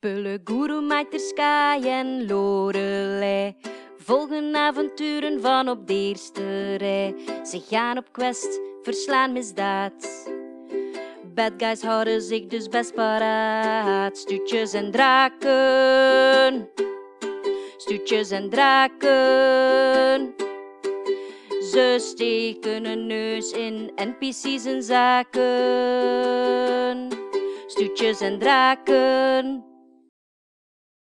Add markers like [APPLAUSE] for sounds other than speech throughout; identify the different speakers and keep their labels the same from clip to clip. Speaker 1: Pulle, Guru, Maiter, Sky en Lorelei. Volgen avonturen van op de eerste rij. Ze gaan op quest, verslaan misdaad. Bad guys houden zich dus best paraat. Stuutjes en draken. Stuutjes en draken. Ze steken een neus in NPC's en zaken. Stuutjes en draken.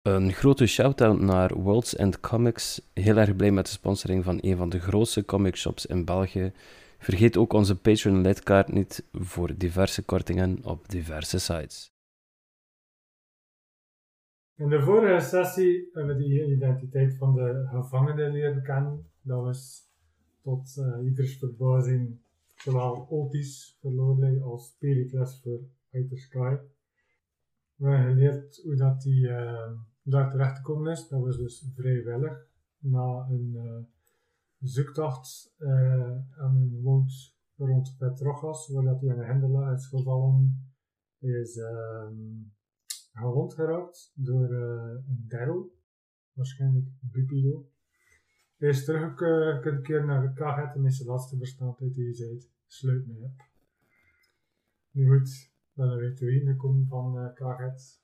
Speaker 2: Een grote shout-out naar Worlds End Comics. Heel erg blij met de sponsoring van een van de grootste comicshops in België. Vergeet ook onze Patreon-lidkaart niet voor diverse kortingen op diverse sites.
Speaker 3: In de vorige sessie hebben we de identiteit van de gevangenen leren kennen. Dat was tot eh, ieders verbazing zowel Otis voor Lorelei als Pericles voor Outer Sky. We hebben geleerd hoe dat die eh, daar terecht gekomen is. Dat was dus vrijwillig. Na een eh, zoektocht eh, aan een woud rond Petrogas, waar dat hij aan de hinderlaag is gevallen, is ehm, gewond geraakt door eh, een derrel, waarschijnlijk Bipio. Hij is teruggekeerd keer naar Kaget en is de laatste verstandheid die hij zei, sluit mij op. Nu goed, dan weten we ingekomen van eh Kaget.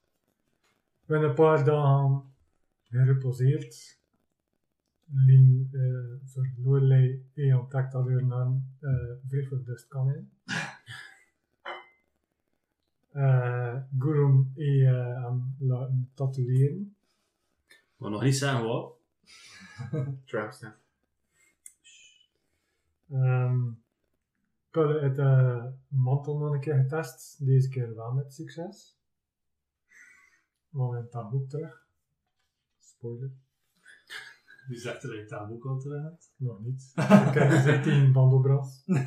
Speaker 3: We hebben een paar dagen gereposeerd. Lien eh, voor Lorelei en ontdekt dat haar naam eh Vriefer dus kan in. Eh Gurum en eh, hem laten tatoeëren.
Speaker 4: Maar nog niet zeggen
Speaker 5: [LAUGHS]
Speaker 4: wat.
Speaker 5: Trapstamp.
Speaker 3: Ehm ik had het eh, mantel nog een keer getest, deze keer wel met succes. Want in dat boek terug. Spoiler,
Speaker 4: Die zegt er uit dat boek al terecht.
Speaker 3: nog niet. Ik heb gezegd in Bandelbras. Eh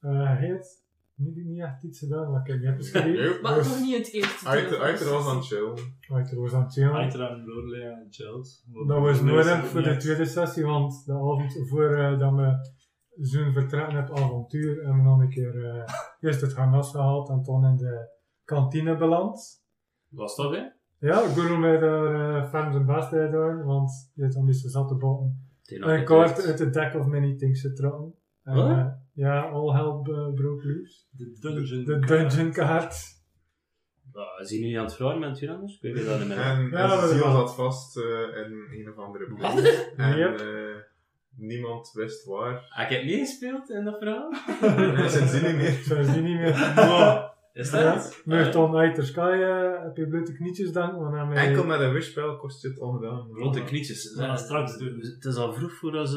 Speaker 3: hij heeft niet, niet echt iets gedaan wat ik heb [LAUGHS] geschreven.
Speaker 6: Maar toch niet het eerste.
Speaker 5: Uiter,
Speaker 6: deel.
Speaker 5: uiter was aan het chillen.
Speaker 3: Uit de Roos aan het chillen.
Speaker 4: Aitra en Lorelei en Childs.
Speaker 3: Dat was nodig voor de
Speaker 4: Yes.
Speaker 3: tweede sessie, want de avond voor eh, dat we zo'n vertrekken op avontuur hebben we nog een keer eh, eerst het harnas gehaald en dan in de kantine beland.
Speaker 4: Was dat weer?
Speaker 3: Ja, Guru mij daar eh ferm zijn best uit doen, want je hebt dan meestal zat te botten. Een kaart uit de deck of many things getrokken. En,
Speaker 4: Huh?
Speaker 3: eh, ja, all help eh, broke loose.
Speaker 4: De dungeon.
Speaker 3: De dungeon kaart.
Speaker 4: Ah, Zien jullie aan het vragen met u anders? Ik weet het niet meer.
Speaker 5: En,
Speaker 3: Ja,
Speaker 5: en
Speaker 3: dat is
Speaker 5: Cecile
Speaker 3: wel.
Speaker 5: zat vast eh, in een of andere plek. En
Speaker 3: Yep.
Speaker 5: eh, niemand wist waar.
Speaker 4: Ah, Ik heb meegespeeld in dat verhaal.
Speaker 5: [LAUGHS] Nee, sindsdien niet meer.
Speaker 3: Zou je die niet meer.
Speaker 4: Oh, Is
Speaker 3: Ja,
Speaker 4: dat?
Speaker 3: Mocht
Speaker 4: Ah,
Speaker 3: dan uit de sky eh, heb je blote knietjes dan, want dan
Speaker 5: Enkel met een wishspel kost je het ongedaan.
Speaker 4: Blote knietjes.
Speaker 6: We gaan
Speaker 4: Ja,
Speaker 6: straks doen.
Speaker 4: Het is al vroeg voordat ze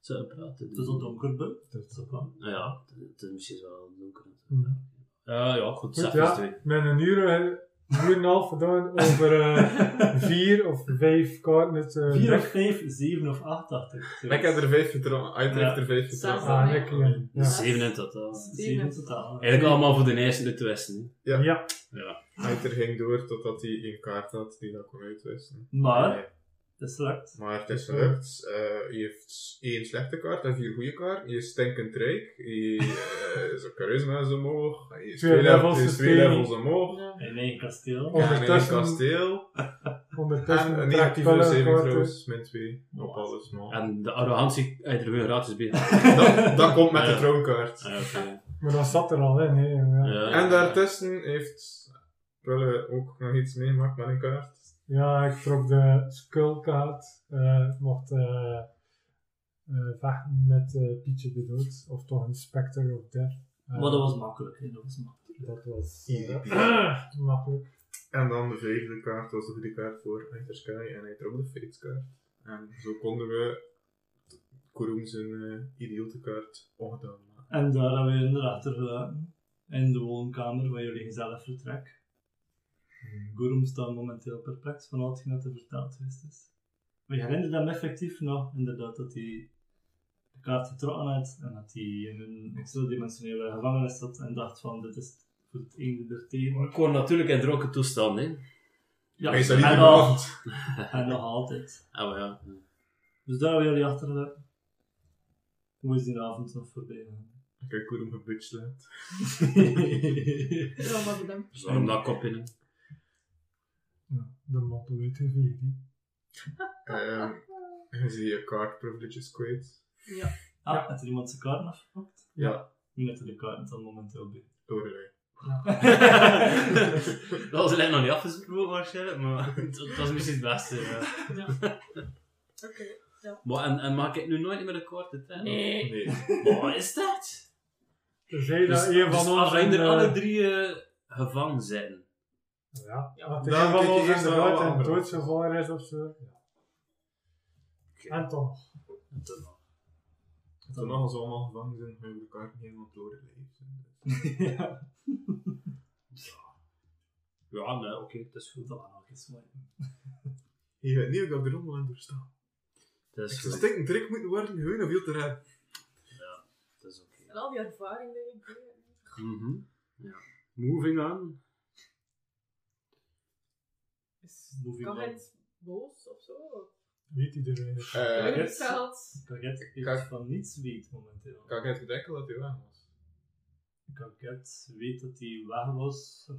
Speaker 4: ze praten. dus-
Speaker 6: Het is al donker, hè?
Speaker 3: Dat
Speaker 6: is ook wel.
Speaker 4: Nou ja, het is misschien wel donker.
Speaker 3: Hmm.
Speaker 4: Ja, ja, goed.
Speaker 3: Goed,
Speaker 4: Zeg
Speaker 3: ja.
Speaker 4: eens twee.
Speaker 3: Met een uur, eh, een uur en een half gedaan over eh, [LAUGHS] vier of vijf kaarten. uit, eh,
Speaker 6: 4 of
Speaker 3: deck.
Speaker 6: 5, 7 of 8, dacht ik.
Speaker 5: Ik heb er vijf getrokken. Uiter
Speaker 6: Ja.
Speaker 5: heeft er vijf
Speaker 6: Zes.
Speaker 5: getrokken.
Speaker 3: Ah, lekker, ja. Ja.
Speaker 4: Zeven in totaal.
Speaker 6: 7 in totaal.
Speaker 4: Eigenlijk allemaal voor de eerste de twisten.
Speaker 5: Ja.
Speaker 3: Ja.
Speaker 4: Ja.
Speaker 5: Uiter ging door totdat hij een kaart had die dat kon uitwisselen.
Speaker 3: Ah,
Speaker 6: Maar,
Speaker 5: Nee.
Speaker 6: het is lukt.
Speaker 5: Maar het is gelukt. Eh, hij heeft één slechte kaart en vier goede kaarten. Hij is stinkend rijk. Hij eh, [LAUGHS] is ook charisma is omhoog. Hij is
Speaker 3: Twee
Speaker 5: twee, level-
Speaker 3: levels
Speaker 5: hij is twee
Speaker 3: gestegen.
Speaker 5: levels omhoog.
Speaker 6: In mijn
Speaker 5: En
Speaker 6: kasteel.
Speaker 5: in een
Speaker 3: Ondertussen-
Speaker 5: kasteel.
Speaker 3: Ondertussen
Speaker 5: En Ah, een
Speaker 3: trekt
Speaker 5: negatieve
Speaker 3: Pelle een
Speaker 5: saving
Speaker 3: kaart uit.
Speaker 5: throws, min 2. Op alles, man.
Speaker 4: En de arrogantie uit de weer gratis bij. Ah,
Speaker 5: [LAUGHS] Dat, dat komt met de
Speaker 4: Ja.
Speaker 5: troonkaart.
Speaker 4: Ah, oké.
Speaker 3: Maar dat zat er al in, hè. Ja, ja.
Speaker 4: Ja.
Speaker 5: En daartussen heeft Pelle ook nog iets meegemaakt met een kaart.
Speaker 3: ik trok de skullkaart. eh, Ik mocht eh, eh, vechten met eh, Pietje de Dood. Of toch een Spectre of Death. Eh,
Speaker 6: Maar dat was makkelijk, hè? Dat was makkelijk.
Speaker 3: Dat was
Speaker 5: Easy.
Speaker 3: eh, [CLEARS THROAT] makkelijk.
Speaker 5: En dan de vijfde kaart was de goede kaart voor Enter Sky en hij trok de Fates kaart. En zo konden we Kurum zijn eh, idiote kaart ongedaan maken.
Speaker 6: En daar hebben we inderdaad gelaten. In de woonkamer van jullie gezellig vertrek. Gurum staat momenteel perplex van al hetgeen dat er verteld geweest is. Maar je herinnert hem effectief nog, inderdaad, dat hij de kaart getrokken had en dat hij in een extra-dimensionele gevangenis zat en dacht van, dit is voor het einde der tijden.
Speaker 4: Maar ik hoor natuurlijk in dronken toestand, hè.
Speaker 6: Ja,
Speaker 5: Hij is daar niet
Speaker 6: en,
Speaker 5: in
Speaker 6: nog,
Speaker 5: beland.
Speaker 6: [LAUGHS] en nog altijd.
Speaker 4: Ah, maar ja.
Speaker 6: Dus daar hebben jullie achtergelaten. Hoe is die avond nog voorbij [LAUGHS] gegaan?
Speaker 5: Ik heb Kurum gebitchlaat.
Speaker 6: ja,
Speaker 7: Ja, maar bedankt.
Speaker 4: Zo'n nakkop in.
Speaker 3: de motto uit de VD.
Speaker 5: Ehm, je ziet je card privileges kwijt.
Speaker 6: Ah,
Speaker 3: Ja.
Speaker 6: heeft er iemand zijn kaarten afgepakt?
Speaker 5: Ja.
Speaker 6: Nu net de kaarten dan momenteel bij.
Speaker 5: Lorelei.
Speaker 4: dat was alleen nog niet afgesproken waarschijnlijk, maar het, het was misschien het beste. ja. [LAUGHS]
Speaker 7: Ja. Oké.
Speaker 4: Maar, en, en mag ik nu nooit meer de korte trein?
Speaker 7: Nee.
Speaker 5: Nee.
Speaker 4: Maar wat is dat?
Speaker 3: Terzij dat een
Speaker 4: dus
Speaker 3: van ons...
Speaker 4: als
Speaker 3: een,
Speaker 4: er
Speaker 3: eh,
Speaker 4: alle drie eh, gevangen zijn.
Speaker 3: Ja,
Speaker 7: Ja.
Speaker 3: want
Speaker 5: Dan
Speaker 3: een van
Speaker 5: kijk je
Speaker 3: ons
Speaker 5: eerst naar
Speaker 3: inderdaad
Speaker 5: alle
Speaker 3: een
Speaker 5: anderen.
Speaker 3: doodgevaar is of zo. Ja. En toch.
Speaker 5: Toen nog als we allemaal gevangen zijn, gaan we de kaart niet helemaal door de lijf.
Speaker 6: ja,
Speaker 4: Ja, nee, oké, dat is goed.
Speaker 6: dat was nog eens mooi.
Speaker 5: Je weet niet of ik op de rommel aan doorstaan.
Speaker 4: Dat is
Speaker 5: Ze
Speaker 4: goed.
Speaker 5: stikken druk moeten worden, gewoon of veel te raar.
Speaker 4: Dat is oké.
Speaker 7: En al die ervaring die ik doe.
Speaker 4: Mhm. ja. Moving on.
Speaker 7: Is
Speaker 6: Moving
Speaker 7: kan
Speaker 6: on.
Speaker 7: het boos of zo? Of
Speaker 3: Weet iedereen.
Speaker 5: Eh,
Speaker 6: yes.
Speaker 7: teleurgesteld?
Speaker 6: Kaget
Speaker 5: Kak-
Speaker 6: heeft van niets weet momenteel.
Speaker 5: kan ik het bedenken dat hij weg was?
Speaker 6: Kaget weet dat hij weg was. Dat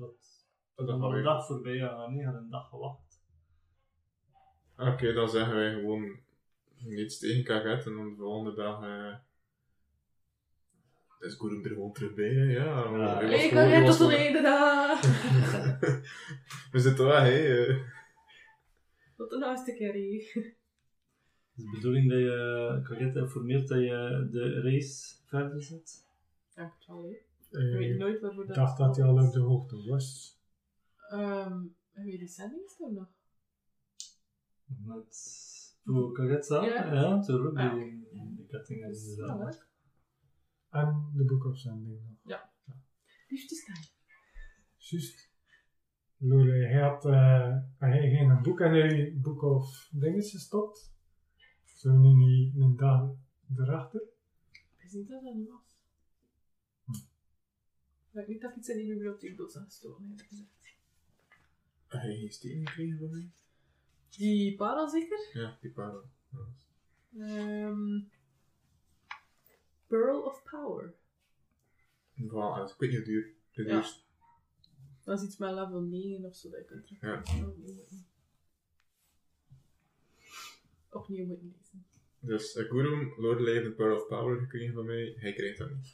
Speaker 5: Dat
Speaker 6: dan
Speaker 5: gaan
Speaker 6: een
Speaker 5: we-
Speaker 6: dag voorbij gegaan. Nee, hij had een dag gewacht.
Speaker 5: Oké, dan zeggen wij gewoon niets tegen Kaget en dan de volgende dag. eh is Gurun er gewoon terug bij, hè? ja. maar hij was
Speaker 7: Ah. Nee, ik
Speaker 5: gewoon-
Speaker 7: kan
Speaker 5: hij
Speaker 7: het
Speaker 5: was
Speaker 7: tot de
Speaker 5: gewoon-
Speaker 7: reden daar.
Speaker 5: [LAUGHS] We zitten wel, hé. eh.
Speaker 7: Tot de laatste keer hier.
Speaker 6: Het is de bedoeling dat je Kaget informeert dat je de race verder zet.
Speaker 7: Ja, sorry.
Speaker 3: Eh,
Speaker 7: Ik weet nooit waarvoor
Speaker 3: ik
Speaker 7: dat
Speaker 3: dacht dat hij al op de hoogte was.
Speaker 7: Ehm, heb je die zendings toen nog?
Speaker 6: Met voor Kaget zelf.
Speaker 7: Ja.
Speaker 6: Ja, natuurlijk.
Speaker 7: Ja.
Speaker 6: Die, die ketting is
Speaker 7: Ja,
Speaker 6: inderdaad.
Speaker 7: hoor.
Speaker 3: En de boekafzending nog.
Speaker 7: Liefdestijd.
Speaker 3: Juist. Lore, hij had eh, hij ging een boek en hij boek of dingetjes gestopt. Zo nu niet een dag erachter.
Speaker 7: Ik wist niet dat dat niet was. Ik weet niet dat ik iets in die bibliotheekdoos had gestolen, eerlijk gezegd.
Speaker 5: Hij heeft geen steen gekregen van mij.
Speaker 7: Die parel zeker?
Speaker 5: Ja, die parel. Ja.
Speaker 7: Ehm Pearl of Power.
Speaker 5: En Vooral, uit. ik weet niet hoe duur. Dus De
Speaker 7: Ja.
Speaker 5: duurste.
Speaker 7: Dat is iets met level 9 of zo dat je kunt trekken.
Speaker 5: Ja.
Speaker 7: Opnieuw moeten- Opnieuw moeten lezen.
Speaker 5: Dus eh, Gurun, Lorelei heeft een Pearl of Power gekregen van mij. Hij krijgt dat niet.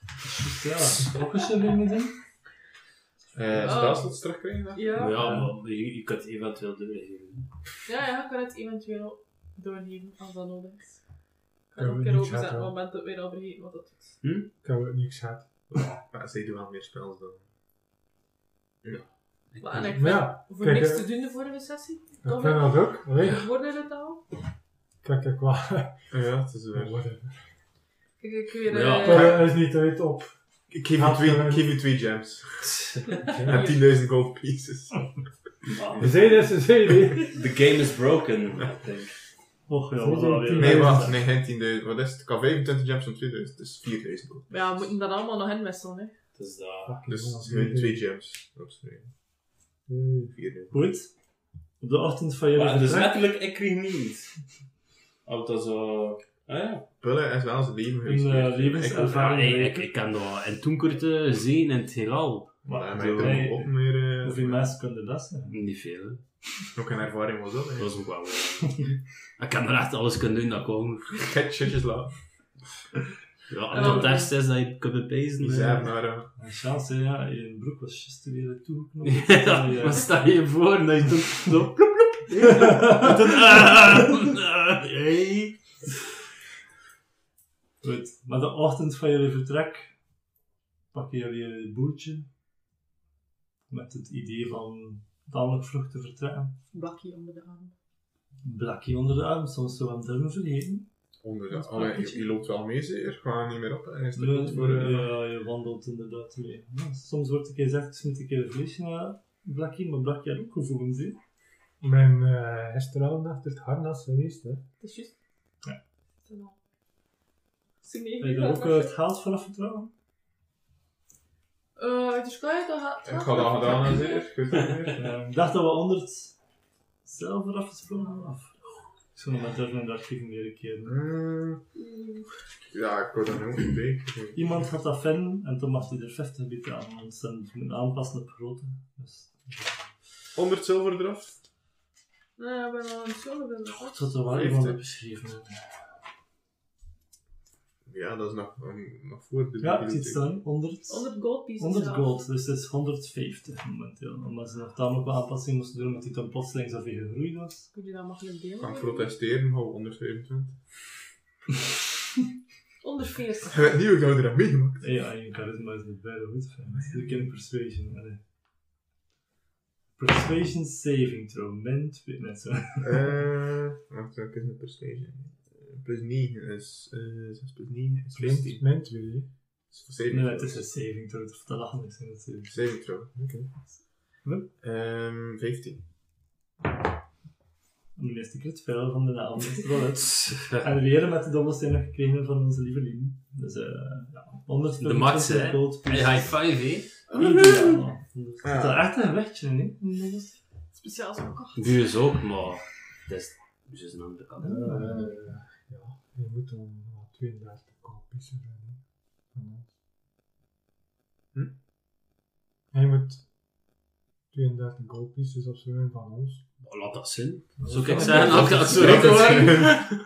Speaker 6: Ja, ook als je er mee doen.
Speaker 5: Eh
Speaker 7: Oh.
Speaker 5: Staat het terugkrijgen dan?
Speaker 7: Ja, ja,
Speaker 4: Ja, maar je, je kunt eventueel [LAUGHS] doorgeven.
Speaker 7: ja, ik kan het eventueel doorgeven als dat nodig is. Ik kan
Speaker 3: Ja,
Speaker 7: het
Speaker 3: we
Speaker 7: ook een keer
Speaker 3: niet
Speaker 7: openzetten op
Speaker 3: zetten.
Speaker 7: het moment dat ik weer al vergeten wat dat doet.
Speaker 3: Ik heb ook niks gehad.
Speaker 5: Maar Ah, zij doen wel meer spels dan.
Speaker 7: Maar en ik vind,
Speaker 3: Maar ja,
Speaker 7: voor
Speaker 3: kijk,
Speaker 7: niks
Speaker 3: eh,
Speaker 7: te doen de vorige sessie,
Speaker 3: ik
Speaker 7: toch?
Speaker 3: vind dat ook. Allee,
Speaker 7: Worden het al?
Speaker 3: Kijk, ik wel. [LAUGHS]
Speaker 5: Ja, het is eh,
Speaker 3: Oh,
Speaker 5: waar.
Speaker 7: Kijk, ik weer...
Speaker 4: Ja.
Speaker 7: eh,
Speaker 3: Torre is niet uit op.
Speaker 5: Ik geef je
Speaker 3: Gaat
Speaker 5: twee,
Speaker 3: er-
Speaker 5: ik geef je twee gems.
Speaker 3: Ja.
Speaker 5: En 10.000 gold pieces.
Speaker 6: Oh.
Speaker 4: Maar-
Speaker 3: Zeden is een zeden.
Speaker 4: The game is broken, I think.
Speaker 6: Och ja,
Speaker 3: Zo
Speaker 6: we
Speaker 3: zijn
Speaker 6: gaan weer.
Speaker 3: tien
Speaker 5: Nee,
Speaker 3: wat?
Speaker 5: wacht, nee, geen 10.000. Wat is het? Ik kan 25 gems en 2000, dus 4000 gold.
Speaker 7: Ja, we moeten dat allemaal nog inwisselen, hè.
Speaker 4: Dus dat...
Speaker 5: Dus nu 2 gems opschrijven.
Speaker 3: Nee.
Speaker 5: 4000.
Speaker 6: Goed. Op de ochtend van jullie
Speaker 4: Maar dus
Speaker 6: vertrek-
Speaker 4: letterlijk, ik kreeg niet. Auto zo... Ah ja.
Speaker 5: Pullen is wel zijn leven geweest.
Speaker 6: Een eh, levenservaring.
Speaker 4: ik, ik, ik kan dat in toenkorte zien in het heelal.
Speaker 5: Maar
Speaker 6: Maar
Speaker 5: hij
Speaker 6: zo,
Speaker 5: maakt er
Speaker 6: hey,
Speaker 5: nog op meer.
Speaker 6: Hoeveel
Speaker 5: eh,
Speaker 6: mensen kunnen dat zijn?
Speaker 4: Niet veel, hè.
Speaker 5: Nog geen ervaring was dat.
Speaker 4: Dat
Speaker 5: hè.
Speaker 4: is ook wel... [LAUGHS] ik kan er echt alles kunnen doen dat ik wou.
Speaker 5: Kijk, shitjes laat.
Speaker 4: Ja, en tot daar is dat je kunt bepezen.
Speaker 5: Die zijn naar eh, hem.
Speaker 6: Een chance, hè, ja. Je broek was just
Speaker 4: [LAUGHS]
Speaker 6: weer
Speaker 5: [LAUGHS]
Speaker 6: toegeknopt.
Speaker 4: Ja, maar sta je voor dat je doet zo ploep ploep. En dan, ah, ah, hey.
Speaker 6: Goed. Maar de ochtend van jullie vertrek pakken jullie jullie boertje. Met het idee van tamelijk vroeg te vertrekken.
Speaker 7: Blakkie onder de arm.
Speaker 6: Blakkie onder de arm, soms zo aan durven vergeten.
Speaker 5: Onder
Speaker 6: Dat
Speaker 5: de.
Speaker 6: is
Speaker 5: Allee,
Speaker 6: praktisch.
Speaker 5: je, je loopt wel mee, zeker. Ga niet meer op. Hij is te
Speaker 6: Ja,
Speaker 5: goed voor. eh,
Speaker 6: ja, je wandelt inderdaad mee. Ja, soms wordt ik gezegd, dus moet ik even een vleesje naar Blakkie, maar Blakkie had ook gevoelens, hè.
Speaker 3: Mijn eh gisteravond achter het harnas geweest. Hè.
Speaker 7: Het is juist.
Speaker 6: Ja.
Speaker 7: Zo nou. Zie je
Speaker 6: Heb je
Speaker 7: hier
Speaker 6: daar
Speaker 7: wel
Speaker 6: ook eh,
Speaker 7: blakkie?
Speaker 6: het geld vanaf vertrouwen?
Speaker 7: Eh, het is klaar, dat gaat...
Speaker 5: Ik ga dat gedaan, hè,
Speaker 7: [LAUGHS]
Speaker 5: zeker. Goed, hè.
Speaker 6: Eh, Ik dacht dat we 100 zilver afgesprongen hadden. Of... Ik zou nog maar durven in de archieven leren keren.
Speaker 5: Mm, Ja, ik word dan ook niet bij.
Speaker 6: Iemand had dat fan en toen mag hij er 50 betalen. Want ze moeten aanpassen op grootte. Dus...
Speaker 5: 100 zilver eraf.
Speaker 7: Nou ja, ik ben al aan het zullen willen.
Speaker 6: Het zou toch wel
Speaker 5: Heeft
Speaker 6: iemand
Speaker 5: hij.
Speaker 6: beschreven hebben.
Speaker 5: Ja, dat is nog, um, nog voor de
Speaker 6: Ja, ik zie het
Speaker 5: bibliotheek.
Speaker 6: staan. 100,
Speaker 7: 100 gold pieces.
Speaker 6: 100
Speaker 7: ja.
Speaker 6: gold, dus het is 150 momenteel. Omdat ze nog tamelijk wat aanpassingen moesten doen, omdat die dan plotseling zoveel gegroeid was.
Speaker 7: Kun je dat makkelijk
Speaker 5: Ik kan
Speaker 7: delen?
Speaker 5: protesteren, hou 125.
Speaker 7: Onder 40. [LAUGHS]
Speaker 5: Ik weet niet hoe ik nou eraan meegemaakt.
Speaker 6: Ja, je charisma is niet bijna goed. Ik ken persuasion. allee. Persuasion saving throw, min 2. Net zo.
Speaker 5: Eh, wacht, welke is mijn persuasion? Eh, Plus 9 is, eh 6 plus 9 is 15.
Speaker 3: Mijn twee.
Speaker 5: Is voor 7
Speaker 6: Nee, het is een saving throw, dat te lachen is. Dat saving
Speaker 5: 7 trouw. Oké.
Speaker 6: Hm?
Speaker 5: Ehm, 15.
Speaker 6: throw. Mijn eerste crit fail van de avond is er
Speaker 4: [LAUGHS]
Speaker 6: wel uit. En weer met de dobbelsteen nog gekregen van onze lieve Lien. Dus eh, ja, 100
Speaker 4: De max, hè.
Speaker 6: gold [LAUGHS]
Speaker 4: Hey, high five, hé.
Speaker 6: Ideaal. Dat is
Speaker 5: Ah.
Speaker 6: echt een wegje, hè?
Speaker 7: Speciaal zo gekocht.
Speaker 4: Nu is ook, maar... Dat is dat is een andere kant.
Speaker 3: Eh, ja, je moet dan wel 32 kopies hebben. Van ons.
Speaker 5: Hm?
Speaker 3: En je moet 32 kopies dus of zo hebben van ons.
Speaker 4: Maar Oh, Laat dat zin. Zo kan ik zeggen, laat dat zo record.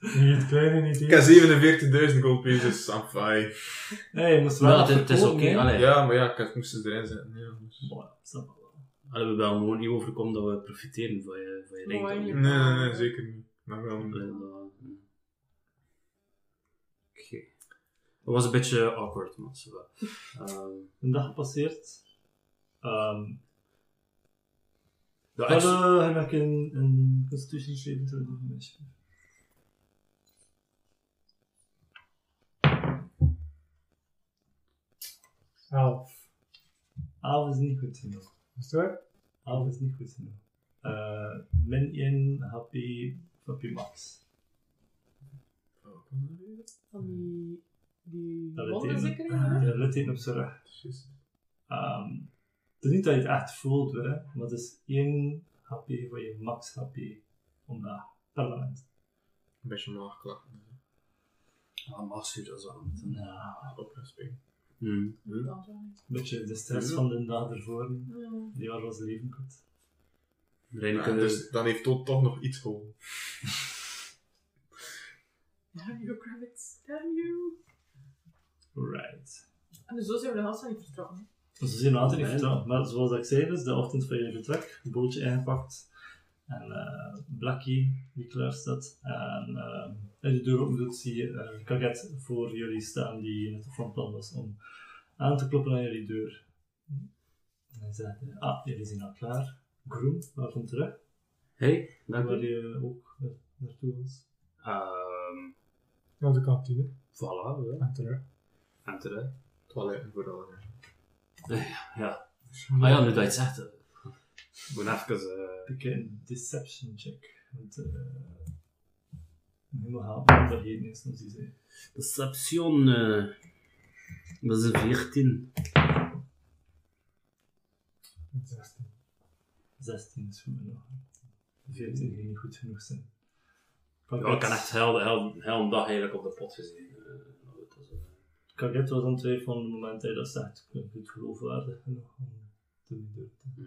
Speaker 3: Niet het kleine, niet
Speaker 5: Ik heb
Speaker 3: het
Speaker 5: 47.000 gold pieces, I'm fine.
Speaker 6: Nee, je moest wel.
Speaker 4: Maar het is
Speaker 6: afverkopen,
Speaker 4: oké.
Speaker 6: hè.
Speaker 4: Allee,
Speaker 5: Ja, maar ja, ik had- moest ze erin zetten. Ja, dus-
Speaker 6: Mooi, snap ik wel.
Speaker 4: Allee, we hebben gewoon niet overkomen dat we profiteren van je, van je
Speaker 7: Mooi.
Speaker 4: rijkdom.
Speaker 5: Nee, nee, nee, zeker niet. Maar wel
Speaker 4: Allee,
Speaker 5: een-
Speaker 4: dat- Oké. Dat was een beetje awkward, man. zo wel. Ehm,
Speaker 6: Een dag gepasseerd. Ehm
Speaker 4: ja, ik-
Speaker 6: Hallo, heb ik een, een Constitution saving throw doen voor meisje?
Speaker 3: elf.
Speaker 6: Half is niet goed genoeg.
Speaker 3: Is het waar?
Speaker 6: Half is niet goed genoeg. Eh min 1 HP op je max.
Speaker 7: Van die... Die
Speaker 6: Dat
Speaker 7: wonden
Speaker 6: betekent-
Speaker 7: zeker
Speaker 6: [LAUGHS] Ja,
Speaker 7: in
Speaker 6: dat let één op zijn rug.
Speaker 5: Precies.
Speaker 6: Ehm, het is niet dat je het echt voelt, hè, maar het is 1 HP van je max HP omlaag. Per moment.
Speaker 5: Een beetje omlaag klappen.
Speaker 4: Ah, Maxu, dat is wel een beetje-
Speaker 6: Nou,
Speaker 5: Opresping.
Speaker 4: Hm.
Speaker 6: Hmm. een beetje de stress van de dag ervoor. Die was als leven kwijt.
Speaker 4: Reine,
Speaker 5: Ja,
Speaker 4: kunnen we-
Speaker 5: dus dan heeft Toon toch nog iets geholpen.
Speaker 7: Damn you, Kravitz. Damn you.
Speaker 6: Right.
Speaker 7: En dus zo zijn we de helft van niet vertrokken.
Speaker 6: Dus ze zijn altijd niet vertrouwd. Maar zoals ik zei, dus de ochtend van jullie vertrek, een bootje ingepakt. En eh Blackie, die klaar staat. En eh als je de deur open doet, zie je een kaket voor jullie staan die net van plan was om aan te kloppen aan jullie deur. En hij zegt, eh, ah, jullie zijn al klaar. Groen, welkom terug.
Speaker 4: Hey, dank
Speaker 6: Waar
Speaker 4: u.
Speaker 6: je ook na- naartoe was.
Speaker 4: Ehm,
Speaker 3: Ja, de kantine.
Speaker 4: voilà, ja.
Speaker 3: En terug.
Speaker 4: En terecht.
Speaker 5: Toiletten vooral. ja.
Speaker 4: [LAUGHS] Ja. Ah ja, nu dat je het zegt. eh, Ik moet even... eh,
Speaker 6: Ik heb een deception check. Want eh helemaal helpen wat vergeten is, zoals hij zei.
Speaker 4: Deception. eh, dat is een 14.
Speaker 3: En 16.
Speaker 6: 16 is voor mij nog. 14 ging niet goed genoeg zijn.
Speaker 4: Ja, ik kan echt heel, heel, heel een dag eigenlijk op de pot gezien. eh, maar goed, dat is, eh,
Speaker 6: Kaget was aan het twijfelen op het moment dat hij dat zegt. Ik vind het geloofwaardig genoeg om te doen.
Speaker 4: Mm.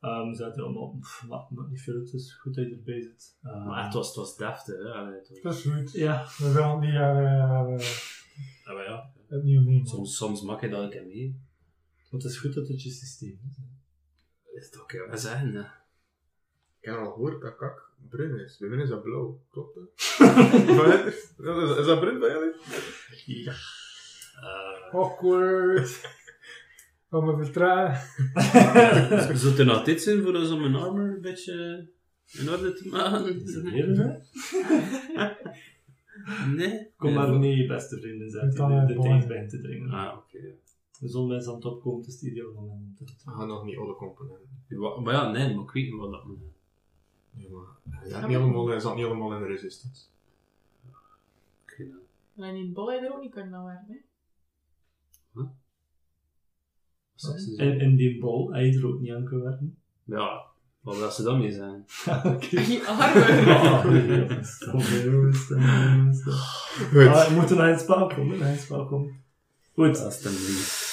Speaker 6: Ehm, ze hadden allemaal, pff, maakt maakt niet veel uit, het is goed dat je erbij zit. Ehm,
Speaker 4: Maar het was, het was deftig, hè. Allee, het was-
Speaker 3: Dat is goed.
Speaker 6: Ja,
Speaker 3: We willen niet eh, eh,
Speaker 4: Ah, maar ja.
Speaker 3: opnieuw nemen.
Speaker 4: Soms, soms maak je dat ik hem mee.
Speaker 6: want het is goed dat het je systeem is. hè.
Speaker 4: Is het oké? Wat zeggen, [LAUGHS] hè?
Speaker 5: Ik heb al gehoord dat kak brun is. Bij mij is dat blauw. Klopt
Speaker 6: [LAUGHS]
Speaker 5: dat? Maar- is, dat- is dat brun bij jullie?
Speaker 6: Ja.
Speaker 4: Eh,
Speaker 3: Awkward. Om me vertragen.
Speaker 4: z- Zou het er nog dit zijn voor ons om mijn armor een beetje eh, in orde te
Speaker 6: Is dat
Speaker 4: maken?
Speaker 6: weer hè?
Speaker 4: Nee.
Speaker 6: Kom
Speaker 4: Nee,
Speaker 6: maar
Speaker 4: voor-
Speaker 6: mee, beste vrienden, zegt
Speaker 3: Met
Speaker 6: hij de-
Speaker 3: alle
Speaker 6: de
Speaker 3: ballen.
Speaker 6: tijd bij te dringen.
Speaker 4: Ah, oké.
Speaker 6: De zon is aan het opkomen, het is het ideaal moment om te
Speaker 5: We gaan nog niet alle componenten.
Speaker 4: Wa- Maar ja, nee, maar ik weet niet wat dat moet.
Speaker 5: Ja, maar hij zat niet allemaal, hij zat niet allemaal in de resistance.
Speaker 4: Ik weet niet.
Speaker 7: En in bol er ook niet kunnen aan [LAUGHS] werken, hè.
Speaker 4: Wat is
Speaker 6: En, en die bal, hij er ook niet aan kan werken.
Speaker 4: Ja, wat wil ze dan mee zijn? [LAUGHS]
Speaker 7: Die armen.
Speaker 4: [LAUGHS]
Speaker 6: Ah,
Speaker 5: Goed.
Speaker 6: we moeten naar het spel komen, naar het spel komen. Goed,
Speaker 4: Alsjeblieft.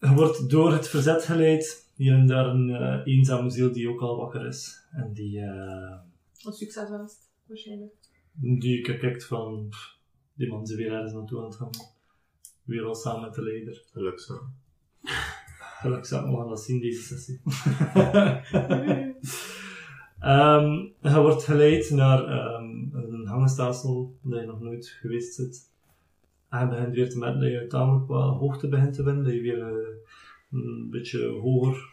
Speaker 6: je wordt door het verzet geleid hier en daar een eh, eenzame ziel die ook al wakker is. En die, eh,
Speaker 7: Een succes wenst, waarschijnlijk.
Speaker 6: die kijkt van, pff, die man is weer ergens naartoe aan het gaan. Weer al samen met de leider.
Speaker 5: Gelukkig zo.
Speaker 6: Gelukkig zou we gaan dat zien deze sessie. [LAUGHS] Ehm je wordt geleid naar ehm, een hangenstelsel dat je nog nooit geweest zit. En je begint weer te merken dat je tamelijk wat hoogte begint te winnen. Dat je weer eh, een beetje hoger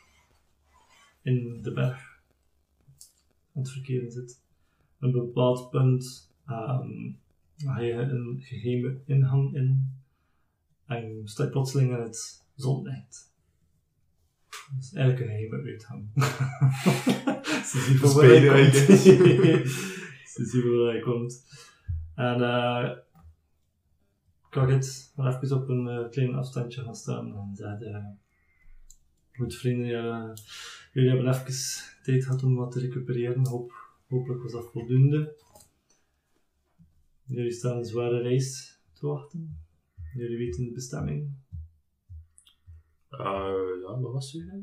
Speaker 6: in de berg aan het verkeren zit. Op een bepaald punt ehm, ga je een geheime ingang in en sta je plotseling in het zonlicht. Dat is eigenlijk een hele uitgang. [LAUGHS] Ze zien van waar
Speaker 5: Spelen,
Speaker 6: hij
Speaker 5: I
Speaker 6: komt.
Speaker 5: guess.
Speaker 6: [LAUGHS] Ze zien van waar hij komt. En eh kan ik het maar even op een eh, klein afstandje gaan staan en zei eh goed vrienden, ja, jullie hebben even tijd gehad om wat te recupereren. Hoop, hopelijk was dat voldoende. Jullie staan een zware reis te wachten. Jullie weten de bestemming.
Speaker 4: Eh, ja, wat was er?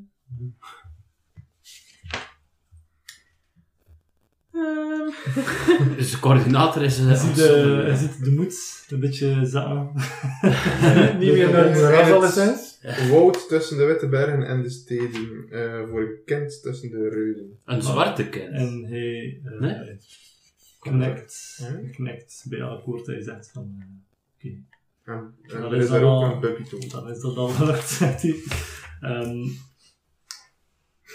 Speaker 7: Ehm,
Speaker 4: [LAUGHS] Dus de coördinator is... eh,
Speaker 6: Hij ziet de, hij
Speaker 4: afzonderlijk.
Speaker 6: ziet de moed een beetje zakken.
Speaker 3: Niet meer naar de ras alleszins.
Speaker 5: Woud tussen de witte bergen en de steden. eh voor een kind tussen de reuzen.
Speaker 4: Een zwarte kind.
Speaker 6: En hij eh,
Speaker 4: Nee?
Speaker 6: connect,
Speaker 5: Hm?
Speaker 6: connect bij elk woord dat hij zegt. Van, eh, oké,
Speaker 5: En, en
Speaker 6: Dat
Speaker 5: er
Speaker 6: is
Speaker 5: is daar
Speaker 6: dan
Speaker 5: ook
Speaker 6: al-
Speaker 5: een puppy toe.
Speaker 6: dan is dat al gelukt, [LAUGHS] zegt hij. Ehm,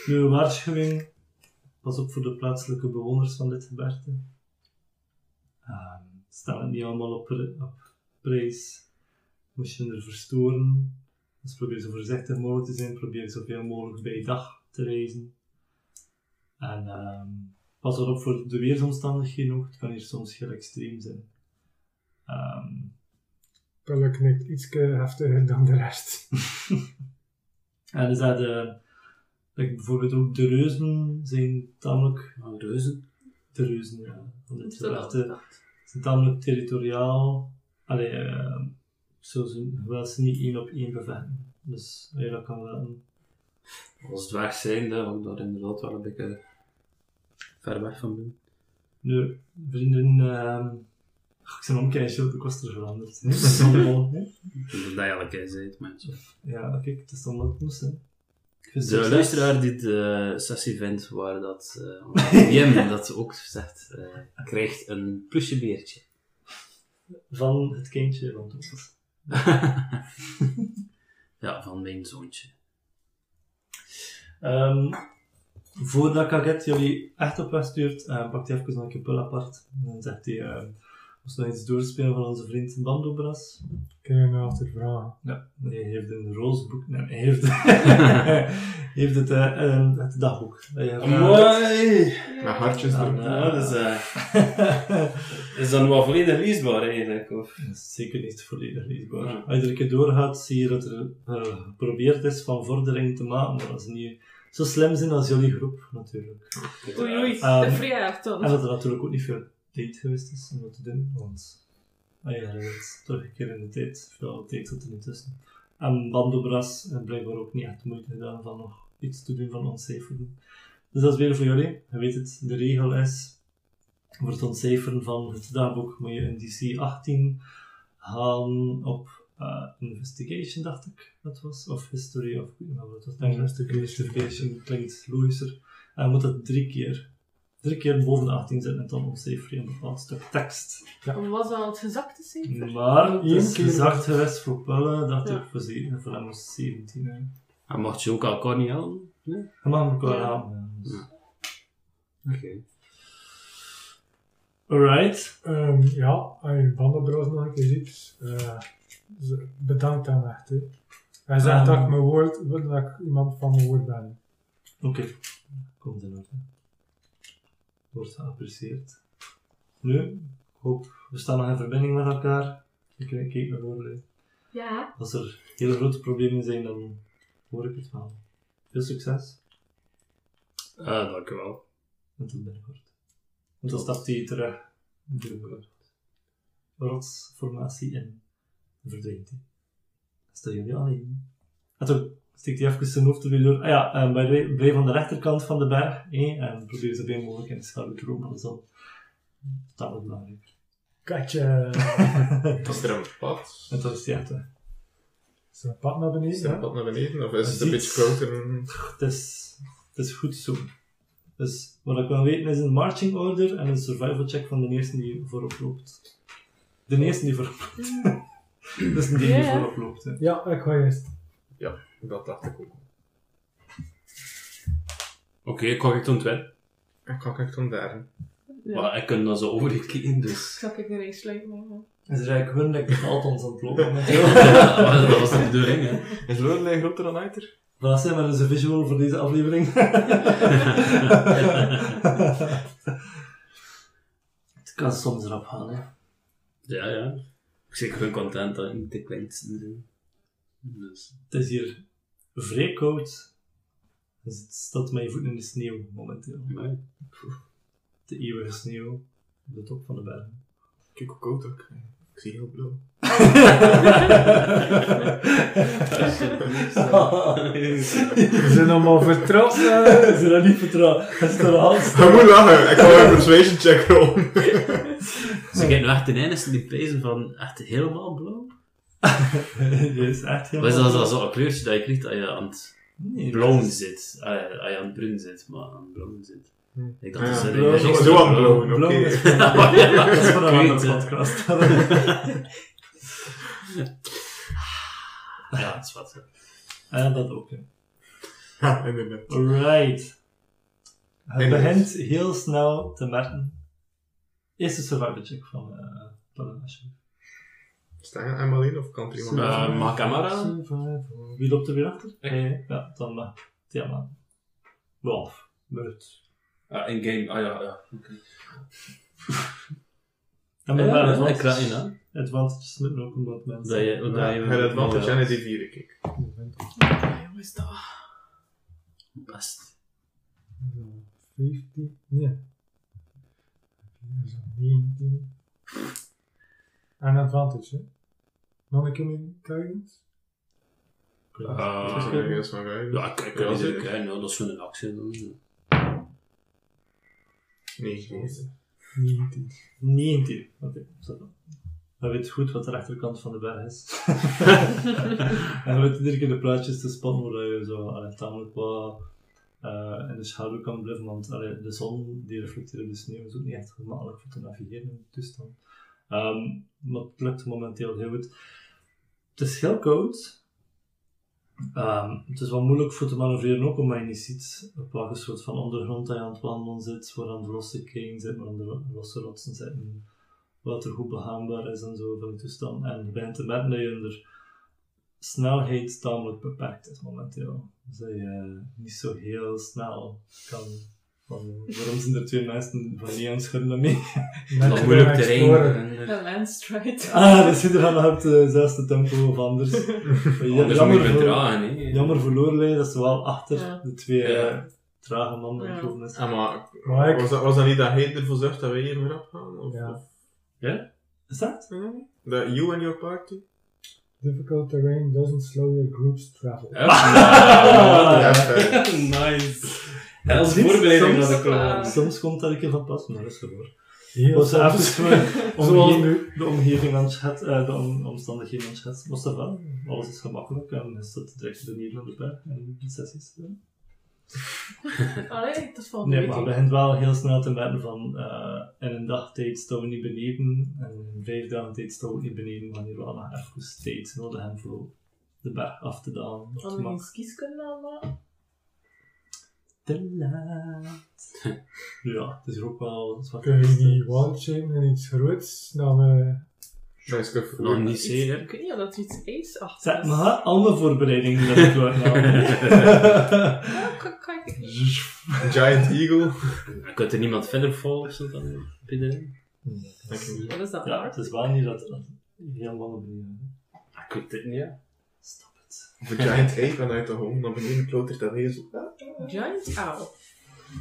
Speaker 6: nu een waarschuwing. Pas op voor de plaatselijke bewoners van dit gebergte. Ehm, stel het niet allemaal op, pri- op prijs. Moest je er verstoren. Dus probeer zo voorzichtig mogelijk te zijn. Probeer zoveel mogelijk bij dag te reizen. En ehm, pas erop voor de weersomstandigheden ook. Het kan hier soms heel extreem zijn. Ehm,
Speaker 3: Pelle knikt iets heftiger dan de rest.
Speaker 6: [LAUGHS] En dus dat, eh, like bijvoorbeeld ook de reuzen zijn tamelijk,
Speaker 4: Oh, reuzen.
Speaker 6: de reuzen ja, van dit
Speaker 7: is dat wel
Speaker 6: gebergte,
Speaker 7: gedacht?
Speaker 6: zijn tamelijk territoriaal. Allee, eh, zo ze wel ze niet één op één bevechten. Dus ja, dat kan wel.
Speaker 4: Als dwerg zijnde had ik daar inderdaad wel een beetje ver weg van ben.
Speaker 6: Nu, vrienden, ehm ach, ik zijn omkijkje, ik was er veranderd. Het is
Speaker 7: [LAUGHS]
Speaker 6: allemaal, hè.
Speaker 4: Dat is eigenlijk hij zei het, mensen.
Speaker 6: ja, kijk, het is dan wat het moest zijn. Dus
Speaker 4: De luisteraar die de sessie vindt waar dat eh, waar Jim dat ook zegt, eh, krijgt een plusje beertje.
Speaker 6: Van het kindje, want het was
Speaker 4: [LAUGHS] ja, van mijn zoontje.
Speaker 6: Ehm, voordat Kaget jullie echt op weg stuurt, eh, pakt hij even nog een keer pul apart. En dan zegt hij, eh, we moeten nog iets doorspelen van onze vriend Bandobras.
Speaker 3: Kunnen we altijd vragen.
Speaker 6: Ja, hij heeft een roze boek. Nee, hij heeft, heeft het, eh, eh, het dagboek. Hij heeft-
Speaker 4: Mooi!
Speaker 5: Met hartjes
Speaker 6: Ja,
Speaker 5: erop.
Speaker 6: nee. Ja, dat is,
Speaker 4: eh, is dat wel volledig leesbaar eigenlijk? Of?
Speaker 6: [LAUGHS] Dat is zeker niet volledig leesbaar. Als je er een keer doorgaat, zie je dat er eh, geprobeerd is van vordering te maken. Maar dat is niet zo slim zijn als jullie groep, natuurlijk.
Speaker 7: Oei, oei,
Speaker 6: Ehm,
Speaker 7: de vrijheid dan.
Speaker 6: En dat er natuurlijk ook niet veel tijd geweest is om dat te doen, want ah ja, dat is terug een keer in de tijd, veel tijd zat er niet tussen. En Bandobras heeft blijkbaar ook niet echt moeite gedaan van nog iets te doen van ontcijferen. Dus dat is weer voor jullie. Je weet het, de regel is, voor het ontcijferen van het dagboek moet je een DC 18 halen op eh, Investigation, dacht ik dat was, of History, of ik weet niet meer wat het was. Investigation. Investigation klinkt logischer. En je moet dat drie keer drie keer boven de 18 zetten en dan ontcijfer je een bepaald stuk tekst.
Speaker 7: Was dat het gezakte cijfer?
Speaker 6: Maar het is
Speaker 3: Eén keer.
Speaker 6: gezakt geweest voor Pelle, dacht
Speaker 7: Ja.
Speaker 6: ik voor, ze, voor hem was 17. Hè.
Speaker 4: En mocht je ook elkaar niet helpen? Nee?
Speaker 6: Je mag hem wel dus.
Speaker 7: Ja.
Speaker 6: aan.
Speaker 4: Oké.
Speaker 6: Alright.
Speaker 3: Ehm, ja, als je bandenbroos nog een keer ziet, eh, ze- bedankt hem echt. hè. Hij zegt
Speaker 6: Ehm.
Speaker 3: dat ik mijn woord, dat ik iemand van mijn woord ben.
Speaker 6: Oké. Komt in orde. Wordt geapprecieerd. Nu, ik hoop, we staan nog in verbinding met elkaar. Ik kijk kijk naar Orle.
Speaker 7: Ja.
Speaker 6: Als er hele grote problemen zijn, dan hoor ik het wel. Veel succes.
Speaker 4: Eh, dankjewel.
Speaker 6: En tot binnenkort. En dan stapt hij terug de rotsformatie in. En verdwijnt hij. Dan staan jullie alleen. En toen Ah, Steekt hij even zijn hoofd er weer door. Ah ja, en by the way, blijf aan de rechterkant van de berg. hè, en probeer zo veel mogelijk in de schaduw te roepen. Dat is dan tamelijk belangrijk. [LAUGHS]
Speaker 3: Katje.
Speaker 5: Is er een pad?
Speaker 6: En dat is het echt, eh, hè.
Speaker 3: Is er een pad naar
Speaker 5: Is er
Speaker 3: beneden?
Speaker 5: een
Speaker 3: hè?
Speaker 5: pad naar beneden? Of is het
Speaker 6: Ziet-
Speaker 5: een beetje groter?
Speaker 6: Het is, het is goed zo. Dus wat ik wil weten is een marching order en een survival check van de eerste die voorop loopt. De eerste die voorop loopt. dus die die
Speaker 7: Ja.
Speaker 6: voorop loopt. Hè.
Speaker 3: Ja, ik ga eerst.
Speaker 5: Ja, dat dacht ik ook.
Speaker 4: Oké, ik ga ik toen twee.
Speaker 5: Ik kan echt van daar.
Speaker 7: Ja.
Speaker 4: Maar ik kan dat zo overkijken, [LAUGHS] dus...
Speaker 7: Zal ik een race eh, lijken maken?
Speaker 6: Dus er is eigenlijk hun dat ik het altijd aan het lopen [LAUGHS] ben.
Speaker 4: Ja, maar dat was de bedoeling, hè.
Speaker 5: Is Lorelei groter dan Aiter?
Speaker 6: Maar dat zijn maar eens een visual voor deze aflevering. [LAUGHS] het kan soms erop gaan, hè.
Speaker 4: Ja, ja. Ik ben gewoon content dat ik de kleinste ben. [LAUGHS] Dus...
Speaker 6: Het is hier vrij koud. Dus het staat mijn voeten in de sneeuw momenteel.
Speaker 4: Maar,
Speaker 6: De eeuwige sneeuw op de top van de bergen.
Speaker 5: Kijk hoe koud ook. Ik zie heel blauw. [LAUGHS]
Speaker 3: We zijn allemaal
Speaker 4: [LAUGHS]
Speaker 3: vertrapt. hè.
Speaker 6: Ze dat niet vertrouwen. Dat is toch [LAUGHS] alles.
Speaker 5: Ik moet lachen. Ik ga een persuasion check rollen.
Speaker 4: Ze kijken nou echt ten einde die prijzen van echt helemaal blauw.
Speaker 6: Die is echt heel
Speaker 4: Maar is dat, is dat zo'n kleurtje dat je krijgt als je aan het
Speaker 6: Nee,
Speaker 4: blauw zit? Ah, ja, Als je aan het bruin zit, maar aan het blauw zit. Ik dacht,
Speaker 5: Ja,
Speaker 4: dat is er
Speaker 6: blauw.
Speaker 4: niks
Speaker 5: Zo aan
Speaker 4: van
Speaker 5: blauw.
Speaker 6: Blauw
Speaker 5: Oké.
Speaker 6: is voor- dat is voor een
Speaker 4: Kut,
Speaker 6: andere
Speaker 4: hè.
Speaker 6: podcast.
Speaker 5: [LAUGHS]
Speaker 4: Ja, dat is wat. hè.
Speaker 6: Ja, dat ook. hè.
Speaker 5: [LAUGHS] Ja, inderdaad.
Speaker 6: Alright. Het
Speaker 5: Inderdaad.
Speaker 6: begint heel snel te merken. Eerst de survival check van eh Paladin, alsjeblieft.
Speaker 5: Staan we hem alleen of kan er iemand
Speaker 4: Eh,
Speaker 5: anders?
Speaker 4: mag ik hem
Speaker 3: Hm.
Speaker 4: aanraden?
Speaker 6: Survival. Wie loopt er weer achter? Eh, ja, dan mag Tiamat. Wolf. Beurt.
Speaker 4: Ah, in game. Ah ja, ja.
Speaker 6: En
Speaker 4: Ja,
Speaker 6: met wel
Speaker 4: dat is
Speaker 6: advantage.
Speaker 4: wel kraak in, hè?
Speaker 6: Advantages met ook omdat mensen.
Speaker 4: Dat je, dat
Speaker 5: Ja,
Speaker 4: je
Speaker 5: ik heb advantage en een D4, kijk.
Speaker 7: Ja, hoe is dat?
Speaker 4: Best.
Speaker 3: Zo, 15. Nee. Zo, 19. Aan advantage, dus, hè? Nog een keer mijn guidance?
Speaker 5: Dat is een guidance van guidance.
Speaker 4: ja, kijk, dat is ook, hè. Nou, dat is gewoon een actie. dan.
Speaker 5: Nee, nee.
Speaker 3: 19.
Speaker 6: 19. Oké, zo dan. Hij weet goed wat de rechterkant van de berg is. en hij weet iedere keer de plaatjes te spannen waar je zo allee, tamelijk wat eh, in de schaduw kan blijven. Want allee, de zon die reflecteert op de sneeuw is ook niet echt gemakkelijk voor te navigeren in de toestand. Ehm, maar het lukt momenteel heel goed. Het is heel koud. Ehm, het is wel moeilijk voor te manoeuvreren ook, omdat je niet ziet op welke soort van ondergrond dat je aan het wandelen zit, waar aan de losse kringen zit, waar aan de losse rotsen zitten, wat er goed begaanbaar is en zo van die toestand. En je bent te merken dat je onder snelheid tamelijk beperkt is momenteel. Dus dat je niet zo heel snel kan wandelen. Waarom zijn er twee mensen van die aan het schudden mee?
Speaker 4: Nog moeilijk terrein.
Speaker 7: Een landstride.
Speaker 6: [LAUGHS] Ah, dat zit er dan op dezelfde tempo of
Speaker 4: [LAUGHS]
Speaker 6: anders.
Speaker 4: Anders moet je het
Speaker 6: voor,
Speaker 4: dragen, hè.
Speaker 6: jammer voor Lorelei dat ze wel achter
Speaker 7: Ja.
Speaker 6: de twee
Speaker 4: Ja.
Speaker 6: eh, trage mannen
Speaker 7: Ja.
Speaker 6: gekomen is.
Speaker 5: Ah, maar
Speaker 3: Maar ik-
Speaker 5: was dat, was dat niet dat hij ervoor zorgt dat wij hier weer afgaan? Of,
Speaker 3: Ja.
Speaker 5: of
Speaker 6: Is dat?
Speaker 5: dat you and your party?
Speaker 3: Difficult terrain doesn't slow your group's travel.
Speaker 4: Hup,
Speaker 6: Ah,
Speaker 4: nou,
Speaker 5: Ja,
Speaker 4: wat
Speaker 5: fair.
Speaker 6: [LAUGHS]
Speaker 4: een- Nice.
Speaker 6: Ja,
Speaker 4: Dat is
Speaker 6: dit
Speaker 4: voorbereiding
Speaker 6: soms-
Speaker 4: dat ik wel.
Speaker 7: Ah.
Speaker 6: Soms komt dat een keer van pas, maar dat is gewoon.
Speaker 3: Heel
Speaker 6: Was
Speaker 3: soms.
Speaker 6: even
Speaker 3: [LAUGHS]
Speaker 6: gewoon
Speaker 3: Zoals
Speaker 6: omge-
Speaker 3: nu.
Speaker 6: de omgeving aan het schetsen, eh, de om- omstandigheden aan het schetsen. Was dat wel? Alles is gemakkelijk en is dat direct de Nederlander bij en de sessies. eh.
Speaker 7: Allee, dat is volgende
Speaker 6: Nee,
Speaker 7: week.
Speaker 6: maar het begint wel heel snel te merken van eh, in een dag tijd staan we niet beneden en in vijf dagen tijd staan we ook niet beneden, maar hier wel nog even tijd nodig hebben voor de berg af te dalen. op
Speaker 7: Hadden
Speaker 6: de
Speaker 7: we geen
Speaker 6: max.
Speaker 7: skis kunnen aanmaken?
Speaker 6: Te laat. [LAUGHS] Nu ja, het is hier ook wel wat
Speaker 3: Kun je
Speaker 6: dus-
Speaker 3: niet wallchain en iets groots? Dan, eh,
Speaker 5: Dat is goed.
Speaker 4: Nog niet
Speaker 7: Iets-
Speaker 4: zeker.
Speaker 7: Ik weet niet of dat er iets is achter
Speaker 6: Zet
Speaker 7: is.
Speaker 6: me hè, al mijn voorbereidingen dat ik
Speaker 3: [LAUGHS]
Speaker 4: [LAUGHS]
Speaker 6: wou nou.
Speaker 7: Ja, kan- kan ik-
Speaker 5: Giant Eagle.
Speaker 4: Dan kunt er niemand verder volgen of zo dan binnen.
Speaker 7: Wat is dat?
Speaker 6: Ja, het is wel niet dat dat helemaal naar beneden.
Speaker 4: Ik weet het niet, ja.
Speaker 6: Stop het.
Speaker 5: Of een Giant Ape en uit de home naar beneden klotert dat hezel.
Speaker 7: Giant owl.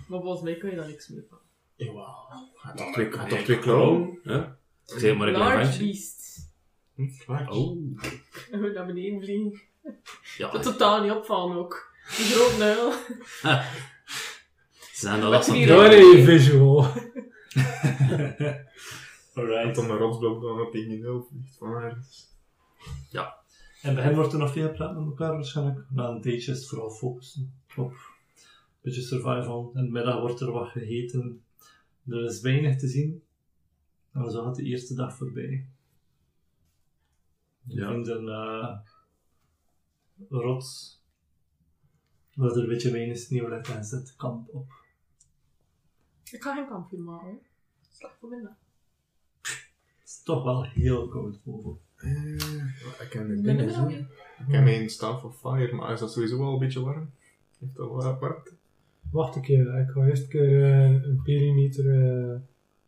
Speaker 7: Maar volgens mij kan je daar niks mee van.
Speaker 4: Jawel. Hij had toch twee- hij had toch
Speaker 5: Nee,
Speaker 4: twee klauwen? hè? Ik zeg maar een klein
Speaker 7: Large
Speaker 4: ventje.
Speaker 7: beast. [LAUGHS]
Speaker 5: Hm, klaar.
Speaker 4: Oh.
Speaker 7: En we naar beneden vliegen.
Speaker 4: Ja,
Speaker 7: Dat totaal niet opvallen ook. Die groot nuil.
Speaker 4: ze zijn er
Speaker 7: [LAUGHS]
Speaker 4: last van.
Speaker 7: Met
Speaker 3: Door
Speaker 7: vier-
Speaker 3: je
Speaker 6: [LAUGHS]
Speaker 3: visual.
Speaker 5: En
Speaker 6: Alright.
Speaker 5: dan de rotsblok dan op die 0 vliegt van ergens.
Speaker 6: En bij hen wordt er nog veel praat met elkaar waarschijnlijk. Na een tijdje is het vooral focussen op een beetje survival. In de middag wordt er wat gegeten. Er is weinig te zien. En zo gaat de eerste dag voorbij. Je
Speaker 4: Ja.
Speaker 6: vindt een eh, rots waar er een beetje weinig sneeuw ligt en zet de kamp op.
Speaker 7: Ik ga geen kampvuur maken. hoor. Slecht voor minder.
Speaker 6: Het is toch wel heel koud boven.
Speaker 5: Eh, ik ken dit
Speaker 7: Minder
Speaker 5: binnen zo.
Speaker 7: dan je.
Speaker 5: Ik
Speaker 6: Hmm.
Speaker 5: ken mijn Staff of Fire, maar is dat sowieso wel een beetje warm? Heeft dat wel apart?
Speaker 3: Wacht een keer, ik ga eerst een keer eh, een perimeter eh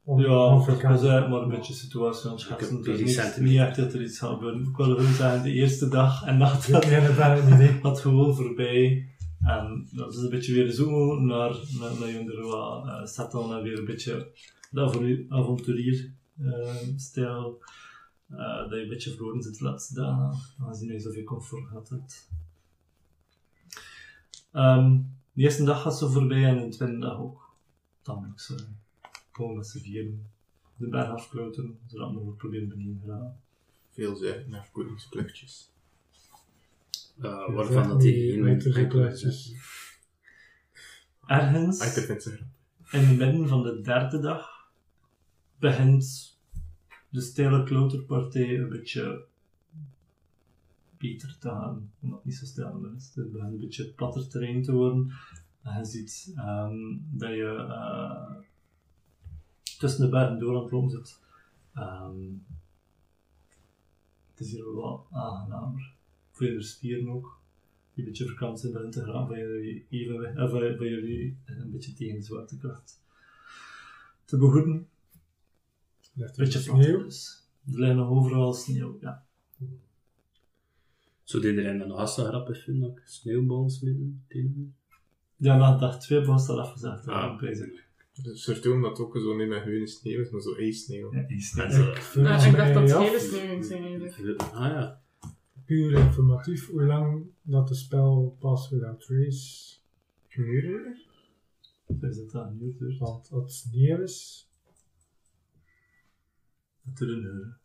Speaker 3: om-
Speaker 6: Ja,
Speaker 3: om-
Speaker 6: dat was eigenlijk maar een beetje situatie aan het
Speaker 4: heb
Speaker 6: schetsen. Het
Speaker 4: drie
Speaker 6: is niet,
Speaker 4: centimeter.
Speaker 6: niet echt dat er iets gaat gebeuren. Ik wil gewoon zeggen, de eerste dag en
Speaker 4: [LAUGHS]
Speaker 6: nacht
Speaker 3: Ja, ja, dat ben ik niet. hè.
Speaker 6: had gewoon voorbij. En dat is een beetje weer zo naar, naar, naar Jonderwa eh settle en weer een beetje de avontu- avonturier eh, stijl. eh, dat je een beetje verloren zit de laatste dagen, aangezien je zoveel comfort gehad hebt. Ehm, de eerste dag gaat zo voorbij en de tweede dag ook. Tamelijk zo. Gewoon met z'n vieren de berg afklauteren, zodat we ook proberen beneden te raken.
Speaker 5: Veel zeggen naar verkoelingspluchtjes.
Speaker 4: Eh, waarvan dat
Speaker 3: Ja,
Speaker 4: die
Speaker 3: die
Speaker 4: in
Speaker 3: wintergeplaatjes.
Speaker 6: Ergens...
Speaker 5: Achter vindt ze grap.
Speaker 6: In het midden van de derde dag begint de stijle kloterpartij een beetje beter te gaan. Omdat het niet zo stijl meer is. Het begint een beetje platter terrein te worden. En je ziet ehm, dat je eh, tussen de bergen door aan het lopen zit. Ehm, het is hier wel aangenamer. Voor je spieren ook. Die een beetje verkrampt zijn begint te gaan van jullie evenwicht, eh, van, van jullie een beetje tegen de zwaartekracht te behoeden. Een
Speaker 3: Ligt er
Speaker 6: beetje
Speaker 3: sneeuw?
Speaker 6: sneeuw. Dus. Er ligt nog overal sneeuw, ja.
Speaker 4: Zou iedereen dan nog als ze grappig vinden? Ook sneeuwbal smitten? dingen?
Speaker 6: Ja, na dag twee was dat afgezegd.
Speaker 4: Ah.
Speaker 6: Ah. Bezig.
Speaker 5: Dus surtout omdat het ook zo niet met gewone sneeuw is, maar zo ijssneeuw.
Speaker 6: Ja, die sneeuw.
Speaker 4: En zo.
Speaker 3: Vul
Speaker 7: Ja,
Speaker 3: ons
Speaker 7: ik dacht
Speaker 3: mee
Speaker 7: dat
Speaker 3: af.
Speaker 7: het hele sneeuw ging zijn eigenlijk.
Speaker 4: Ah ja.
Speaker 3: Puur informatief, hoe lang dat de spel pas without trace,
Speaker 5: Muren?
Speaker 6: Dus dat dat nu duurt.
Speaker 3: want als het sneeuw is,
Speaker 6: Dat duurt een uur.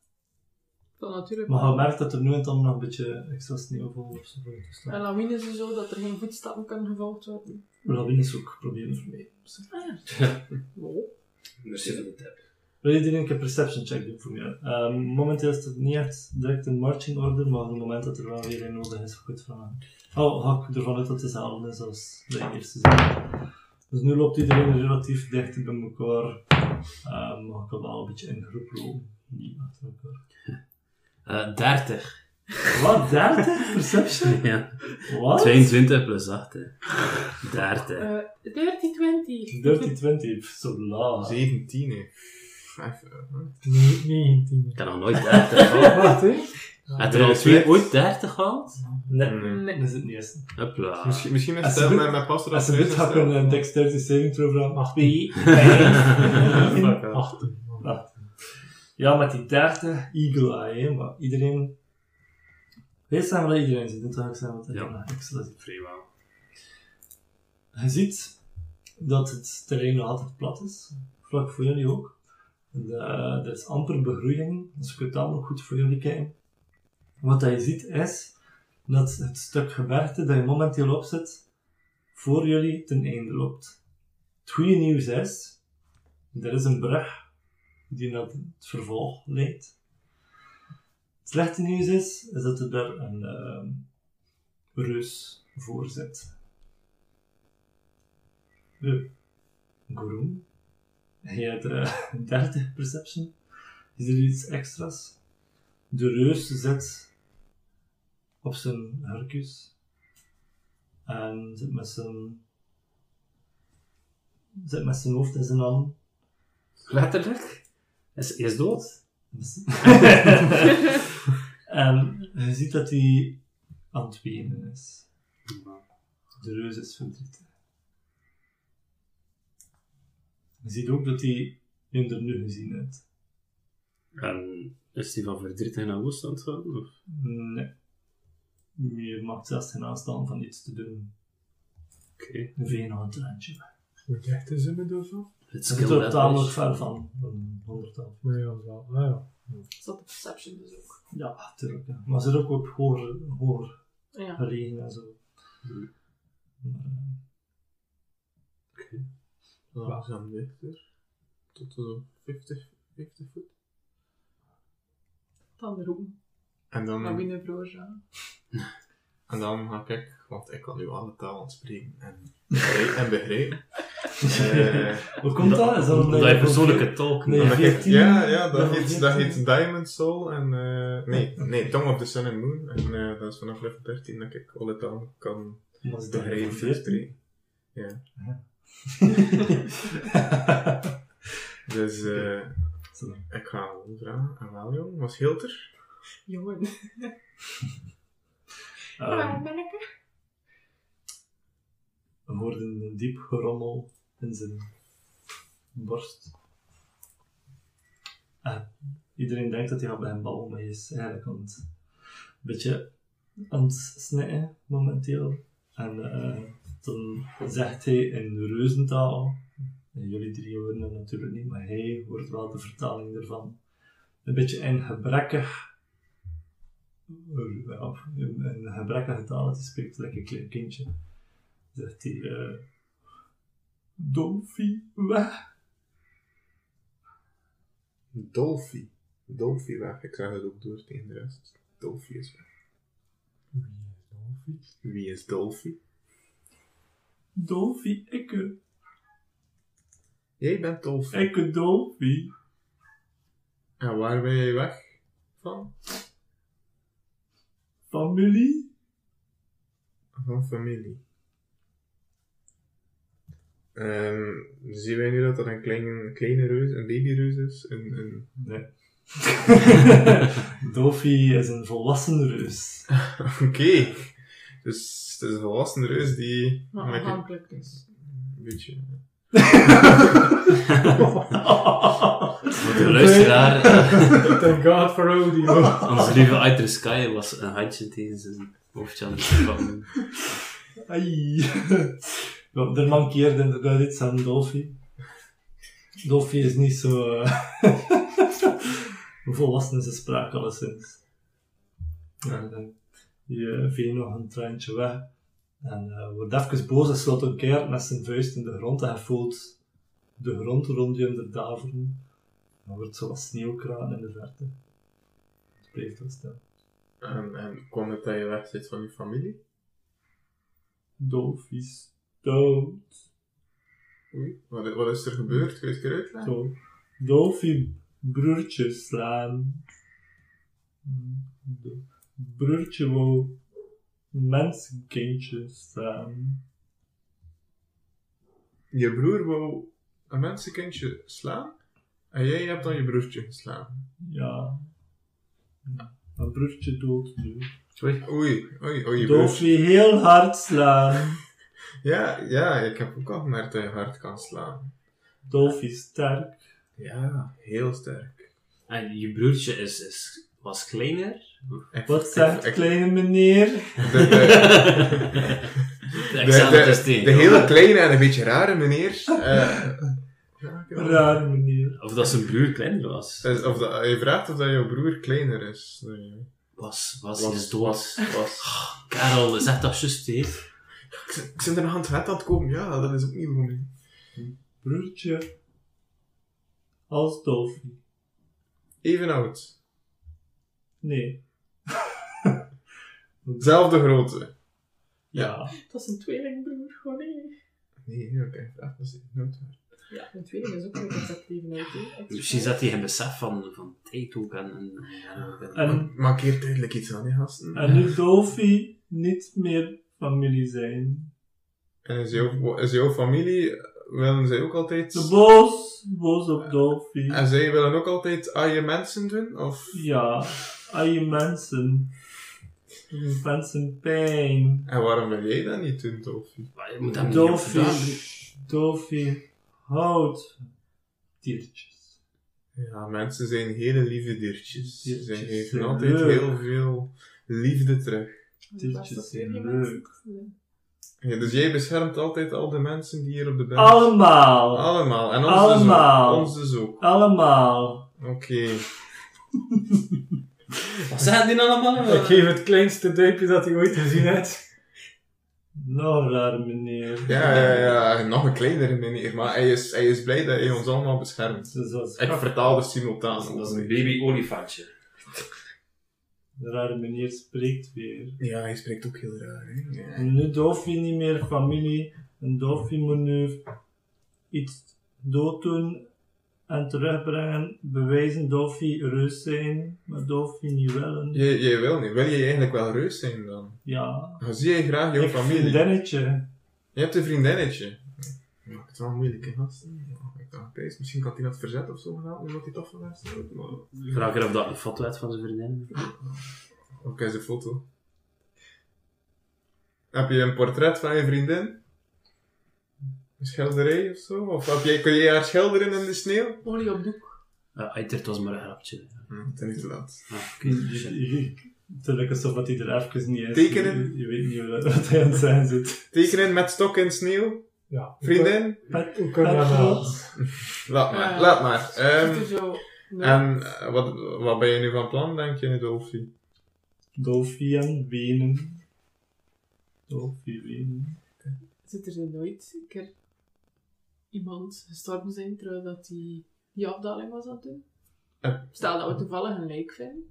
Speaker 7: Dat natuurlijk.
Speaker 6: Maar je merkt dat er nu en dan nog een beetje extra sneeuw valt of zo voor de toestand.
Speaker 7: En lawines en zo, dat er geen voetstappen kunnen gevolgd worden. Dus-
Speaker 6: Maar dat wil ik ook proberen vermijden.
Speaker 7: [LAUGHS] Wow.
Speaker 4: Merci voor de tip.
Speaker 6: Wil iedereen een keer perception check doen voor mij? Ehm, momenteel is het niet echt direct een marching order, maar op het moment dat er wel weer een nodig is, goed van. Oh, hak ervan uit dat het hetzelfde is als de eerste zin. Dus nu loopt iedereen relatief dicht bij elkaar. Ehm, maar ik kan wel een beetje in groep lopen. Niet achter elkaar.
Speaker 4: Eh 30.
Speaker 6: Wat? 30? Perception?
Speaker 4: [LAUGHS] Ja.
Speaker 6: Wat?
Speaker 4: 22 plus 8. Hè. 30.
Speaker 7: Eh 13, 20.
Speaker 6: Dirty 20, zo laag.
Speaker 5: 17, hè. Vijf, eh, hè.
Speaker 3: ne- 19.
Speaker 4: Ik kan nog nooit [LAUGHS] 30 halen.
Speaker 3: Wacht hè?
Speaker 4: Had er al twee ooit 30 gehaald?
Speaker 6: Nee,
Speaker 5: Nee.
Speaker 6: dat is het niet eens.
Speaker 4: Hopla.
Speaker 5: Misschien, misschien met
Speaker 6: Ah. Als ze
Speaker 5: stel
Speaker 6: doet-
Speaker 5: met mijn pastor
Speaker 6: Als ze dit
Speaker 5: thuis is,
Speaker 6: gaan kunnen
Speaker 5: hè.
Speaker 6: een dexterity saving throw vragen, 18.
Speaker 5: Fuck, hè.
Speaker 3: 18.
Speaker 6: Ja, met die 30 Eagle Eye, hè, maar iedereen. Weet zijn wat iedereen ziet, dat zou ik zeggen wat
Speaker 4: Ja.
Speaker 6: iedereen ja. ziet.
Speaker 4: Vrijwel.
Speaker 6: Je ziet dat het terrein nog altijd plat is, vlak voor jullie ook. En, eh, er is amper begroeiing, dus je kunt tamelijk goed voor jullie kijken. Wat dat je ziet is dat het stuk gebergte dat je momenteel op zit, voor jullie ten einde loopt. Het goede nieuws is, er is een brug die naar het vervolg leidt. Het slechte nieuws is, is dat er daar een ehm, reus voor zit. De Groen. Hij had eh, [LAUGHS] 30 perception. Is er iets extra's? De reus zit op zijn hurkus. En zit met zijn... Zit met zijn hoofd in zijn handen.
Speaker 4: Letterlijk? Is, is dood? [LAUGHS]
Speaker 6: Met zijn- en Ehm, je ziet dat hij aan het wenen is. De reus is verdrietig. Je ziet ook dat hij hem er nu gezien heeft.
Speaker 4: En is die van verdriet en aan woest aan het gaan? Of?
Speaker 6: Nee. Je mag zelfs geen aanstaan van iets te doen.
Speaker 4: Oké.
Speaker 6: Een veenhoud treintje.
Speaker 3: Hoe dicht is het met of zo?
Speaker 4: Het
Speaker 6: Ze zit
Speaker 4: skill
Speaker 6: er tamelijk
Speaker 4: level.
Speaker 6: ver van, een honderdtal.
Speaker 3: Nee, dat is wel. Ah ja.
Speaker 7: Zat de perception dus ook.
Speaker 6: Ja, tuurlijk. ja. Maar ze zit ook op hoger, hoger
Speaker 7: Ah Ja.
Speaker 6: gelegen en zo. eh,
Speaker 5: Langzaam dichter. Tot zo'n 50, 50 voet.
Speaker 7: Dan roepen.
Speaker 5: En dan,
Speaker 7: Maar binnen broer ja.
Speaker 5: en dan ga ik, want ik kan nu alle talen spreken
Speaker 6: [LAUGHS]
Speaker 5: en begrijpen. En begrijpen. Eh,
Speaker 6: Hoe komt dat? Is dat
Speaker 4: Omdat je persoonlijke talk
Speaker 6: Nee.
Speaker 4: neemt.
Speaker 5: dan heb ik-
Speaker 6: 14?
Speaker 5: ja, ja, dat
Speaker 6: Ja,
Speaker 5: heet,
Speaker 6: 14.
Speaker 5: dat heet Diamond Soul en eh, nee, [LAUGHS] nee, Tongue of the Sun and Moon. En eh, dat is vanaf level 13 dat ik alle talen kan
Speaker 6: Was dat
Speaker 5: begrijpen en
Speaker 6: [LAUGHS]
Speaker 5: spreken. Ja. Dus eh,
Speaker 6: Zo.
Speaker 5: ik ga gewoon vragen aan wel jong, was Hilter?
Speaker 7: Jongen.
Speaker 6: Ehm,
Speaker 7: ben ik er?
Speaker 6: We hoorden een diep gerommel in zijn borst. Ah, iedereen denkt dat hij al bij een bal mee is. Eigenlijk aan het, een beetje aan het snijden momenteel. En eh, dan zegt hij in reuzentaal, en jullie drie horen dat natuurlijk niet, maar hij hoort wel de vertaling ervan. Een beetje in gebrekkig, ja, in in gebrekkige taal, het spreekt lekker een klein kindje zegt hij, eh Dolfie weg.
Speaker 5: Dolfi. Dolfi weg. Ik zag het ook door tegen de rest. Dolfi is weg. Wie is Dolfi?
Speaker 6: Dolfie, ikke,
Speaker 5: Jij bent Dolfi.
Speaker 6: ikke Dolfie.
Speaker 5: En waar ben jij weg van?
Speaker 6: Familie?
Speaker 5: Van familie. Ehm, zien wij nu dat dat een kleine, kleine reus, een babyreus is? Een, een...
Speaker 6: Nee. [LAUGHS] Dolfie is een volwassen reus.
Speaker 5: Oké. Dus het is een volwassen reus die...
Speaker 7: Maar
Speaker 5: met een
Speaker 7: aanhankelijk dus.
Speaker 5: beetje...
Speaker 4: Voor de
Speaker 6: [LAUGHS]
Speaker 4: luisteraar, eh,
Speaker 3: Thank God for audio.
Speaker 4: onze lieve Aether Sky was een handje tegen zijn hoofdje aan het pakken.
Speaker 6: Ai. Ja, er mankeerde inderdaad iets aan Dolfie. Dolfie is niet zo... eh, [LAUGHS] volwassen in zijn spraak alleszins. En, eh, je veegt nog een treintje weg. En eh, wordt even boos en slaat een keer met zijn vuist in de grond. En hij voelt de grond rond je onder daveren. Dan wordt zoals sneeuwkraan in de verte. Het blijft wel stil.
Speaker 5: En, en kwam het dat je weg zit van je familie?
Speaker 6: Dolfie stoot.
Speaker 5: Oei. Wat, wat is er gebeurd? Kun je het keer uitleggen?
Speaker 6: Zo. Dolfie broertje slaan. De broertje wou mensenkindje slaan.
Speaker 5: Je broer wou een mensenkindje slaan. En jij hebt dan je broertje geslaan.
Speaker 6: Ja. Mijn broertje dood nu.
Speaker 5: Oei, oei, oei, je broertje.
Speaker 6: Dolfie heel hard slaan.
Speaker 5: Ja, ja, ik heb ook al gemerkt dat je hard kan slaan.
Speaker 6: Dolfie sterk.
Speaker 5: Ja, heel sterk.
Speaker 4: En je broertje is, is, was kleiner.
Speaker 5: Ik-
Speaker 6: Wat
Speaker 5: ik-
Speaker 6: zegt
Speaker 5: ik-
Speaker 6: kleine meneer?
Speaker 5: De, de,
Speaker 4: De
Speaker 5: de,
Speaker 4: examen
Speaker 5: de-
Speaker 4: is tegen.
Speaker 5: de hele kleine en een beetje rare meneer. eh, ja, ik heb-
Speaker 6: Raar meneer.
Speaker 4: Of dat zijn broer kleiner was.
Speaker 5: Dus Of dat, je vraagt of dat jouw broer kleiner is. Nee.
Speaker 4: Was, was,
Speaker 5: Was-
Speaker 4: hij is dood. Oh,
Speaker 5: was-
Speaker 4: Karel, zeg dat juist, hè.
Speaker 5: Ik, zit- ik zit er nog aan het wet aan het komen. Ja, dat is opnieuw voor mij.
Speaker 6: Broertje. Als Dolfie.
Speaker 5: Even oud.
Speaker 6: Nee.
Speaker 5: Zelfde grootte.
Speaker 6: Ja.
Speaker 7: Dat is een tweelingbroer, oh nee.
Speaker 5: Nee, oké. vraag Dat is nooit waar.
Speaker 7: Ja, een tweeling is ook een concept leven uit. hè.
Speaker 5: Dus
Speaker 4: Misschien zat hij in besef van, van tijd ook. En, en, en-
Speaker 6: En
Speaker 5: Maak hier duidelijk iets aan, die gasten.
Speaker 6: En nu Dolfie niet meer familie zijn.
Speaker 5: En is jouw, is jouw familie, willen zij ook altijd...
Speaker 6: Ze boos, boos op Dolfie.
Speaker 5: En zij willen ook altijd aan je mensen doen? Of...
Speaker 6: Ja, aan je mensen. Je Mensen pijn.
Speaker 5: En waarom wil jij dat niet doen, Dolfie?
Speaker 4: maar je moet hem niet
Speaker 6: Dolfie,
Speaker 4: opvragen.
Speaker 6: Dolfie houdt diertjes.
Speaker 5: Ja, mensen zijn hele lieve diertjes.
Speaker 6: Diertjes
Speaker 5: Ze
Speaker 6: zijn
Speaker 5: geven altijd
Speaker 6: leuk.
Speaker 5: heel veel liefde terug.
Speaker 6: Tientjes zijn
Speaker 5: Ja, dus jij beschermt altijd al de mensen die hier op de band Oh.
Speaker 6: Allemaal!
Speaker 5: Allemaal. En ons
Speaker 6: Allemaal.
Speaker 5: dus ook. Ons dus ook.
Speaker 6: Allemaal!
Speaker 5: Oké.
Speaker 4: Wat zijn die allemaal?
Speaker 3: Ik geef het kleinste duimpje dat hij ooit gezien heeft.
Speaker 6: Nou, raar meneer.
Speaker 5: Ja, ja, ja. [LAUGHS] Nog een kleinere meneer. Maar hij is, hij is blij dat hij ons allemaal beschermt.
Speaker 6: Dus dat is
Speaker 5: Ik vertaal er simultaan.
Speaker 4: Dat is een baby olifantje.
Speaker 6: De rare meneer spreekt weer.
Speaker 5: Ja, hij spreekt ook heel raar. Hè? Ja.
Speaker 6: Nu Dolfie niet meer familie. Een Dolfie moet nu iets dooddoen en terugbrengen. Bewijzen Dolfie reus zijn, maar Dolfie niet willen.
Speaker 5: Jij, jij wil niet. Wil je eigenlijk wel reus zijn dan?
Speaker 6: Ja.
Speaker 5: Dan zie jij graag jouw
Speaker 6: Ik
Speaker 5: familie.
Speaker 6: [LAUGHS] vriendinnetje.
Speaker 5: Je hebt een vriendinnetje. Maakt het wel moeilijk, hè, gasten? Ja, ik dacht, Thijs, misschien kan hij dat verzet of zo gedaan, nu wordt hij toch van daar staan. Maar-
Speaker 4: Ik Vraag er of dat een foto uit van zijn vriendin.
Speaker 5: Oké, zijn foto. Heb je een portret van je vriendin? Een schilderij of zo? Of heb jij, kun je haar schilderen in de sneeuw?
Speaker 7: Olie op doek.
Speaker 4: Uh, het was maar een grapje.
Speaker 5: Hm, het is niet te laat.
Speaker 4: Ah, oké.
Speaker 3: Mm.
Speaker 4: Shit.
Speaker 6: Het lijkt alsof dat hij er even niet is.
Speaker 5: Tekenen?
Speaker 6: Je, je weet niet wat- wat hij aan het zijn zit.
Speaker 5: Tekenen met stok in sneeuw?
Speaker 3: Ja.
Speaker 5: Vriendin?
Speaker 6: Pet,
Speaker 3: Hoe kun je dat nou?
Speaker 5: Laat maar,
Speaker 7: Ja.
Speaker 5: laat maar. Ehm,
Speaker 7: Ziet er zo...
Speaker 5: en eh, wat, wat ben je nu van plan, denk je, Dolfie?
Speaker 6: Dolfie en Wenen. Dolfie Wenen.
Speaker 7: Zit er nooit een keer iemand gestorven zijn terwijl dat die, die afdaling was aan het doen?
Speaker 5: Eh.
Speaker 7: Stel dat we toevallig een lijk vinden,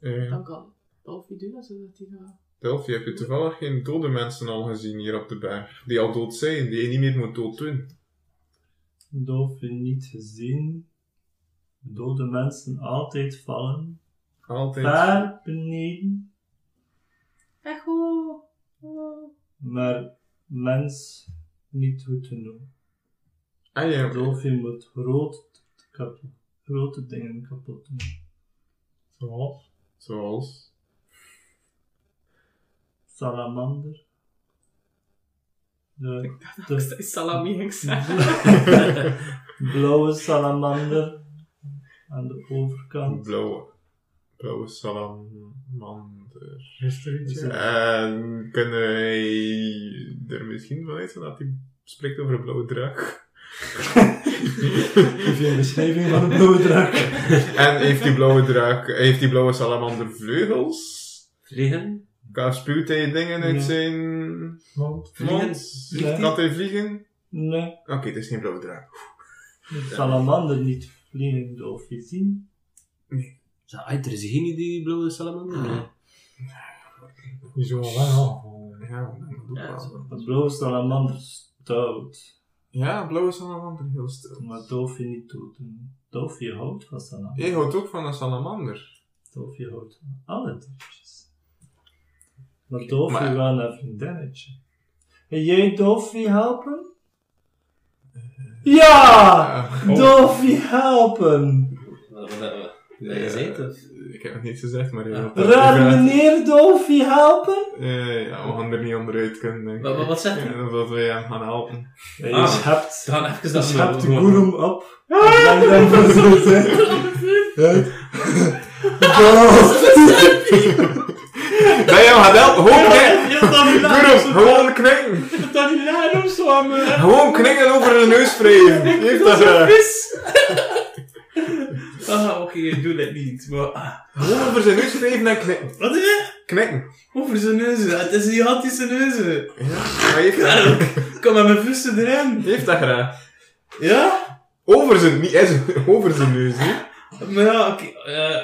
Speaker 5: Eh,
Speaker 7: dan kan Dolfie doen alsof hij gaat.
Speaker 5: Delphi, heb je toevallig geen dode mensen al gezien hier op de berg? Die al dood zijn, die je niet meer moet dood doen.
Speaker 6: Dolfie niet gezien. Dode mensen altijd vallen.
Speaker 5: Altijd.
Speaker 6: Daar beneden.
Speaker 7: Echt goed! Oh.
Speaker 6: Maar mens niet goed genoeg.
Speaker 5: En je,
Speaker 6: Dolfje moet groot kapot, grote dingen kapot doen.
Speaker 3: Zoals?
Speaker 5: Zoals?
Speaker 6: Salamander. De,
Speaker 7: Dat
Speaker 6: de
Speaker 7: is salami, ging ik
Speaker 5: [LAUGHS]
Speaker 7: Ah, zeggen.
Speaker 6: blauwe salamander. Aan de overkant.
Speaker 5: Blauwe. Blauwe salamander.
Speaker 3: Is er iets? ja?
Speaker 5: En kunnen wij er misschien van uitgaan dat hij spreekt over een blauwe draak?
Speaker 6: [LAUGHS] Geef je een beschrijving van een blauwe draak?
Speaker 5: en heeft die blauwe draak, heeft die blauwe salamander vleugels?
Speaker 4: Vliegen?
Speaker 5: Kan spuwt hij dingen uit
Speaker 6: Nee.
Speaker 5: zijn
Speaker 3: Want
Speaker 5: mond?
Speaker 6: Vliegen?
Speaker 5: Kan hij vliegen?
Speaker 6: Nee,
Speaker 5: Oké, het is geen blauwe draak.
Speaker 6: de salamander niet vliegen dolfje zien.
Speaker 4: Zijn Aiter ah, is geen die blauwe salamander? Nee.
Speaker 3: die is wel lang aangevallen.
Speaker 5: Eh, Ja, dat doe ik
Speaker 4: Ja, dat is
Speaker 5: wel.
Speaker 6: De blauwe salamander stout.
Speaker 5: Ja, blauwe salamander, heel stil.
Speaker 6: Maar Dolfje niet dooddoen. Dolfje houdt van salamander.
Speaker 5: Jij houdt ook van een salamander.
Speaker 6: Dolfje houdt van alle diertjes. Maar Dolfje
Speaker 5: Maar-
Speaker 6: wel naar vriendinnetje. Wil jij Dolfje helpen? Ja!
Speaker 5: Ah,
Speaker 6: Dolfje helpen!
Speaker 4: Wat hebben we? Nee, gezeten?
Speaker 5: Ik heb het niet gezegd, maar... je
Speaker 4: Ah.
Speaker 5: hebt dat
Speaker 6: Raad
Speaker 5: gevraagd.
Speaker 6: meneer Dolfje helpen?
Speaker 5: Eh, ja, we gaan er niet onderuit kunnen, denk ik.
Speaker 4: Wat- wat- wat zegt hij?
Speaker 5: Ja, Dat we hem gaan helpen.
Speaker 6: Je
Speaker 4: Ah.
Speaker 6: hebt,
Speaker 4: Dan even
Speaker 6: je
Speaker 4: dat
Speaker 6: schept de
Speaker 5: [LAUGHS]
Speaker 6: goeroem op. En dan denk je zo zijn.
Speaker 5: Ben je hem gaan helpen? Gewoon knikken! Goeroe, gewoon knikken!
Speaker 6: Dat die lijn opzwammen.
Speaker 5: Gewoon knikken over de neus wrijven. Heeft dat eh, graag.
Speaker 4: Ah, oké, ik doe dat niet. Maar ah,
Speaker 5: Gewoon over zijn neus wrijven en knikken.
Speaker 4: wat is het?
Speaker 5: Knikken.
Speaker 4: Over zijn neuzen. Het is een gigantische neuzen.
Speaker 5: Ja, hij heeft dat
Speaker 4: Ja,
Speaker 5: graag.
Speaker 4: ik kan met mijn vuisten erin.
Speaker 5: Hij heeft dat graag.
Speaker 4: Ja?
Speaker 5: Over zijn, niet eens [LAUGHS] over zijn neus, hè.
Speaker 4: Maar ja, oké. eh,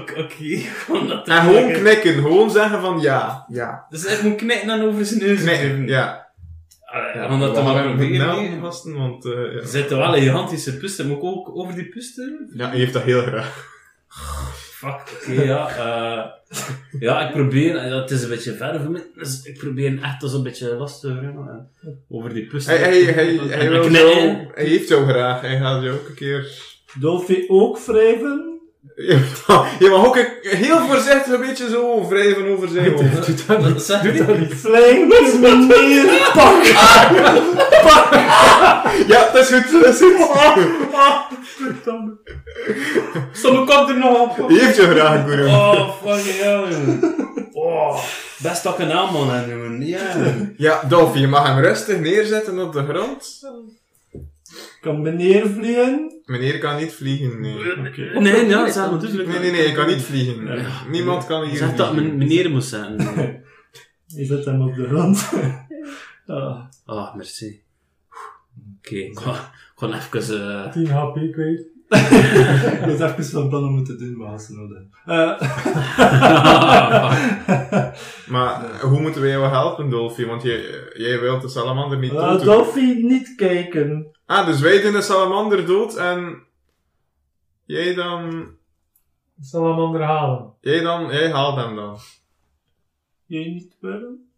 Speaker 4: Oké, oké. [LAUGHS] Om dat te
Speaker 5: En gewoon
Speaker 4: maken.
Speaker 5: knikken. Gewoon zeggen van ja. Ja.
Speaker 4: Dus hij moet knikken en over zijn neus
Speaker 5: Knikken,
Speaker 4: geven.
Speaker 5: ja.
Speaker 4: Allee,
Speaker 5: ja. nou-
Speaker 4: om dat te
Speaker 5: We gaan
Speaker 4: maken
Speaker 5: hem goed
Speaker 4: proberen,
Speaker 5: helpen,
Speaker 4: nee.
Speaker 5: gasten, want... eh,
Speaker 4: Er
Speaker 5: ja.
Speaker 4: zitten wel een gigantische pusten. Moet ik ook over die pusten?
Speaker 5: ja, hij heeft dat heel graag.
Speaker 4: Fuck, oké, ja. eh, ja, ik probeer... eh, Het is een beetje ver voor mij, dus ik probeer echt als een beetje last te houden. eh, Over die pusten.
Speaker 5: Hij, hij, hij,
Speaker 4: En-
Speaker 5: hij,
Speaker 4: en
Speaker 5: wil
Speaker 4: knikken.
Speaker 5: jou- hij heeft jou graag. Hij gaat jou ook een keer... [LAUGHS]
Speaker 6: Dolfje ook wrijven.
Speaker 5: Je mag ook een- heel voorzichtig een beetje zo wrijven over
Speaker 4: [LAUGHS]
Speaker 5: zijn hoofd.
Speaker 3: Doet dat niet.
Speaker 4: Wat zeg
Speaker 3: Doet
Speaker 4: je?
Speaker 3: dat niet.
Speaker 6: Flinke meneer.
Speaker 5: Ja, het is goed, dat is
Speaker 4: [LAUGHS]
Speaker 5: goed.
Speaker 4: Ah, verdomme. Sommige komt er nog op.
Speaker 5: Heeft je graag, Guru.
Speaker 4: [LAUGHS] Oh, fucking hell, jongen. Oh, best dat ik een naam aan heb, jongen. Ja.
Speaker 5: Ja, Dolphy, je mag hem rustig neerzetten op de grond.
Speaker 6: Kan meneer vliegen?
Speaker 5: Meneer kan niet vliegen, nee.
Speaker 6: Oké.
Speaker 4: Nee, ja, zeg maar, natuurlijk.
Speaker 5: Nee, nee, nee, je kan niet vliegen.
Speaker 4: Ja.
Speaker 5: Niemand kan hier
Speaker 4: Zeg dat men-
Speaker 5: vliegen.
Speaker 4: meneer moet zijn.
Speaker 6: Je zet hem op de [LAUGHS] grond. Ah,
Speaker 4: Ah, merci. Oké, ik ga- ik ga even... eh,
Speaker 3: 10 HP kwijt.
Speaker 6: [LAUGHS] ik was even van plan om het te doen, maar als ze nodig hebben. [LAUGHS]
Speaker 5: [LAUGHS]
Speaker 6: Eh.
Speaker 5: Maar hoe moeten wij jou helpen, Dolphy? Want jij, jij wilt de salamander niet
Speaker 4: Ah,
Speaker 5: dood
Speaker 6: Laat
Speaker 5: doen.
Speaker 6: Eh, Dolphy niet kijken.
Speaker 5: Ah, dus wij doen de salamander dood en... Jij dan...
Speaker 3: Salamander halen.
Speaker 5: Jij dan... Jij haalt hem dan.
Speaker 6: Jij niet willen?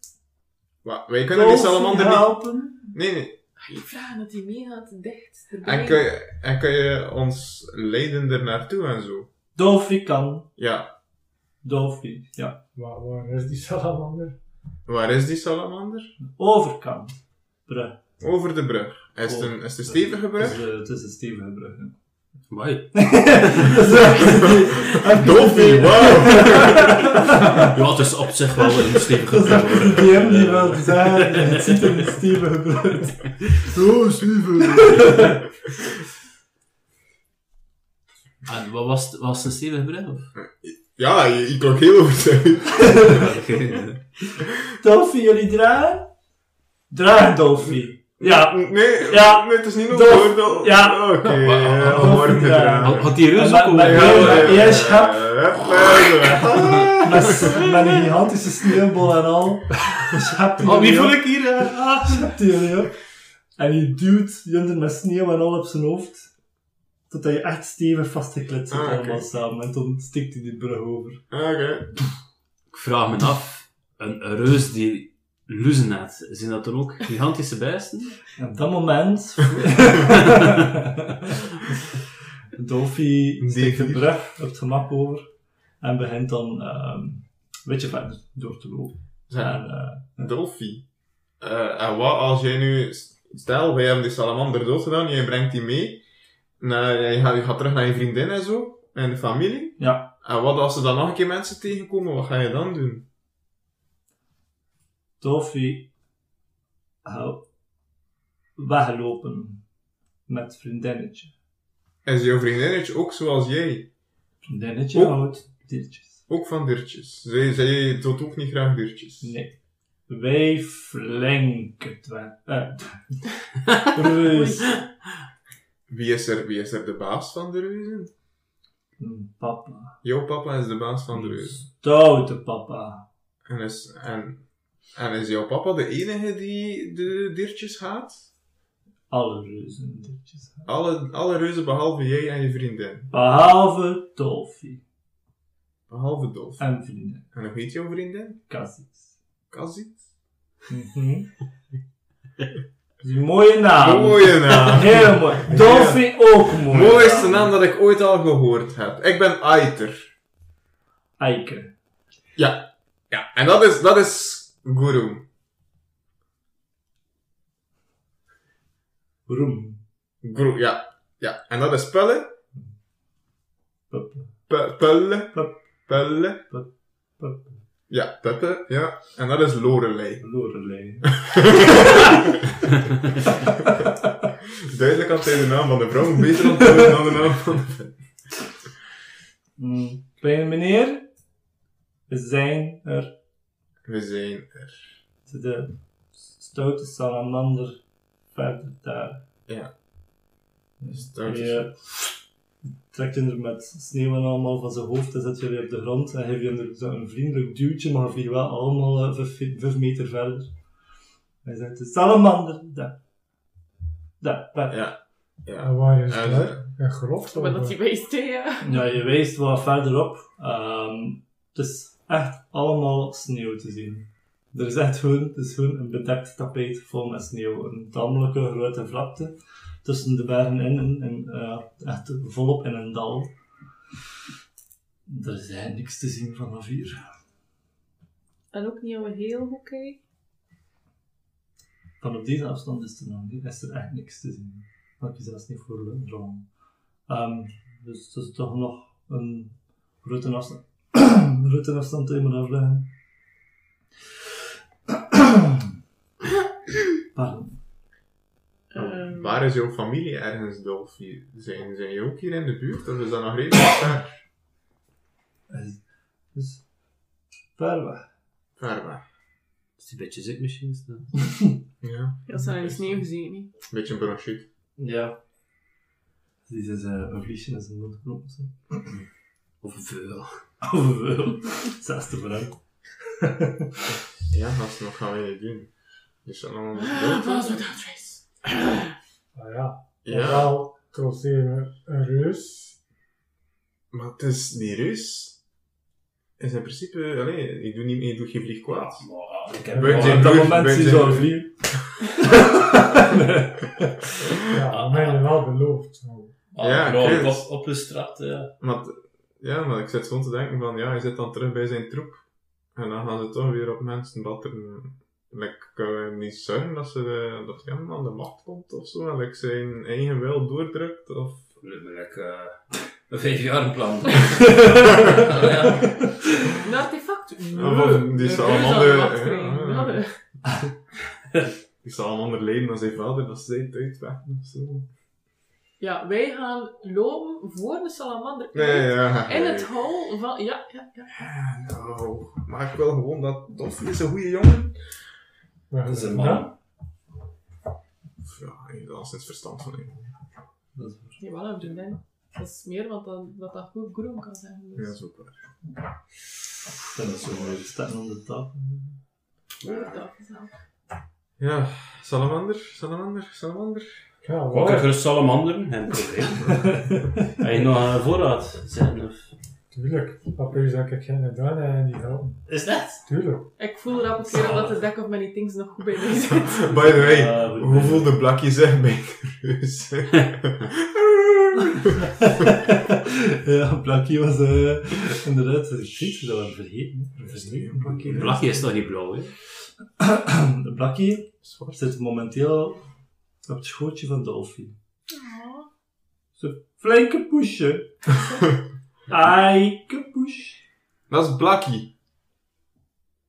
Speaker 5: Wa- Wij kunnen die salamander niet...
Speaker 6: helpen?
Speaker 5: Nee, nee.
Speaker 7: Ik vraag dat hij meegaat dicht erbij.
Speaker 5: En kun, je, en kun je ons leiden er naartoe en zo?
Speaker 6: Dolphy kan.
Speaker 5: Ja.
Speaker 6: Dolphy, ja.
Speaker 3: Waar, waar is die salamander?
Speaker 5: Waar is die salamander?
Speaker 6: Overkant. Brug.
Speaker 5: Over de brug. Is het een, is het een stevige brug?
Speaker 6: Het is, eh, Het is een stevige brug. [LAUGHS] hè.
Speaker 4: Wai.
Speaker 6: Dat is echt-
Speaker 5: Dolphy, wow!
Speaker 4: Ja, het is op zich wel een stevige
Speaker 6: Dat is echt
Speaker 5: [LAUGHS]
Speaker 6: een
Speaker 4: vrouw.
Speaker 6: DM die wil zeggen, het ziet er een stevige brug uit.
Speaker 5: Oh, stevig!
Speaker 4: En Ah, wat was, het- was het een stevige brug? Of?
Speaker 5: Ja, je, je klonk heel overtuigd.
Speaker 6: Dolphy, jullie draaien? Draai, Dolphy. Ja.
Speaker 5: Nee,
Speaker 6: Ja.
Speaker 5: nee, het is niet
Speaker 6: Dolf-
Speaker 5: ongeoordeeld.
Speaker 6: ja.
Speaker 5: Oké, eh,
Speaker 4: Ja.
Speaker 5: al worden gedragen.
Speaker 4: Had, had die reus ook
Speaker 6: Maar- maar-
Speaker 4: over?
Speaker 6: maar-
Speaker 5: Ja, Ah. ja, ja.
Speaker 6: Eerst schap.
Speaker 5: Ja.
Speaker 6: Met, met een gigantische sneeuwbol en al. Schapt
Speaker 4: Oh, wie
Speaker 6: jullie
Speaker 4: voel
Speaker 6: op.
Speaker 4: ik hier? eh? Ah.
Speaker 6: Schapt jullie op. En je duwt Junder met sneeuw en al op zijn hoofd. Totdat je echt stevig vastgekletst zit
Speaker 5: Ah, oké.
Speaker 6: allemaal samen. En toen stikt hij die brug over.
Speaker 5: Ah, Oké.
Speaker 4: Ik vraag me af, een een reus die luzen had, zijn dat dan ook gigantische bijsten?
Speaker 6: En op dat
Speaker 5: [LAUGHS]
Speaker 6: moment... [LAUGHS] Dolphy steekt de
Speaker 5: D4.
Speaker 6: brug op het gemak over. En begint dan ehm, een beetje verder door te lopen.
Speaker 5: Zeg,
Speaker 6: En, eh,
Speaker 5: Dolfie. Eh, en wat als jij nu... Stel, wij hebben die salamander dood gedaan, jij brengt die mee. Naar, je, gaat, je gaat terug naar je vriendin en zo. En de familie.
Speaker 6: ja,
Speaker 5: En wat als er dan nog een keer mensen tegenkomen, wat ga je dan doen?
Speaker 6: Dolphy... eh, weglopen. Met vriendinnetje.
Speaker 5: Is jouw vriendinnetje ook zoals jij?
Speaker 6: Vriendinnetje
Speaker 5: Oh.
Speaker 6: houdt diertjes.
Speaker 5: Ook van diertjes? Zij, zij doet ook niet graag diertjes?
Speaker 6: Nee. Wij flinken dwer- eh,
Speaker 5: [LAUGHS]
Speaker 6: Reus.
Speaker 5: Wie is, er, wie is er de baas van de reuzen?
Speaker 6: Hm, Papa.
Speaker 5: Jouw papa is de baas van de reuzen.
Speaker 6: Stoute papa.
Speaker 5: En is, en, en is jouw papa de enige die de diertjes haat?
Speaker 6: Alle reuzen diertjes.
Speaker 5: Alle, alle reuzen behalve jij en je vriendin.
Speaker 6: Behalve Dolphy.
Speaker 5: Behalve Dolf. En,
Speaker 6: En vrienden.
Speaker 5: hoe heet jouw vriendin?
Speaker 6: Cassis.
Speaker 5: Kazit?
Speaker 6: Mhm. Dat is een mooie naam.
Speaker 5: Mooie naam.
Speaker 6: [LAUGHS] Heel mooi. Dolphy ook mooi.
Speaker 5: Mooiste naam dat ik ooit al gehoord heb. Ik ben Aiter.
Speaker 6: Eike.
Speaker 5: Ja. Ja. En dat is, dat is Guru.
Speaker 6: Roem.
Speaker 5: Guru, ja. Ja. En dat is Pelle.
Speaker 6: Pup,
Speaker 5: Pe- Pelle.
Speaker 6: Pep.
Speaker 5: Pelle.
Speaker 6: pup.
Speaker 5: Ja, Peppe. Ja. En dat is Lorelei.
Speaker 6: Lorelei.
Speaker 5: Duidelijk had hij de naam van de vrouw beter onthouden dan de naam van de
Speaker 6: Hm, Kleine meneer. We zijn er
Speaker 5: We zijn er.
Speaker 6: te de stoute salamander verder daar. Dus
Speaker 5: Ja.
Speaker 6: Je trekt hem er met sneeuw en allemaal van zijn hoofd en zet jullie op de grond en geef je hem er zo een vriendelijk duwtje, maar vlieg wel allemaal eh, vijf, vijf meter verder. Hij zegt, de salamander, daar. Daar, daar. Ja.
Speaker 5: Ja. Ja.
Speaker 3: En waar is
Speaker 5: Ja,
Speaker 3: dat? Een grot?
Speaker 7: Maar dat
Speaker 3: of-
Speaker 7: hij wijst, hè, ja.
Speaker 6: je wijst wat verderop. Ehm het is echt allemaal sneeuw te zien. Er is echt gewoon, het is gewoon een bedekt tapijt vol met sneeuw. Een tamelijke grote vlakte tussen de bergen in, en, en eh, echt volop in een dal. Er is eigenlijk niks te zien vanaf hier.
Speaker 7: En ook niet aan we heel goed kijken.
Speaker 6: Van op deze afstand is er nog niet, is er echt niks te zien. Maar ik kies zelfs niet voor Lundron. Ehm dus het is toch nog een [CLEARS THROAT] routeafstand. routeafstand die je moet afleggen. [CLEARS THROAT] Pardon.
Speaker 5: Oh,
Speaker 7: Ehm,
Speaker 5: Waar is jouw familie ergens, Dolfie? Zijn, zijn je ook hier in de buurt? Of is dat nog redelijk ver?
Speaker 6: Is- is Dus, ver weg.
Speaker 5: Ver weg.
Speaker 4: is een beetje ziek misschien. is dat?
Speaker 5: Ja.
Speaker 7: Ja, ze hebben in de sneeuw gezien, niet?
Speaker 5: Beetje een bronchiet.
Speaker 6: Ja. Dit is eh, een vliesje en zijn mondknop of zo.
Speaker 4: Of een vuil.
Speaker 6: [LAUGHS]
Speaker 4: Ah,
Speaker 6: Of een vuil. Zesde vooruit.
Speaker 5: Ja, dat is nog gaan we niet doen. Dus dat nog
Speaker 7: was met Outrace.
Speaker 3: Ah ja,
Speaker 5: Ja,
Speaker 3: ofwel trotseren een reus,
Speaker 5: maar het is die Rus. Is in principe, alleen, je doet, niet, je doet geen vlieg kwaad.
Speaker 6: Ik heb
Speaker 5: Buiten
Speaker 6: op dat
Speaker 5: broer,
Speaker 6: moment
Speaker 5: buiten
Speaker 6: zien zo'n
Speaker 5: broer.
Speaker 6: vlieg.
Speaker 3: Ja, we hebben wel beloofd.
Speaker 4: Ah,
Speaker 5: Ja,
Speaker 4: nou,
Speaker 5: ik
Speaker 4: ik
Speaker 5: weet
Speaker 4: was opgestrapt, ja.
Speaker 5: Maar, t- ja, maar ik zit gewoon te denken van, ja, hij zit dan terug bij zijn troep. En dan gaan ze toch weer op mensen batteren. En ik kan hem niet zeggen dat ze eh, dat hij hem aan de macht komt of zo. En ik zijn eigen wil doordrukt of...
Speaker 4: Lekker eh, een [LAUGHS] vijfjarenplan.
Speaker 7: Een artefact? Nee.
Speaker 5: Ja, want Oh, die
Speaker 7: Een
Speaker 5: salamander- Ah.
Speaker 7: reus aan de macht krijgen.
Speaker 5: ja, ja.
Speaker 7: Ja, nee.
Speaker 5: Die zal allemaal onderleden aan zijn vader dat ze zijn tijd weg of zo.
Speaker 7: Ja, wij gaan lopen voor de salamander. in
Speaker 5: Nee,
Speaker 7: het-
Speaker 5: ja.
Speaker 7: In het hol van... Ja, ja, ja.
Speaker 5: Nou, maar ik wil gewoon dat Dolfie is een goede jongen.
Speaker 4: [LAUGHS] Dat is een man.
Speaker 5: Ja, hij heeft al sinds verstand van hem.
Speaker 6: Dat is waar.
Speaker 7: Nee, wel een vriendin. Dat is meer wat dan, wat dat goed groen kan zijn.
Speaker 5: Ja, dat
Speaker 7: Dus.
Speaker 5: is ook waar.
Speaker 6: Dat is zo'n mooie stem onder de tafel.
Speaker 7: Ja, dat is wel.
Speaker 5: Ja, salamander, salamander, salamander.
Speaker 3: Ja,
Speaker 4: Pak ik
Speaker 3: wel,
Speaker 4: gerust salamanderen, geen probleem. Heb je nog een voorraad? Zijn, of...
Speaker 3: tuurlijk. Papa is dat ik geen doen en die helpen.
Speaker 4: Is dat?
Speaker 3: Tuurlijk.
Speaker 7: Ik voel rap keer dat de dek of mijn things nog goed bij
Speaker 5: [LAUGHS]
Speaker 7: mij zit.
Speaker 5: By the way,
Speaker 6: Ja, goed.
Speaker 5: hoe voelde de blakje zich bij de reus?
Speaker 6: [LAUGHS] ja, plakje was eh inderdaad, dat is iets, dat we vergeten. hè. Een vergeten plakje.
Speaker 4: Blakje is toch niet blauw, hè?
Speaker 6: De plakje zit momenteel op het schootje van Dolfie.
Speaker 7: Oh,
Speaker 6: Ze flinke poesje.
Speaker 4: [LAUGHS]
Speaker 6: Eike poes.
Speaker 5: Dat is Blakkie.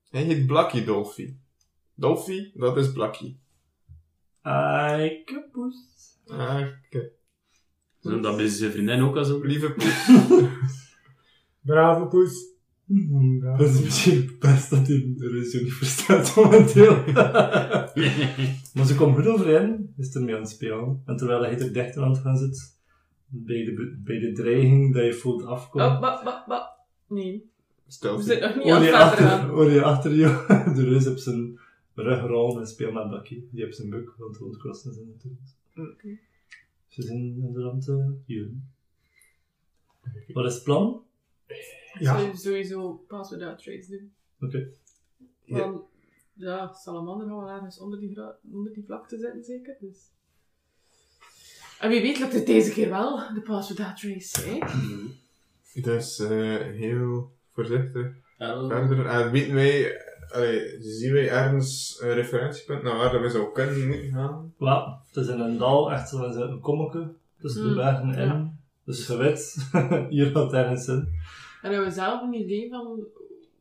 Speaker 5: Hij heet Blakkie Dolfie. Dolfie, dat is Blakkie.
Speaker 6: Eike poes.
Speaker 5: Ah, oké.
Speaker 4: Ze noemt dat bij zijn vriendin ook al zo.
Speaker 5: Lieve poes.
Speaker 3: Brave poes.
Speaker 6: Mhm, Dat is misschien het best dat hij de regio niet verstaat momenteel. maar ze komt goed overeen, is ermee aan het spelen. En terwijl hij er dichter aan het gaan zit, bij de, bij de dreiging dat je voelt afkomen.
Speaker 7: ba, ba, ba. Nee,
Speaker 5: Stel
Speaker 7: we [LAUGHS] zitten nog niet
Speaker 5: oh,
Speaker 6: Hoor
Speaker 7: aan
Speaker 6: je,
Speaker 7: het
Speaker 6: achter,
Speaker 7: verder gaan.
Speaker 6: hoor je achter je [LAUGHS] de reus op zijn rug rollen en speel met Bucky. Die op zijn buk, want de ontkrossen zijn natuurlijk.
Speaker 7: Oké.
Speaker 6: Ze zijn in de ruimte hier. Wat is het plan? Oké.
Speaker 7: Zou
Speaker 3: Ja,
Speaker 7: je sowieso pas without trace doen.
Speaker 5: Ja.
Speaker 7: Want, ja, salamander gaan wel ergens onder die, gra- onder die vlakte zitten, zeker. Dus. En wie weet lukt het deze keer wel, de pass without trace, hè?
Speaker 5: Dus eh, heel voorzichtig
Speaker 4: Ja,
Speaker 5: verder. En weten wij, eh, allee, zien wij ergens een referentiepunt naar waar dat we zou kunnen moeten gaan?
Speaker 6: Wel, het is in een dal, echt zo in een kommetje tussen de
Speaker 7: Mm,
Speaker 6: bergen in.
Speaker 7: ja.
Speaker 6: Dus je weet, [LAUGHS] hier gaat ergens in.
Speaker 7: En hebben we zelf een idee van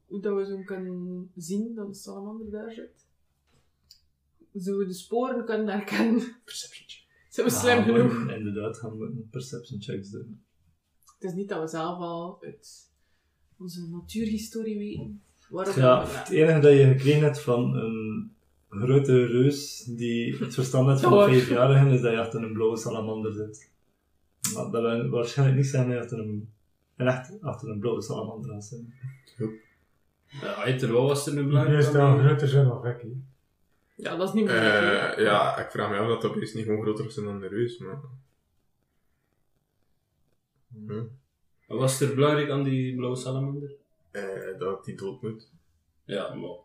Speaker 7: hoe dat we zo kunnen zien dat de salamander daar zit? Zullen we de sporen kunnen herkennen?
Speaker 5: Perception check.
Speaker 7: Zijn we slim
Speaker 6: Ja, we
Speaker 7: genoeg?
Speaker 6: moeten Inderdaad, gaan we perception checks doen.
Speaker 7: Het is niet dat we zelf al uit onze natuurhistorie weten. Waarom
Speaker 6: Ja,
Speaker 7: we
Speaker 6: het enige dat je gekregen hebt van een grote reus die het verstand heeft van
Speaker 7: Door.
Speaker 6: een vijfjarigen, is dat je achter een blauwe salamander zit. Maar dat wil waarschijnlijk niet zijn dat je achter een, en echt achter een blauwe salamander gaat zitten. [LAUGHS]
Speaker 4: uiteraard was er nu
Speaker 3: die
Speaker 4: belangrijk.
Speaker 3: is dan groter zijn dan ik. hè.
Speaker 7: Ja, dat is niet meer.
Speaker 5: Eh, ja, ik vraag me af dat dat beest niet gewoon groter is dan de reus, maar... Hm.
Speaker 4: Wat was er belangrijk aan die blauwe salamander?
Speaker 5: Eh, dat die dood moet.
Speaker 4: Ja, maar...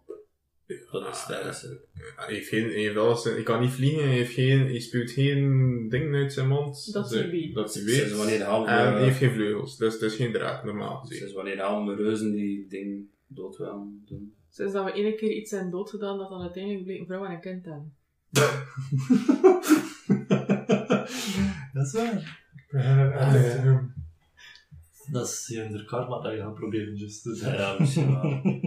Speaker 4: Dat is tijdens het.
Speaker 5: Hij heeft geen, hij heeft alles, hij kan niet vliegen, hij, heeft geen, hij spuwt geen ding uit zijn mond.
Speaker 7: Dat
Speaker 5: Ze-
Speaker 7: hij weet.
Speaker 5: Dat hij
Speaker 4: Sinds
Speaker 5: weet.
Speaker 4: wanneer halen
Speaker 5: En
Speaker 6: eh,
Speaker 5: hij heeft
Speaker 4: we...
Speaker 5: geen vleugels, dus het is geen draak, normaal gezien.
Speaker 4: Sinds wanneer halen we reuzen die ding dood willen doen?
Speaker 7: Sinds dat we ene keer iets zijn doodgedaan, dat dan uiteindelijk bleek een vrouw en een kind hebben.
Speaker 6: Dat is waar.
Speaker 3: Ik begin het
Speaker 6: Ah,
Speaker 3: eindelijk te
Speaker 6: ja.
Speaker 3: doen.
Speaker 6: Dat is je karma dat je gaat proberen, just. Dus,
Speaker 4: Ja, ja, misschien
Speaker 6: [LAUGHS]
Speaker 4: wel.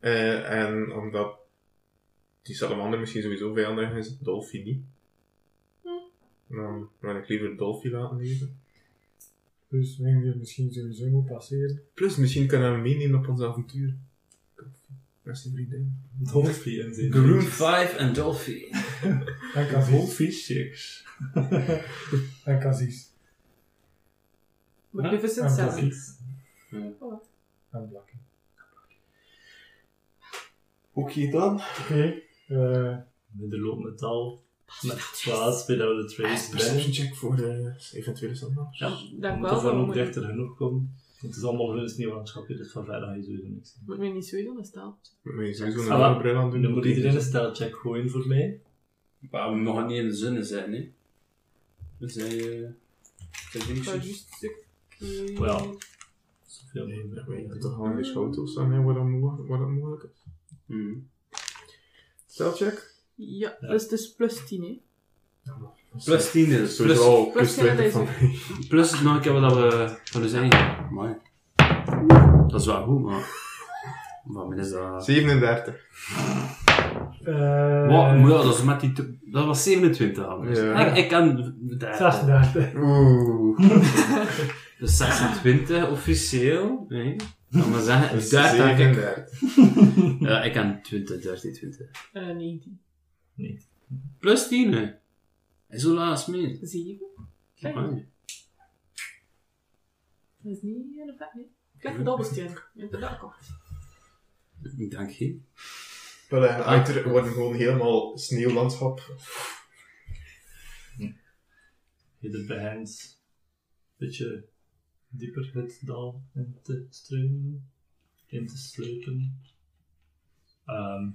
Speaker 5: Eh, en omdat die salamander misschien sowieso vijandig is, Dolphy niet. Dan wil ik liever Dolphy laten leven.
Speaker 3: Dus wing die misschien sowieso moet passeren.
Speaker 5: Plus, misschien kunnen we hem meenemen op ons avontuur. Dolphy, dat is een vriendin.
Speaker 6: Dolphy en zijn
Speaker 4: Groen
Speaker 6: vriendjes.
Speaker 4: 5 en Dolphy.
Speaker 3: Dank Aziz.
Speaker 5: Dolphy chicks.
Speaker 3: Dank Aziz.
Speaker 7: Magnificent
Speaker 3: En
Speaker 7: Seven.
Speaker 3: Blackie. En Blackie.
Speaker 5: Oké dan.
Speaker 3: Oké. eh,
Speaker 6: Met de loopende taal. Met plaats bij dat we de
Speaker 4: Ah,
Speaker 6: trace
Speaker 5: Perception
Speaker 6: brengen.
Speaker 5: check voor de eventuele salamanders.
Speaker 6: Ja,
Speaker 7: Dank
Speaker 6: we
Speaker 7: wel,
Speaker 6: moeten voor
Speaker 7: maar
Speaker 6: ook
Speaker 7: moet-
Speaker 6: dichter genoeg komen. Het is allemaal hun sneeuwlandschapje, dus van verder ga je sowieso niks zien.
Speaker 7: Moet mij niet sowieso een staal.
Speaker 5: Maar je sowieso
Speaker 6: Ah,
Speaker 5: een
Speaker 6: wel.
Speaker 5: lange bril aan doen. dus-
Speaker 6: Dan moet iedereen een stijlcheck gooien voor mij.
Speaker 4: Maar we nog niet in de zinnen zijn, hè? We zijn. eh, we zijn
Speaker 7: Ik ga
Speaker 4: dingetjes.
Speaker 7: juist stuk. eh,
Speaker 6: Wel. Zoveel
Speaker 5: Ja,
Speaker 6: mogelijk.
Speaker 5: maar je kunt toch gewoon in de schotel staan, hè, waar dat mo- waar dat mogelijk is.
Speaker 4: Mhm.
Speaker 5: Stelcheck.
Speaker 7: Ja,
Speaker 6: Ja.
Speaker 7: dus het is plus 10, hè.
Speaker 4: Plus 10 dus.
Speaker 5: Sowieso
Speaker 4: Plus,
Speaker 5: al plus
Speaker 7: plus zijn
Speaker 5: 20 van
Speaker 7: dat
Speaker 5: mij.
Speaker 4: plus nog een keer wat we van dus zijn. Amai. Dat is wel goed, maar. Maar wat is dat?
Speaker 5: 37.
Speaker 3: eh,
Speaker 4: Wat? Maar ja, dat, is dus met die te- dat was 27 al. Dus
Speaker 5: Ja.
Speaker 4: Ik, ik kan 30.
Speaker 3: 36.
Speaker 5: Oeh.
Speaker 4: Dus 26 officieel. Nee. Dan maar zeggen,
Speaker 5: Dus
Speaker 4: 30 heb ik.
Speaker 5: 37.
Speaker 4: Ja, ik kan 20, 13, 20.
Speaker 7: Eh 19.
Speaker 4: Plus 10 hè. En zo laat meer.
Speaker 7: 7. Kijk,
Speaker 4: Amai.
Speaker 7: dat is niet heel vet, nee. Ik leg een dobbelsteen. Ja, dat komt.
Speaker 4: Dank je.
Speaker 5: Wel, en uiter worden gewoon helemaal sneeuwlandschap.
Speaker 6: Hidden behind. Beetje dieper het dal in te struinen. In te slepen. Ehm,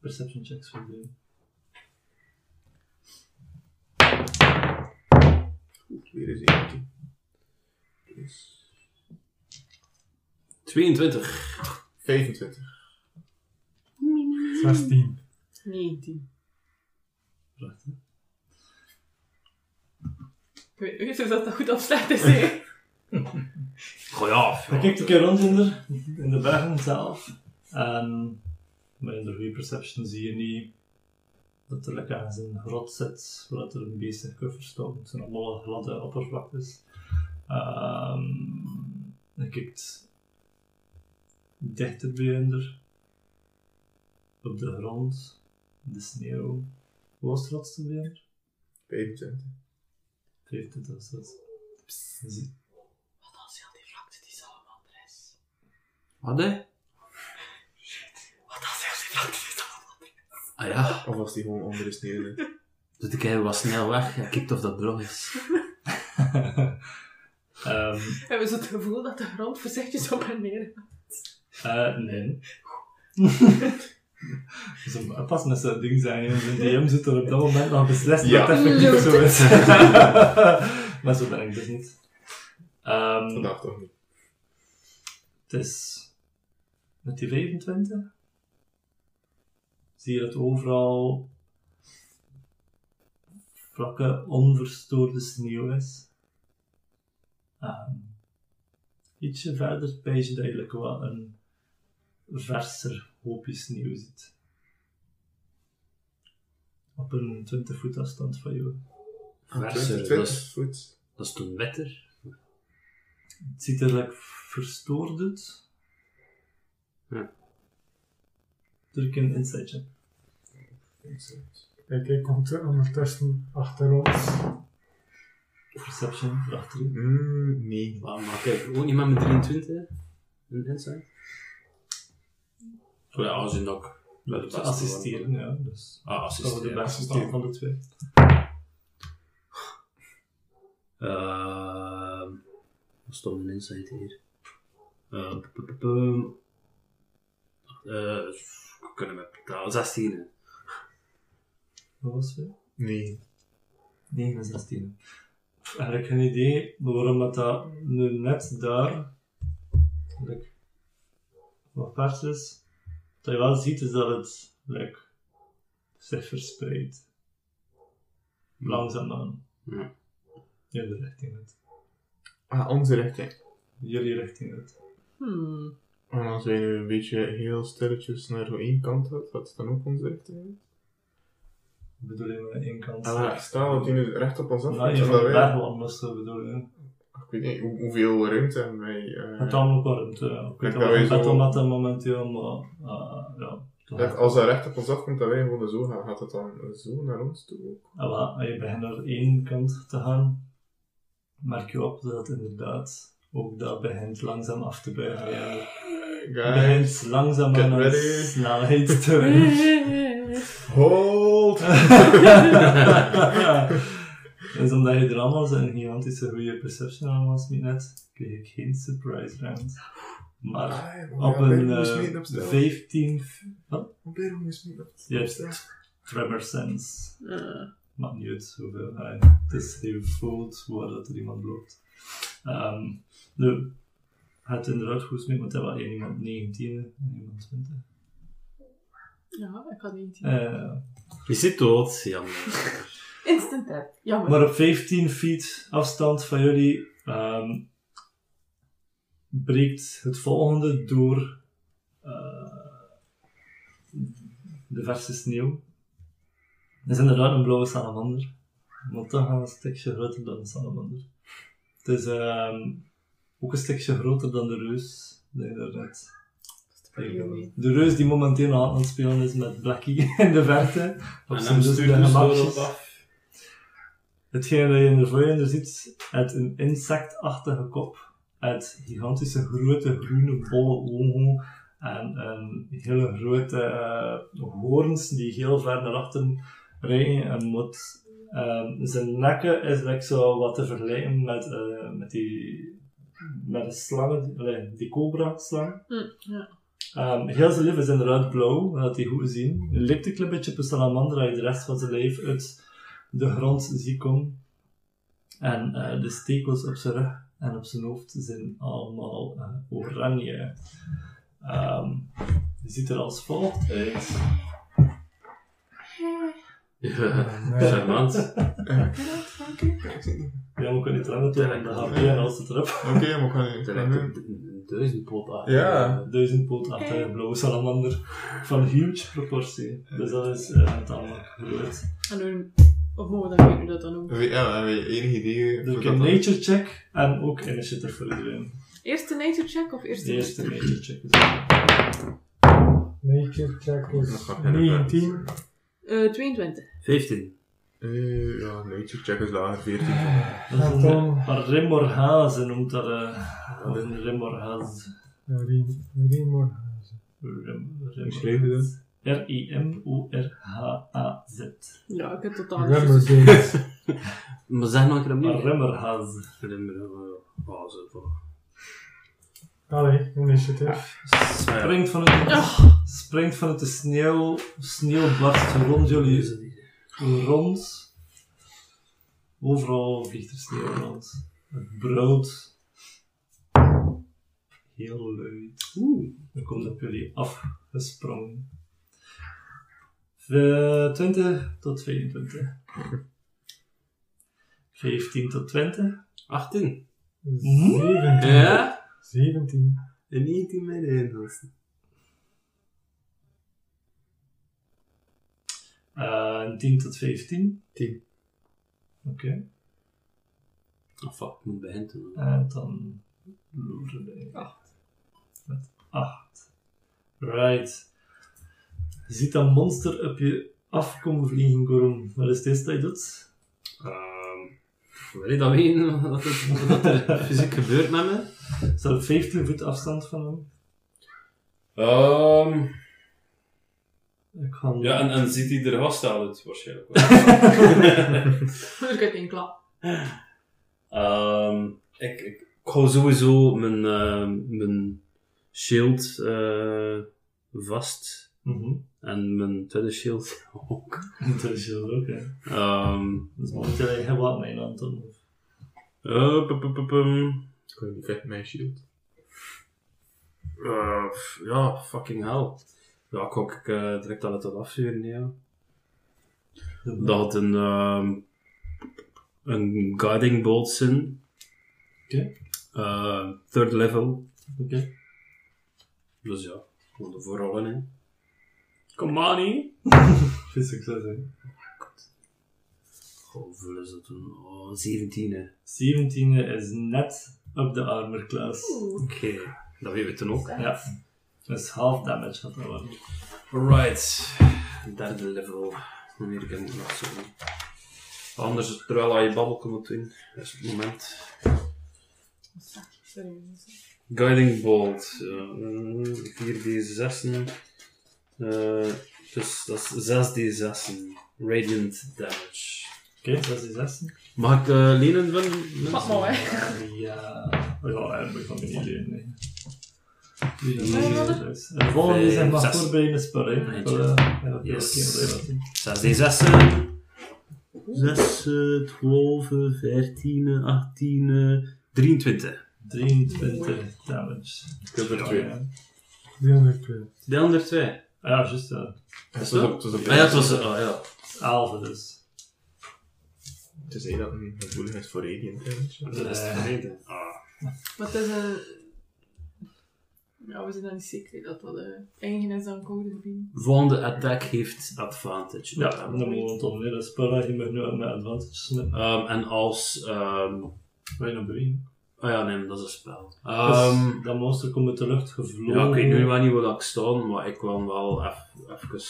Speaker 6: perception checks voor doen.
Speaker 5: Weer eens eentje. Dus
Speaker 4: 22.
Speaker 5: 25.
Speaker 3: 16.
Speaker 7: 19.
Speaker 6: Prachtig.
Speaker 7: Ik weet niet of dat dat goed of slecht is, hè.
Speaker 4: Goh ja,
Speaker 6: Ik kijk een keer rond in de, in de bergen zelf. En met in de goede perception zie je niet dat er lekker ergens een grot zit, waar dat er een beest in kuffers staat. Het zijn allemaal wel gladde oppervlaktes. Ehm je kijkt dichter bij onder, op de grond, in de sneeuw. Hoe was het rotste bij onder?
Speaker 5: 25.
Speaker 6: 25 was dat. Je ziet-
Speaker 7: Wat als heel die vlakte die salamander is?
Speaker 4: Wat hè?
Speaker 7: Wat als heel die vlakte die salamander
Speaker 4: Ah ja,
Speaker 5: Of was die gewoon onder de sneeuw? ligt?
Speaker 4: dus ik heb wat snel weg. Ja, kijk of dat droog is.
Speaker 6: [LAUGHS] Ehm,
Speaker 7: is? Hebben ze het gevoel dat de grond voorzichtig op en neer gaat?
Speaker 6: Eh, nee. [LAUGHS] Zo, pas met zo'n ding zijn, in zijn DM zit er op dat moment nog beslist
Speaker 5: Ja.
Speaker 6: dat het effectief zo is. [LAUGHS] maar zo ben ik dus niet. Ehm,
Speaker 5: Vandaag toch niet.
Speaker 6: het is met die 25 zie je dat overal vlakke, onverstoorde sneeuw is. Ehm, ietsje verder bij je duidelijk wel een verser hoopje sneeuw ziet. Op een 20 voet afstand van jou.
Speaker 4: Verser, Dus,
Speaker 5: 20,
Speaker 4: eh, dat is,
Speaker 5: 20 voet.
Speaker 4: dat is toen wetter.
Speaker 6: Het ziet er like, verstoord uit.
Speaker 4: Ja.
Speaker 6: Druk een insight check.
Speaker 3: Kijk, hij komt er ondertussen achter ons.
Speaker 6: Perception, achterin.
Speaker 4: Mm-hmm.
Speaker 5: Mm, nee.
Speaker 4: Maar, maar kijk, ook iemand met 23? Een insight? Oh ja, als je nog. wel de
Speaker 6: Te
Speaker 4: beste
Speaker 6: assisteren,
Speaker 4: van-
Speaker 6: ja. Dus
Speaker 4: Ah,
Speaker 6: dat we de
Speaker 4: assisteren.
Speaker 6: beste staan van de twee.
Speaker 4: Ehm, wat stond een insight hier? Eh, p- p- p- pum. Eh, we kunnen met totaal 16. hè.
Speaker 6: Wat was het?
Speaker 5: Nee.
Speaker 6: 16. Eigenlijk geen idee waarom dat, dat nu net daar like, wat vers is. Wat je wel ziet is dat het like, zich verspreidt. Langzaam dan.
Speaker 4: Mm. Ja.
Speaker 6: Jullie richting uit.
Speaker 5: Ah, onze richting.
Speaker 6: Jullie richting uit.
Speaker 7: Hmm.
Speaker 5: En als wij nu een beetje heel stilletjes naar één kant gaat, gaat het dan ook onze richting uit?
Speaker 6: Ik bedoel, je aan één kant.
Speaker 5: Ah, maar stel dat hij nu recht op ons af
Speaker 6: Nou,
Speaker 5: komt,
Speaker 6: je
Speaker 5: zodat
Speaker 6: van de
Speaker 5: wij-
Speaker 6: bergwandels te bedoelen.
Speaker 5: Ik weet niet, hoe- hoeveel ruimte hebben wij? eh,
Speaker 6: Het allemaal warmt, ja. Ik weet
Speaker 5: Ik
Speaker 6: dat
Speaker 5: wou je
Speaker 6: wel, het
Speaker 5: zo-
Speaker 6: omdat dat momenteel, maar eh, ja. toch
Speaker 5: dat als dat recht op ons afkomt, dat wij gewoon zo gaan, gaat het dan zo naar ons toe ook?
Speaker 6: Ah, wel, als je begint naar één kant te gaan, merk je op dat inderdaad ook dat begint langzaam af te buigen. Ja. Het
Speaker 5: Guys,
Speaker 6: begint langzaam
Speaker 5: get
Speaker 6: aan een
Speaker 5: ready.
Speaker 6: snelheid
Speaker 5: [LAUGHS]
Speaker 6: te winnen.
Speaker 4: [LAUGHS]
Speaker 5: hold!
Speaker 6: Dus omdat je er allemaal zo'n gigantische goede perception aan was, niet net, kreeg ik geen surprise round. Maar Ah, op een eh, 15
Speaker 5: Probeer hem eens niet op te
Speaker 6: Je
Speaker 5: stellen.
Speaker 6: hebt Trevor Sense.
Speaker 7: Eh,
Speaker 6: Maakt niet uit hoeveel. Allee, Het is je voelt waar dat er iemand loopt. Ehm nu, het inderdaad goed mee, want er was één iemand 19 en iemand 20.
Speaker 7: ja, ik had niet.
Speaker 6: Eh,
Speaker 4: Je zit dood, jammer.
Speaker 7: Instant death. Jammer.
Speaker 6: maar op 15 feet afstand van jullie ehm, breekt het volgende door eh, de verse sneeuw. Het is inderdaad een blauwe salamander. Want dan gaan we een stukje groter dan een salamander. Het is ehm, ook een stukje groter dan de reus die je daarnet tegenkwam. De reus die momenteel nog aan het spelen is met Blackie [LAUGHS] in de verte. Op
Speaker 4: En
Speaker 6: zijn
Speaker 4: hem stuurt
Speaker 6: dusdanige
Speaker 4: dus door
Speaker 6: bakjes.
Speaker 4: op af.
Speaker 6: Hetgeen dat je in de voorjaar ziet, uit een insectachtige kop, uit gigantische grote groene bolle ogen en een hele grote eh, hoorns die heel ver naar achteren reiken en moet. ehm, zijn nekken is like zo wat te vergelijken met, eh, met die met de slangen, allee, die cobra-slang.
Speaker 7: Hm, ja.
Speaker 6: Ehm, heel zijn lijf is inderdaad blauw, dat die goed zien. Het lijkt een klein beetje op een salamander, dat je de rest van zijn lijf uit de grond ziet komen. En eh, de stekels op zijn rug en op zijn hoofd zijn allemaal eh, oranje. Ehm die ziet er als volgt uit.
Speaker 4: [LAUGHS] Ja,
Speaker 3: Nee.
Speaker 4: charmant.
Speaker 6: Ja, we kunnen niet langer doen, want dan gaat weer en alles erop.
Speaker 5: Oké, maar ik ga
Speaker 4: Het
Speaker 5: niet. ik ga
Speaker 4: lijkt
Speaker 5: nu-
Speaker 4: op een duizendpot achter.
Speaker 5: Mhm. Ja.
Speaker 6: Duizend poot achter een blauwe salamander van huge proportie. Dus dat is eh tamelijk groot.
Speaker 7: En nu, of mogen we dat weten hoe dat dan ook?
Speaker 5: Weet- Ja, hebben we enig idee
Speaker 6: Dus
Speaker 5: hoe
Speaker 6: ik
Speaker 5: dat
Speaker 6: een
Speaker 5: dan-
Speaker 6: nature check en ook initiative voor iedereen.
Speaker 7: Eerste nature check of
Speaker 6: De
Speaker 7: eerste?
Speaker 6: eerste nature check is goed.
Speaker 3: Nature check
Speaker 5: Nog
Speaker 3: is
Speaker 5: wat
Speaker 3: 19.
Speaker 7: Eh, 22.
Speaker 4: 15.
Speaker 5: Eh, Ja, nature check is lager, 14.
Speaker 4: Ah,
Speaker 6: Dat is een,
Speaker 3: Anton.
Speaker 6: een remorhaze noemt dat. eh, of een remorhaze.
Speaker 3: Riemorhazen.
Speaker 6: Rem,
Speaker 5: Hoe schrijf je dat?
Speaker 6: R-I-M-O-R-H-A-Z.
Speaker 7: Ja, ik heb totaal niet
Speaker 3: Remmer
Speaker 7: gezien.
Speaker 3: Games.
Speaker 4: Maar zeg nog een keer
Speaker 6: Een
Speaker 4: opnieuw.
Speaker 6: remmerhaze.
Speaker 4: eh, oh,
Speaker 3: Allee, initiative.
Speaker 6: Springt vanuit, de, springt vanuit de sneeuw. Sneeuw barst rond jullie rond. Overal vliegt er sneeuw rond. Het brood. Heel luid. Dan komt op jullie afgesprongen. Eh, 20 tot 22. 15 tot 20.
Speaker 4: 18.
Speaker 3: 17.
Speaker 4: Ja?
Speaker 3: 17.
Speaker 4: En 19 met de inhalsten.
Speaker 6: eh 10 tot 15.
Speaker 5: 10.
Speaker 6: Oké.
Speaker 4: Oh fuck, ik moet bij hen toe.
Speaker 6: En dan loeren we 8. Met 8. Right. Je ziet dat monster op je afkomen vliegen, Gorum. Wat is dit dat je doet?
Speaker 4: Ehm, Wil je dat weten? [LAUGHS] Wat er, wat er [LAUGHS] fysiek gebeurt met me?
Speaker 6: Is dat op 15 voet afstand van hem?
Speaker 4: Ehm,
Speaker 6: Ik ga
Speaker 4: ja, en, en ziet hij er vast uit, waarschijnlijk wel. [LAUGHS]
Speaker 7: [LAUGHS] Maar Dus ik heb één klap.
Speaker 4: Ehm, ik, ik, ik hou sowieso mijn, ehm, mijn shield eh, vast.
Speaker 6: Mhm. [LAUGHS]
Speaker 4: En mijn tweede shield [LAUGHS] ook.
Speaker 6: Dat is heel leuk, hè.
Speaker 4: Ehm
Speaker 6: Dus momenteel heb je heel wat mee aan het doen.
Speaker 4: eh, pu- pu- pu- pum.
Speaker 5: Ik kan niet vechten mijn shield.
Speaker 4: Eh, pff, ja, fucking hell. Ja, ik ook ik, eh, direct al het dat afzuren, ja. Dat had een ehm een guiding bolt zin.
Speaker 6: Oké.
Speaker 4: Eh, third level.
Speaker 6: Oké.
Speaker 4: Dus ja, gewoon de voorrollen in. Come on,
Speaker 6: [LAUGHS]
Speaker 4: hè.
Speaker 6: Veel succes, hè.
Speaker 4: Hoeveel is dat toen? Oh, 17, hè.
Speaker 6: 17 is net op de armor class.
Speaker 4: Oké, dat weet we toen ook.
Speaker 6: Ja. Dus half damage gaat dat worden.
Speaker 4: Alright, derde level. Wanneer kan ik nog zo doen. Anders, terwijl hij je babbel komt doen, dat is het moment.
Speaker 7: Sorry, mensen.
Speaker 4: Guiding Bolt. eh, 4d6. eh dus dat is 6d6. Radiant damage.
Speaker 6: Oké, 6 is 6.
Speaker 4: Mag ik eh, lenen van
Speaker 7: Pak
Speaker 4: mensen?
Speaker 7: maar, hè.
Speaker 6: Ja, we gaan eigenlijk van niet leren. nee. Die
Speaker 4: Nee.
Speaker 6: gaan we niet leren. En de volgende is een
Speaker 4: Vijf,
Speaker 6: mag
Speaker 4: zes.
Speaker 6: voorbereiden spel, hè.
Speaker 4: Nee,
Speaker 6: Voor,
Speaker 4: ja.
Speaker 6: eh, ja, dat
Speaker 4: Yes.
Speaker 6: is geen probleem.
Speaker 4: 6d6. 6, 12, 14, 18, 23.
Speaker 6: 23 damage.
Speaker 5: Ik heb er
Speaker 6: Ja,
Speaker 5: twee.
Speaker 6: ja.
Speaker 3: Die andere twee.
Speaker 4: De andere twee.
Speaker 6: Ah ja, juist. ja.
Speaker 5: Het was
Speaker 4: dat?
Speaker 5: op- het was op-
Speaker 4: Ah ja, het was... eh, ah ja.
Speaker 6: 11 dus.
Speaker 5: Het is één dat een gevoelig is voor radiant damage.
Speaker 4: Dat is
Speaker 6: Eh.
Speaker 4: de reden. Ah.
Speaker 7: Maar het is een... Ja, we zijn dan niet zeker dat dat eh eigen is aan code gebied.
Speaker 4: Volgende attack heeft advantage.
Speaker 6: Ja, dan moeten we gewoon tot leren spellen. Je mag nu ook met advantage snippen.
Speaker 4: Ehm, en als... ehm
Speaker 6: Wij naar bewegen.
Speaker 4: oh ja, nee, dat is een spel. Ehm,
Speaker 6: Dus dat monster komt uit de lucht gevlogen.
Speaker 4: Ja, ik weet nu wel niet waar ik sta, maar ik kwam wel eff- even.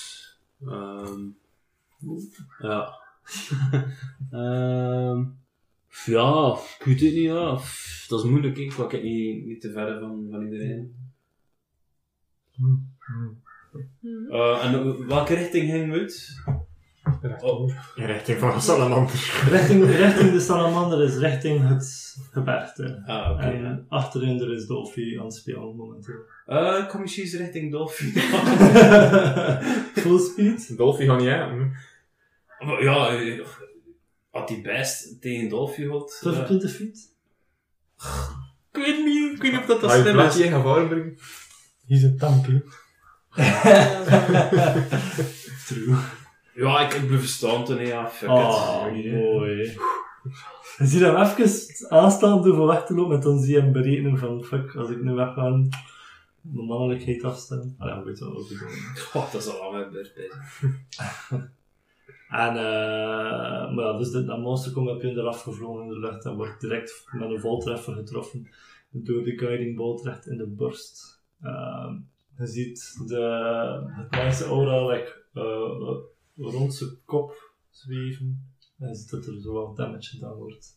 Speaker 4: ehm, ja. [LAUGHS] Ehm, ja, ik weet het niet. Ja. Pff, Dat is moeilijk, hè. ik kwak het niet, niet te ver van, van iedereen.
Speaker 3: Hm,
Speaker 6: Hmm.
Speaker 3: hm.
Speaker 7: Hm.
Speaker 4: Eh, en welke richting ging we uit? Oh,
Speaker 3: Rechtdoor.
Speaker 5: In richting van een salamander.
Speaker 6: Richting, richting de salamander is richting het gebergte.
Speaker 4: Ah, oké.
Speaker 6: En eh, achterin er is Dolphy aan het spelen momenteel.
Speaker 4: Eh, ik kom misschien eens richting Dolphin.
Speaker 6: Full speed?
Speaker 5: Dolphy gaat niet aan.
Speaker 4: Maar [LAUGHS] ja, eh, had die best tegen Dolphin gehad? eh,
Speaker 6: 25 feet?
Speaker 4: ik weet niet, ik weet niet of dat, dat
Speaker 5: Ga Ah, je het
Speaker 4: slim is.
Speaker 5: plaatje in gevaar brengen?
Speaker 3: Hier is het tankje.
Speaker 6: [LAUGHS] True.
Speaker 4: Ja, ik, ik blijf staan toen, hè. ja. Fuck
Speaker 6: Oh,
Speaker 4: it.
Speaker 6: mooi. Je ziet hem even aanstaan door van weg te lopen en dan zie je hem berekenen van fuck, als ik nu weg ga, mijn mannelijkheid afstaan. Ah ja, weet wel wat ik bedoel.
Speaker 4: Goh, Oh, dat is al aan mijn beurt bezig.
Speaker 6: En, eh, maar ja, dus dat, dat monster komt op je eraf gevlogen in de lucht en wordt direct met een voltreffer getroffen door de guiding bolt recht in de borst. Ehm, je ziet de, het meisje aura like, eh, rond zijn kop zweven en je ziet dat er zo wat damage gedaan wordt.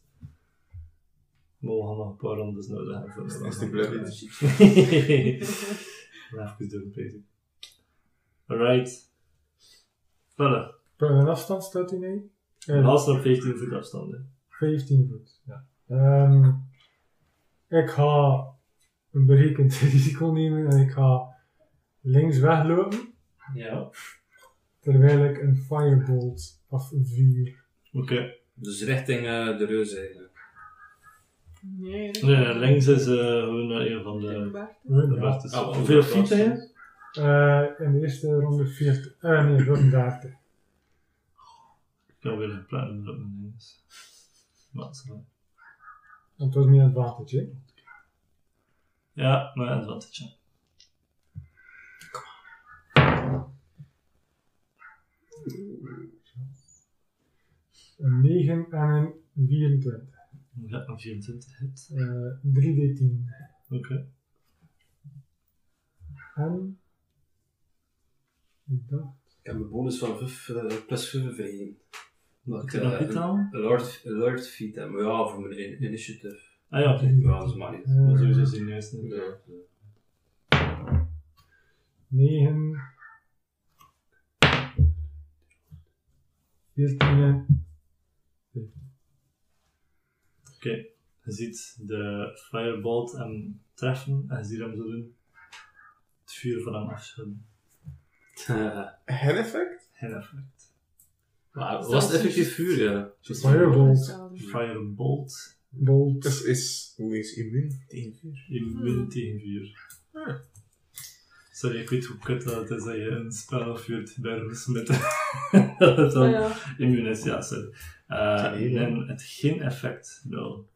Speaker 6: Maar we gaan nog een paar rondes nodig hebben voor
Speaker 5: Is die bloody?
Speaker 6: [LAUGHS] Ja, even doen, bezig. Alright. Vullen.
Speaker 3: Op een afstand staat hij mee.
Speaker 6: En
Speaker 3: En
Speaker 6: als er op 15 voet afstand. hè.
Speaker 3: 15 voet. Ja. Ehm, ik ga een berekend [LAUGHS] risico nemen en ik ga links weglopen
Speaker 6: Ja. Oké.
Speaker 3: terwijl ik een firebolt of een vuur.
Speaker 4: Dus richting eh, de reus eigenlijk.
Speaker 7: Nee,
Speaker 6: Nee, nee, links is eh, gewoon eh, een van de.
Speaker 7: Oké.
Speaker 6: de
Speaker 3: Ja.
Speaker 6: wachters.
Speaker 4: Ah,
Speaker 6: Hoeveel
Speaker 4: dat was-
Speaker 6: feet ben je?
Speaker 3: Eh, in de eerste ronde 40, eh nee, 35.
Speaker 6: Ik kan weer een plannen dat mijn ding is. Maar het is wel-
Speaker 3: Dat was niet advantage, hè?
Speaker 6: Ja, maar advantage. ja.
Speaker 3: Een 9 en een 24.
Speaker 6: Ja, een 24 hit.
Speaker 3: Eh 3d10.
Speaker 6: Oké.
Speaker 3: En. Ik dacht.
Speaker 4: Ik heb een bonus van vijf, eh, plus 5 vrijen.
Speaker 6: Wat
Speaker 4: Ik,
Speaker 6: kan
Speaker 4: eh,
Speaker 6: nog niet aan?
Speaker 4: Alert, alert feed hebben. Maar Ja, voor mijn in- initiative.
Speaker 6: Ah ja, oké.
Speaker 4: Ja, dat is maar niet.
Speaker 6: Maar
Speaker 3: eh,
Speaker 6: sowieso zien juist niet.
Speaker 4: Ja.
Speaker 3: 9. 14.
Speaker 6: Oké, je ziet de firebolt hem treffen en je ziet hem zo doen. Het vuur van hem afschudden.
Speaker 5: Hen effect?
Speaker 6: Geen effect.
Speaker 4: maar [LAUGHS] was het effectief vuur, ja?
Speaker 3: Firebolt.
Speaker 7: dus.
Speaker 6: Firebolt,
Speaker 3: Bolt.
Speaker 5: Dus
Speaker 7: Mm.
Speaker 5: is... Hoe is immuun tegen vuur?
Speaker 6: immuun tegen vuur.
Speaker 5: Ah.
Speaker 6: Sorry, ik weet hoe kut dat het is dat je een spel of je bergens met dat het dan
Speaker 7: [LAUGHS] Ah, ja.
Speaker 6: immuun is. Ja, sorry. Eh,
Speaker 5: Het is heel-
Speaker 6: en het geen effect, wel.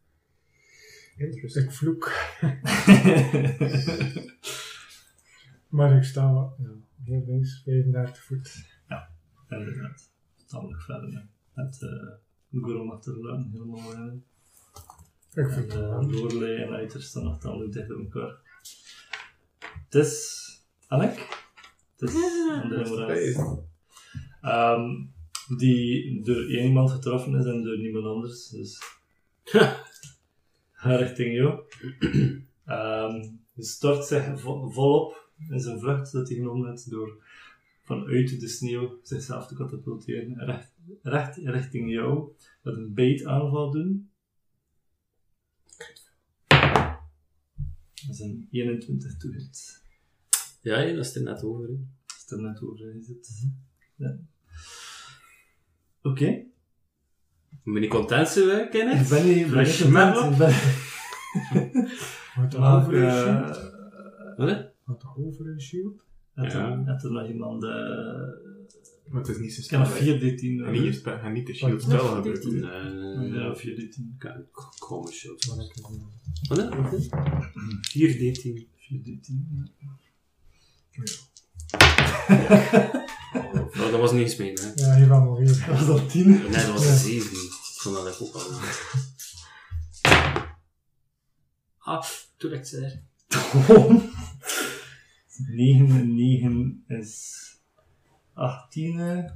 Speaker 5: Interesting.
Speaker 3: Ik vloek. Maar ik sta wel, ja, heel links, 35 voet.
Speaker 6: Inderdaad. Tamelijk verder. hè. Met eh Gorom achterlaten, helemaal mooi.
Speaker 3: Ik
Speaker 6: En
Speaker 3: vloek.
Speaker 6: eh Lorelei en Uiters staan nog tamelijk dicht bij elkaar. Het is Alec. Het is aan de moraes. Ehm, die door één iemand getroffen is en door niemand anders. Dus. Ga richting jou. Ehm, hij stort zich vo- volop in zijn vlucht dat hij genomen heeft door vanuit de sneeuw zichzelf te katapulteren. Recht, recht richting jou. Dat een bait aanval doen. Dat is een 21 toegehit.
Speaker 4: Ja, ja, dat is er net over. hè. Mhm.
Speaker 6: Als het er net over is het. Ja. Oké.
Speaker 4: Moet ik content zijn, hè,
Speaker 6: Ik
Speaker 4: Kenneth?
Speaker 6: ben hier. Ben
Speaker 4: Fresh
Speaker 6: ik
Speaker 4: metal?
Speaker 6: ben...
Speaker 3: Wat de
Speaker 6: Maar,
Speaker 3: overige
Speaker 6: eh,
Speaker 3: shield?
Speaker 4: Wat?
Speaker 3: Wat de overige shield?
Speaker 6: had er-
Speaker 4: Ja.
Speaker 6: had er nog iemand. eh
Speaker 5: Maar het is niet zo
Speaker 6: ik kan nog
Speaker 5: hè.
Speaker 6: 4d10.
Speaker 5: En hier spe- en niet de shield spel gebruiken.
Speaker 4: Nee,
Speaker 6: eh, Ja,
Speaker 4: Eh, ja.
Speaker 6: 4d10.
Speaker 4: Kom eens, joh.
Speaker 3: Wat ik eh,
Speaker 4: Wat? Wat? 4D10.
Speaker 6: 4d10. ja. [LAUGHS]
Speaker 4: Oh, dat was niks mee, hè?
Speaker 3: Ja, hier van weer.
Speaker 6: [LAUGHS] Dat was al 10.
Speaker 4: Nee, dat was
Speaker 3: Ja.
Speaker 4: een 7. Ik vond dat ook al. Ah, toen ik het zei.
Speaker 6: 9 en 9 is 18.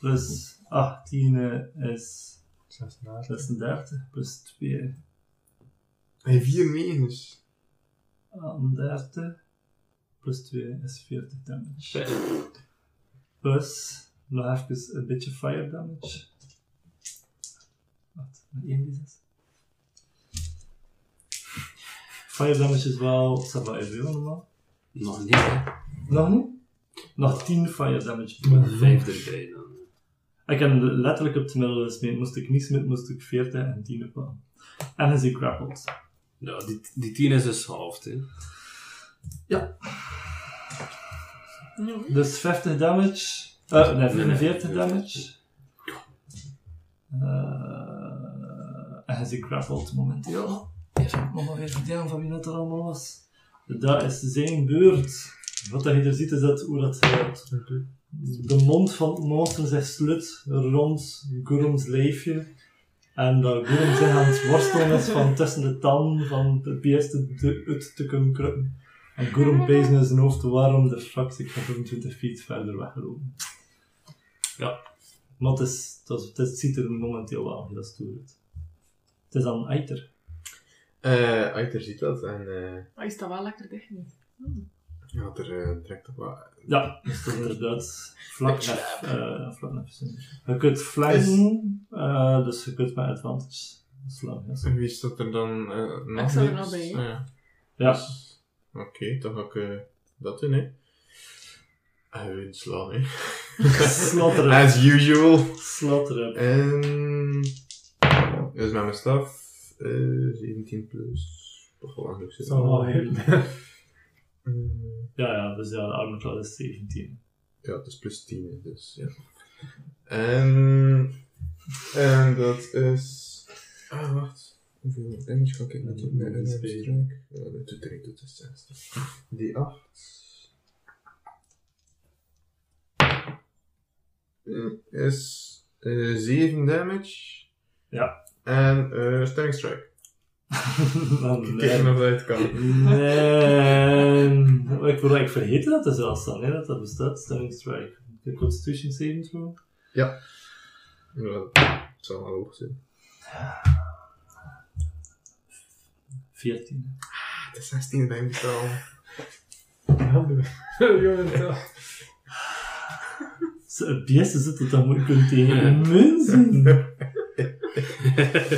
Speaker 6: Plus 18 is
Speaker 3: 36.
Speaker 6: 36. Plus 2
Speaker 5: En vier negens.
Speaker 6: 38 plus 2 is 40 damage. Plus nog even een beetje fire damage. Wat? Met 1 die 6? Fire damage is wel. Staat wel even heel normaal.
Speaker 4: Nog niet, hè?
Speaker 6: Nog niet? Nog 10 fire damage.
Speaker 4: Vijfde erbij dan.
Speaker 6: Ik heb hem letterlijk op het middel gesmeed. Moest ik niet smeden, moest ik 40 en 10 op En hij is grappled.
Speaker 4: Ja, die, die 10 is dus half, hè?
Speaker 6: Dus 50 damage. eh nee,
Speaker 4: Nee, nee,
Speaker 6: 45
Speaker 4: nee.
Speaker 6: damage. Eh, en hij is grappled momenteel. Even, ik moet nog even delen van wie dat er allemaal was. Dat is zijn beurt. Wat dat je er ziet is dat hoe dat eh, de mond van het monster zich slut rond Gurum's lijfje. En dat Gurum zich aan het worstelen is van tussen de tanden van de beest te- uit te kunnen kruppen. En Gurum bezig in zijn hoofd waarom de fuck ik ga 25 feet verder weglopen.
Speaker 4: Ja.
Speaker 6: Maar het, is, het, is- het ziet er momenteel wel heel stoer uit. Het is aan Eiter.
Speaker 5: Eh, Aiter ziet dat en eh
Speaker 7: Hij staat wel lekker dicht nu.
Speaker 5: ja, er eh, trekt op wat.
Speaker 6: Ja, dat is inderdaad vlak naar eh, vlak naar verzoening. Je kunt flanken, eh, dus je kunt met advantage slaan. Ja,
Speaker 5: En wie staat er dan eh nog
Speaker 7: Ik sta er
Speaker 5: negens?
Speaker 7: nog bij, hè.
Speaker 5: Ah, ja.
Speaker 6: ja.
Speaker 5: Dus, Oké, dan ga ik eh, dat doen, hè. En we slaan, hè.
Speaker 6: Slotteren.
Speaker 5: As usual.
Speaker 6: Slotteren.
Speaker 5: En... Dus met mijn staf, eh 17 plus... Toch wel aan
Speaker 3: Het
Speaker 5: zitten.
Speaker 3: zal wel heel
Speaker 5: Eh,
Speaker 6: Ja, ja, dus ja, de armor class is 17.
Speaker 5: Ja, het is plus 10, hè, dus ja. En... En dat is... Ah, wacht. Hoeveel damage ga ik met doen? Met een strike? Ja, dat doet er niet, dat is 60. Die 8... Is... eh 7 damage.
Speaker 6: Ja.
Speaker 5: En eh Stunning Strike.
Speaker 6: Dan, eh,
Speaker 5: Kijken of dat het kan.
Speaker 6: En ik wil eigenlijk vergeten dat er zelfs dan, hè, dat dat bestaat. Stunning Strike. De Constitution saving throw.
Speaker 5: Ja, het zal wel hoog zijn.
Speaker 6: 14.
Speaker 5: Ah, Het is 16 bij ik al.
Speaker 3: handig. Jongen, toch.
Speaker 6: Biessen zit het dan moet kunnen tegen
Speaker 4: [LAUGHS]
Speaker 6: mensen. nee,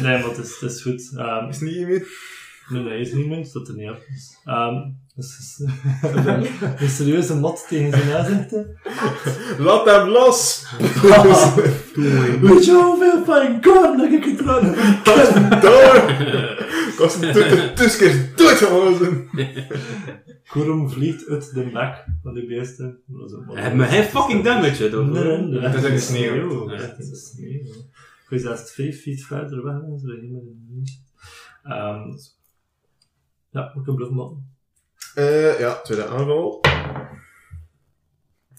Speaker 6: maar het is, het is goed. Ehm,
Speaker 5: Is niet meer.
Speaker 6: nee, nee, is niet munt, dat er niet op. is. Ehm, dus, [LAUGHS] een serieuze mat tegen zijn aanzichten.
Speaker 5: Laat hem los!
Speaker 4: [LAUGHS]
Speaker 6: Weet je hoeveel fijn korn dat ik getrokken heb?
Speaker 5: Door! Kost doet het tussen doodgehozen.
Speaker 6: Kurum vliegt uit de bek van de beesten. Dat is een bal.
Speaker 4: Hij- Maar hij fucking damage, toch?
Speaker 6: Nee, nee, nee.
Speaker 5: Dat is in de sneeuw.
Speaker 6: Ja, dat is in de sneeuw. Je is zelfs vijf feet verder weg, hè, zo helemaal in de niche. Ehm, Ja, moet ik een bluff maken.
Speaker 5: Eh ja, tweede aanval.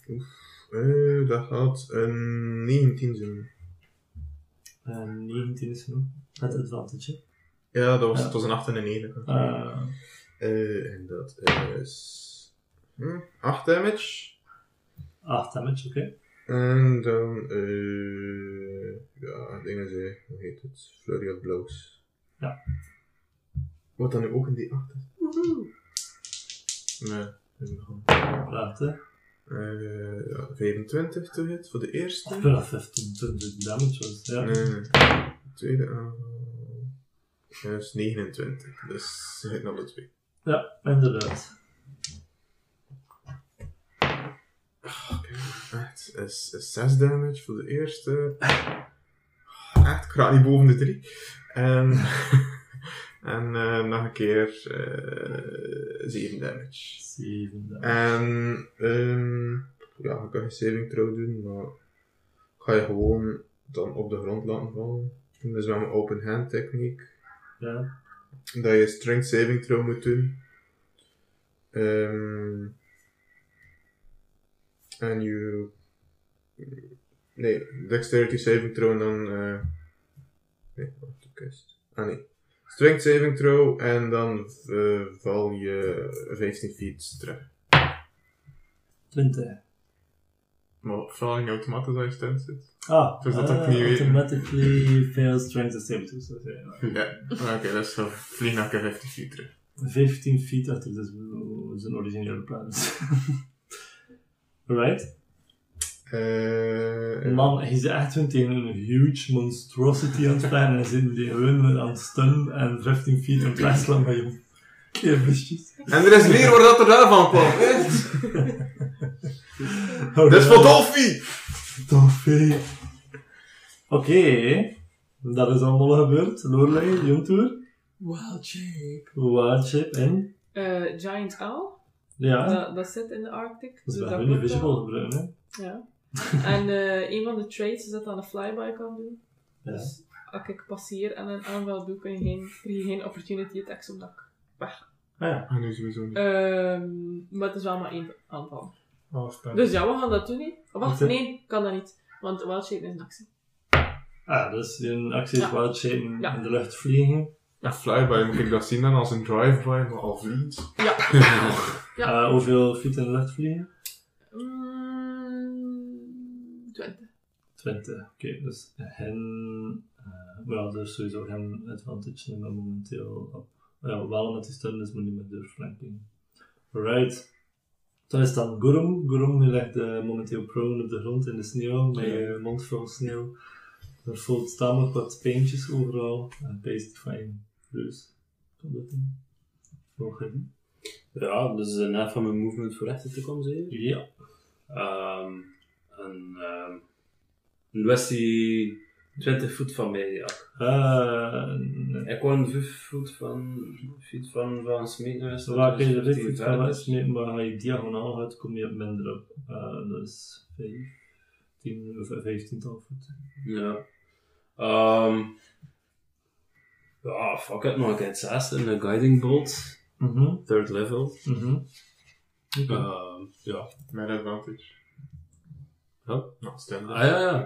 Speaker 5: Oef, eh, dat gaat een 19 zijn.
Speaker 6: Eh, 19 is genoeg. Met advantage. hè.
Speaker 5: Ja, dat was,
Speaker 6: Ja.
Speaker 5: het was een 8 en een 9.
Speaker 6: Eh,
Speaker 5: Eh, en dat is... Hm, 8 damage.
Speaker 6: 8 damage, oké.
Speaker 5: En dan... eh ja, dingen ze. Hoe heet het? Flurry of Blows.
Speaker 6: Ja.
Speaker 5: Wat dan nu ook in die 8 is. Nee. dat is nog een-
Speaker 6: Praat, hè.
Speaker 5: Eh, ja, 25 te hit voor de eerste.
Speaker 6: Ik wil dat 15, 20 damage was. Ja.
Speaker 5: Nee, nee. Tweede aanval. Ja, dat is 29. Dus ze hitten alle twee.
Speaker 6: ja, inderdaad.
Speaker 5: Echt, is, is 6 damage voor de eerste. Echt, ik raak niet boven de 3. En, [LAUGHS] en eh, nog een keer eh 7 damage.
Speaker 6: 7 damage.
Speaker 5: En ehm ja, ik kan geen saving throw doen, maar ik ga je gewoon dan op de grond laten vallen. Dat is wel mijn open hand techniek.
Speaker 6: Ja.
Speaker 5: dat je strength saving throw moet doen. Ehm en je. Nee, dexterity saving throw en dan. eh nee, wacht, de kust. Ah nee. Strength saving throw en dan eh, val je 15 feet terug.
Speaker 6: 20.
Speaker 5: Maar val je automatisch als je stand zit?
Speaker 6: Ah,
Speaker 5: Dus dat dat
Speaker 6: eh,
Speaker 5: niet weer-
Speaker 6: automatically fails strength and save. Dus dat is, ja.
Speaker 5: Ja, Ah, oké, dat is wel vliegen 15 feet terug.
Speaker 6: 15 feet achter dus we- zijn originele plan. [LAUGHS] Alright?
Speaker 5: Eh
Speaker 6: Man, hij is echt gewoon tegen een huge monstrosity aan het vechten en hij zit die gewoon aan het stunnen en 15 feet aan het wegslaan bij je keelvisjes.
Speaker 5: en er is weer waar dat er daarvan kwam. Echt? Oh, Dat is voor Dolphy!
Speaker 6: Toffee. Oké, dat is allemaal gebeurd. Lorelei, Jontour,
Speaker 7: Wild shape.
Speaker 6: Wildship en...
Speaker 7: Eh, Giant Owl.
Speaker 6: Ja,
Speaker 7: Dat, dat zit in de Arctic.
Speaker 6: dat is
Speaker 7: dus
Speaker 6: wel
Speaker 7: klopt
Speaker 6: een visible gebruik, hè?
Speaker 7: Ja. en eh, een van de traits is dat je aan een flyby kan doen.
Speaker 6: Ja.
Speaker 7: Dus als ik passeer en een aanval doe, kun je geen, krijg je geen opportunity attack omdat ik weg.
Speaker 6: Ah ja.
Speaker 5: Ah, nu sowieso niet.
Speaker 7: Ehm, maar het is wel maar één aanval.
Speaker 3: Alles daar.
Speaker 7: Dus ja, we gaan dat doen. Hè. Wacht,
Speaker 6: Oké.
Speaker 7: nee, kan dat niet. Want wild shape is een actie.
Speaker 6: Ah, dus in actie is
Speaker 7: Ja.
Speaker 6: Wildshape
Speaker 7: Ja.
Speaker 6: in de lucht vliegen.
Speaker 5: Een flyby moet ik dat zien dan als een drive-by, maar al vliegt.
Speaker 7: Ja.
Speaker 6: Eh, hoeveel feet in de lucht vliegen?
Speaker 7: Mm, 20.
Speaker 6: 20. Oké, dus hen. eh maar ja, er is sowieso geen advantage nemen momenteel op. Ja, wel met die stun, dus moet niet met deurflanking. Alright. Dan is dan Gurum. Gurum die ligt eh, momenteel prone op de grond in de sneeuw, met je mond vol sneeuw. Er voelt tamelijk wat peentjes overal. En based fine. Dus, kan dat doen. Nog even.
Speaker 4: Ja, dus een net van mijn movement voor rechter te komen, zeker?
Speaker 6: Ja.
Speaker 4: Ehm en ehm en was hij 20 voet van mij, ja.
Speaker 6: Eh, nee.
Speaker 4: Ik kwam 5 voet van, voet van, van Smeet naar dus
Speaker 6: Zo Waar kun je de richting van uitsmeten, maar als je diagonaal gaat, kom je op minder op. Eh, dat is 15 of 15 tal voet.
Speaker 4: Ja. Ehm ja, fuck it, nog een keer het zesde, een guiding bolt,
Speaker 6: Mhm.
Speaker 4: third level.
Speaker 6: Mhm. Oké.
Speaker 4: Ehm ja.
Speaker 5: Met advantage.
Speaker 4: Huh?
Speaker 5: Nou, stem.
Speaker 4: Ah ja, ja.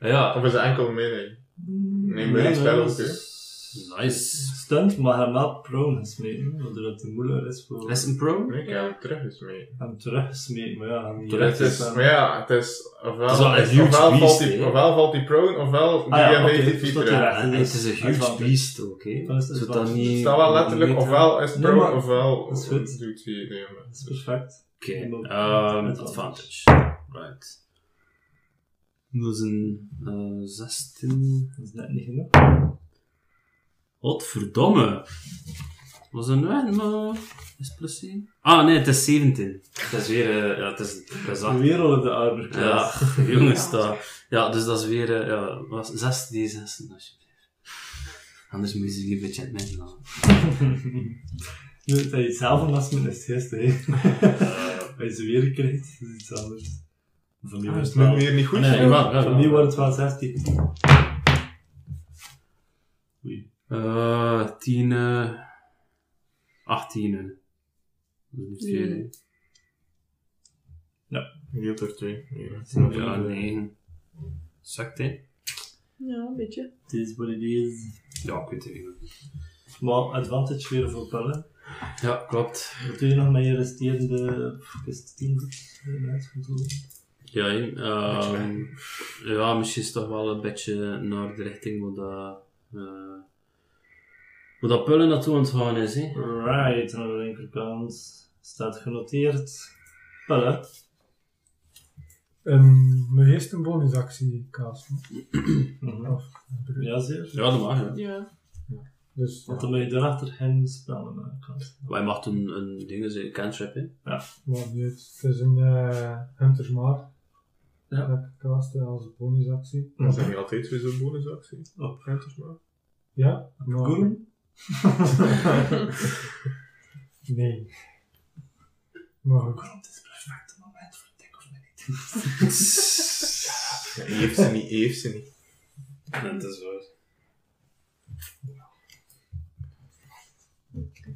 Speaker 4: Ah, Ja,
Speaker 5: Of is het enkel melee? Nee, maar die
Speaker 6: Ja,
Speaker 5: spellen
Speaker 6: dat
Speaker 5: ook, hè.
Speaker 6: is
Speaker 4: nice.
Speaker 6: Stunt, maar hij maakt prone gesmeten, waardoor het moeilijker is voor
Speaker 4: Is een pro?
Speaker 5: Nee, ik heb hem terug eens mee.
Speaker 6: hem terug gesmeten. Maar ja, hij
Speaker 4: Terug
Speaker 5: Het is,
Speaker 6: hij-
Speaker 5: maar ja, het is... Ofwel,
Speaker 4: Het is wel een huge
Speaker 5: ofwel,
Speaker 4: beast,
Speaker 5: valt die,
Speaker 4: hè.
Speaker 5: ofwel valt die prone, ofwel die
Speaker 6: Ah ja,
Speaker 5: hem
Speaker 6: oké,
Speaker 5: 15
Speaker 6: dus
Speaker 5: feet
Speaker 6: dat
Speaker 5: terug.
Speaker 6: hij-
Speaker 4: Ja, en het is een huge
Speaker 6: Advantage.
Speaker 4: beast ook, hè.
Speaker 6: Dat is
Speaker 4: Zodat dat
Speaker 6: advantage.
Speaker 4: niet...
Speaker 5: Het staat wel letterlijk,
Speaker 4: niet-
Speaker 5: ofwel is het
Speaker 6: Nee,
Speaker 5: prone,
Speaker 6: maar-
Speaker 5: ofwel
Speaker 6: dat is goed.
Speaker 5: doet hij die hem.
Speaker 6: Dat is perfect.
Speaker 4: Oké,
Speaker 6: Remote
Speaker 4: ehm,
Speaker 6: control.
Speaker 4: advantage. Right. Dat is een eh 16.
Speaker 6: Dat is net niet genoeg.
Speaker 4: Wat verdomme! Was dat nou echt maar? Is plus 7? Ah nee, het is 17. Het is weer, eh, ja, het is, het is acht.
Speaker 6: Weer al op de armor
Speaker 4: Ja,
Speaker 6: [LAUGHS] class.
Speaker 4: [LAUGHS] jongens, dat. Ja, dus dat is weer, eh, ja, was 6 d 6 alsjeblieft.
Speaker 8: Anders moesten ze die budget met laten.
Speaker 6: Nu doet hij hetzelfde als mijn eerste
Speaker 4: [LAUGHS]
Speaker 6: gast, hè. Hij is weer gekregen, dat is iets anders. Van die wordt het
Speaker 5: ben
Speaker 6: wel...
Speaker 5: weer niet goed.
Speaker 4: Nee,
Speaker 5: Ja.
Speaker 4: jawel, jawel.
Speaker 6: Van die wordt het wel 16. Oei.
Speaker 4: Eh, 10, eh, 18. eh. Dat is niet veel, hè.
Speaker 5: Die had er twee. Ja,
Speaker 4: Ja, 9. Zakt, hè?
Speaker 7: Ja, een beetje.
Speaker 6: Het is wat het is.
Speaker 4: Ja, ik weet het niet.
Speaker 6: Maar advantage weer voor pellen.
Speaker 4: Ja, klopt.
Speaker 6: Wat doe je nog met je resterende... pff, Is het 10 goed? Eh, mensen goed doen?
Speaker 4: Ja, hè, ehm, ja, misschien is het toch wel een beetje naar de richting waar dat, eh waar dat pullen naartoe aan het gaan is. Hè.
Speaker 6: Right, aan de linkerkant staat genoteerd. Pellen.
Speaker 3: En Ehm, mijn eerste bonusactie casten.
Speaker 6: Mhm.
Speaker 3: Of, eh,
Speaker 6: Jazeer.
Speaker 4: Ja, dat mag. Hè.
Speaker 7: Ja.
Speaker 3: Dus
Speaker 6: Want dan ben je daarachter hem spellen eh, maken.
Speaker 4: Wij mag een, een ding zijn, een cantrip. Hè.
Speaker 3: Wat niet. uit. Het is een eh Hunter's Mark.
Speaker 6: Ja.
Speaker 3: Dat ik casten als bonusactie.
Speaker 5: Dat zijn niet altijd weer zo'n bonusactie.
Speaker 6: Op
Speaker 5: Hunters, maar.
Speaker 3: Ja, maar...
Speaker 6: Goeroen?
Speaker 3: [LAUGHS] Nee. Maar goed.
Speaker 6: Het is perfect moment voor dik of niet.
Speaker 5: Ja, hij heeft ze niet, hij heeft ze niet.
Speaker 4: dat is waar. Ik